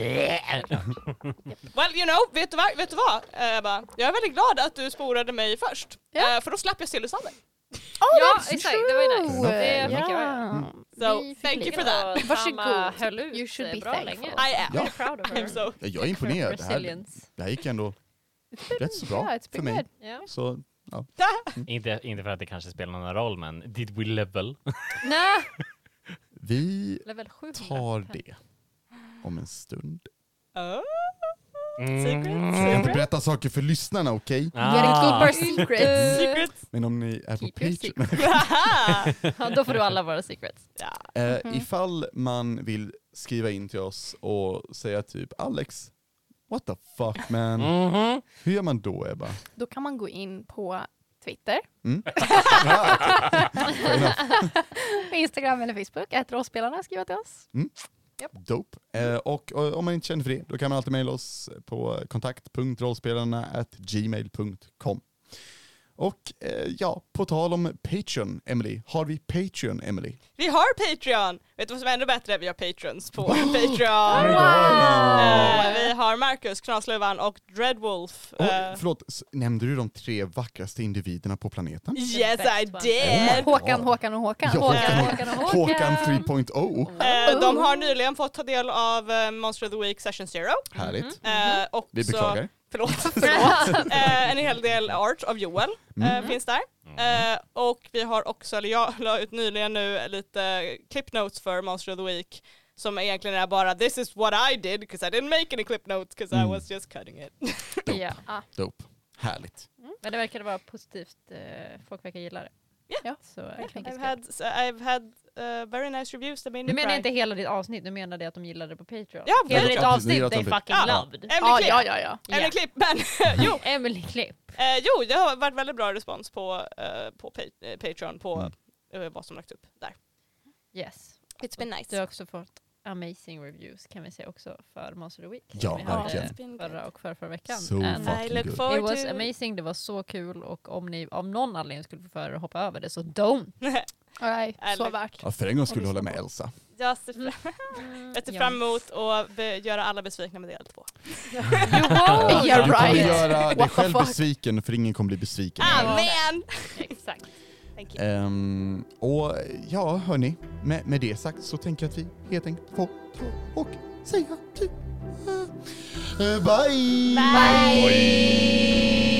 Speaker 3: Well, you know, vet du, vad- vet du vad eh, Ebba? Jag är väldigt glad att du sporade mig först.
Speaker 5: Ja.
Speaker 3: Eh, för då slapp jag Sillysander.
Speaker 5: Oh,
Speaker 2: ja exakt. Det var ju nice.
Speaker 1: True.
Speaker 2: Det fick
Speaker 1: Ja.
Speaker 2: jag höra.
Speaker 3: So,
Speaker 5: Vi fick
Speaker 3: thank you
Speaker 5: ligga.
Speaker 3: for that.
Speaker 2: Och
Speaker 5: Varsågod.
Speaker 2: Tama höll ut
Speaker 5: You should
Speaker 2: eh,
Speaker 5: be
Speaker 2: bra
Speaker 5: thankful.
Speaker 2: länge.
Speaker 3: I am.
Speaker 1: Ja.
Speaker 2: We're proud of her.
Speaker 3: I'm so...
Speaker 1: Ja, Jag är imponerad. Det här,
Speaker 2: Resilience.
Speaker 1: det här gick ändå rätt så
Speaker 5: Yeah,
Speaker 1: bra
Speaker 5: it's
Speaker 1: för
Speaker 5: been
Speaker 1: mig.
Speaker 5: good.
Speaker 2: Ja.
Speaker 1: Så
Speaker 7: Inte, inte för att det kanske spelar någon roll, men did we level?
Speaker 2: Nej.
Speaker 1: vi
Speaker 2: Level 700.
Speaker 1: tar det om en stund.
Speaker 3: Oh.
Speaker 1: Jag kan
Speaker 3: Secrets.
Speaker 1: inte berätta saker för lyssnarna, okej?
Speaker 7: Mm. Ah,
Speaker 2: secrets.
Speaker 3: Secrets.
Speaker 1: Men om ni är på
Speaker 2: Keep your
Speaker 1: Patreon...
Speaker 2: secrets. Ja, då får du alla våra secrets.
Speaker 1: Eh, Ifall man vill skriva in till oss och säga typ Alex, what the fuck man?
Speaker 3: Mhm.
Speaker 1: Hur gör man då Ebba?
Speaker 5: Då kan man gå in på Twitter, Instagram eller Facebook, att rollspelarna skriva till oss.
Speaker 1: Dope. Eh, och, eh, om man inte känner för det, då kan man alltid mejla oss på kontakt.rollspelarna.gmail.com. Och eh, ja, på tal om Patreon, Emily. Har vi Patreon, Emily?
Speaker 3: Vi har Patreon! Vet du vad som är ännu bättre? Vi har patrons på Patreon! Eh, vi har Marcus, Knasluvan och Dreadwolf. Eh,
Speaker 1: Oj, förlåt, s- nämnde du de tre vackraste individerna på planeten?
Speaker 3: yes I
Speaker 2: Best one.
Speaker 3: did!
Speaker 5: Håkan, Håkan och Håkan.
Speaker 1: Ja, Håkan,
Speaker 2: Håkan och
Speaker 1: Håkan oh. 3.0.
Speaker 3: Eh, de har nyligen fått ta del av eh, Monster of the Week Session Zero.
Speaker 1: Härligt.
Speaker 3: Eh, och
Speaker 1: Vi
Speaker 3: så-
Speaker 1: beklagar.
Speaker 3: Förlåt. förlåt. Eh, en hel del art av Joel eh, finns där. Eh, och vi har också, eller jag la ut nyligen nu lite clip notes för Monster of the Week som egentligen är bara this is what I did because I didn't make any clip notes because I was just cutting it.
Speaker 2: Ja.
Speaker 1: Dope. Härligt.
Speaker 2: Men det verkade vara positivt. eh, Folk verkar gilla det.
Speaker 3: Ja.
Speaker 2: Så jag tänker
Speaker 3: I've
Speaker 2: så.
Speaker 3: had, I've had uh, very nice reviews that made me
Speaker 2: Du menar
Speaker 3: cry.
Speaker 2: inte hela ditt avsnitt, du menar det att de gillade det på Patreon?
Speaker 3: Ja,
Speaker 2: hela
Speaker 3: ja,
Speaker 2: ditt
Speaker 1: ja,
Speaker 2: avsnitt,
Speaker 1: ja,
Speaker 2: they
Speaker 1: ja.
Speaker 2: fucking
Speaker 3: Ja.
Speaker 2: loved.
Speaker 3: Emily
Speaker 5: Ja,
Speaker 3: Klipp!
Speaker 5: ja, ja, ja.
Speaker 3: Emily
Speaker 2: Ja.
Speaker 3: Klipp, men jo,
Speaker 2: Emily Klipp.
Speaker 3: eh, jo, det har varit väldigt bra respons på, eh, på pa- eh, Patreon på eh, vad som lagts upp där.
Speaker 2: Yes.
Speaker 6: It's been
Speaker 2: Du
Speaker 6: nice.
Speaker 2: har också fått amazing reviews kan vi säga också för Monster of the Week.
Speaker 1: Ja,
Speaker 2: som vi hade
Speaker 1: verkligen.
Speaker 3: It's been
Speaker 2: Förra och förra, förra veckan.
Speaker 1: So
Speaker 2: And
Speaker 1: fucking
Speaker 3: I look
Speaker 1: good.
Speaker 3: forward
Speaker 2: It was
Speaker 3: to...
Speaker 2: amazing, det var så kul och om ni av någon anledning skulle få för er att hoppa över det så don't!
Speaker 5: All right, så
Speaker 3: Eller-
Speaker 5: värt.
Speaker 1: Ja, för en gång skulle jag hålla med Elsa.
Speaker 3: Jag ser fram, jag ser
Speaker 2: ja.
Speaker 3: fram emot att be- göra alla besvikna med del två.
Speaker 5: Yeah
Speaker 1: Du kommer
Speaker 5: right.
Speaker 1: göra dig
Speaker 5: What the
Speaker 1: själv
Speaker 5: fuck? Ah.
Speaker 1: besviken för ingen kommer bli besviken.
Speaker 3: Amen!
Speaker 2: Exakt.
Speaker 1: Ehm, och ja, hörni. Med, med det sagt så tänker jag att vi helt enkelt får ta och säga typ... eh, eh, bye! bye.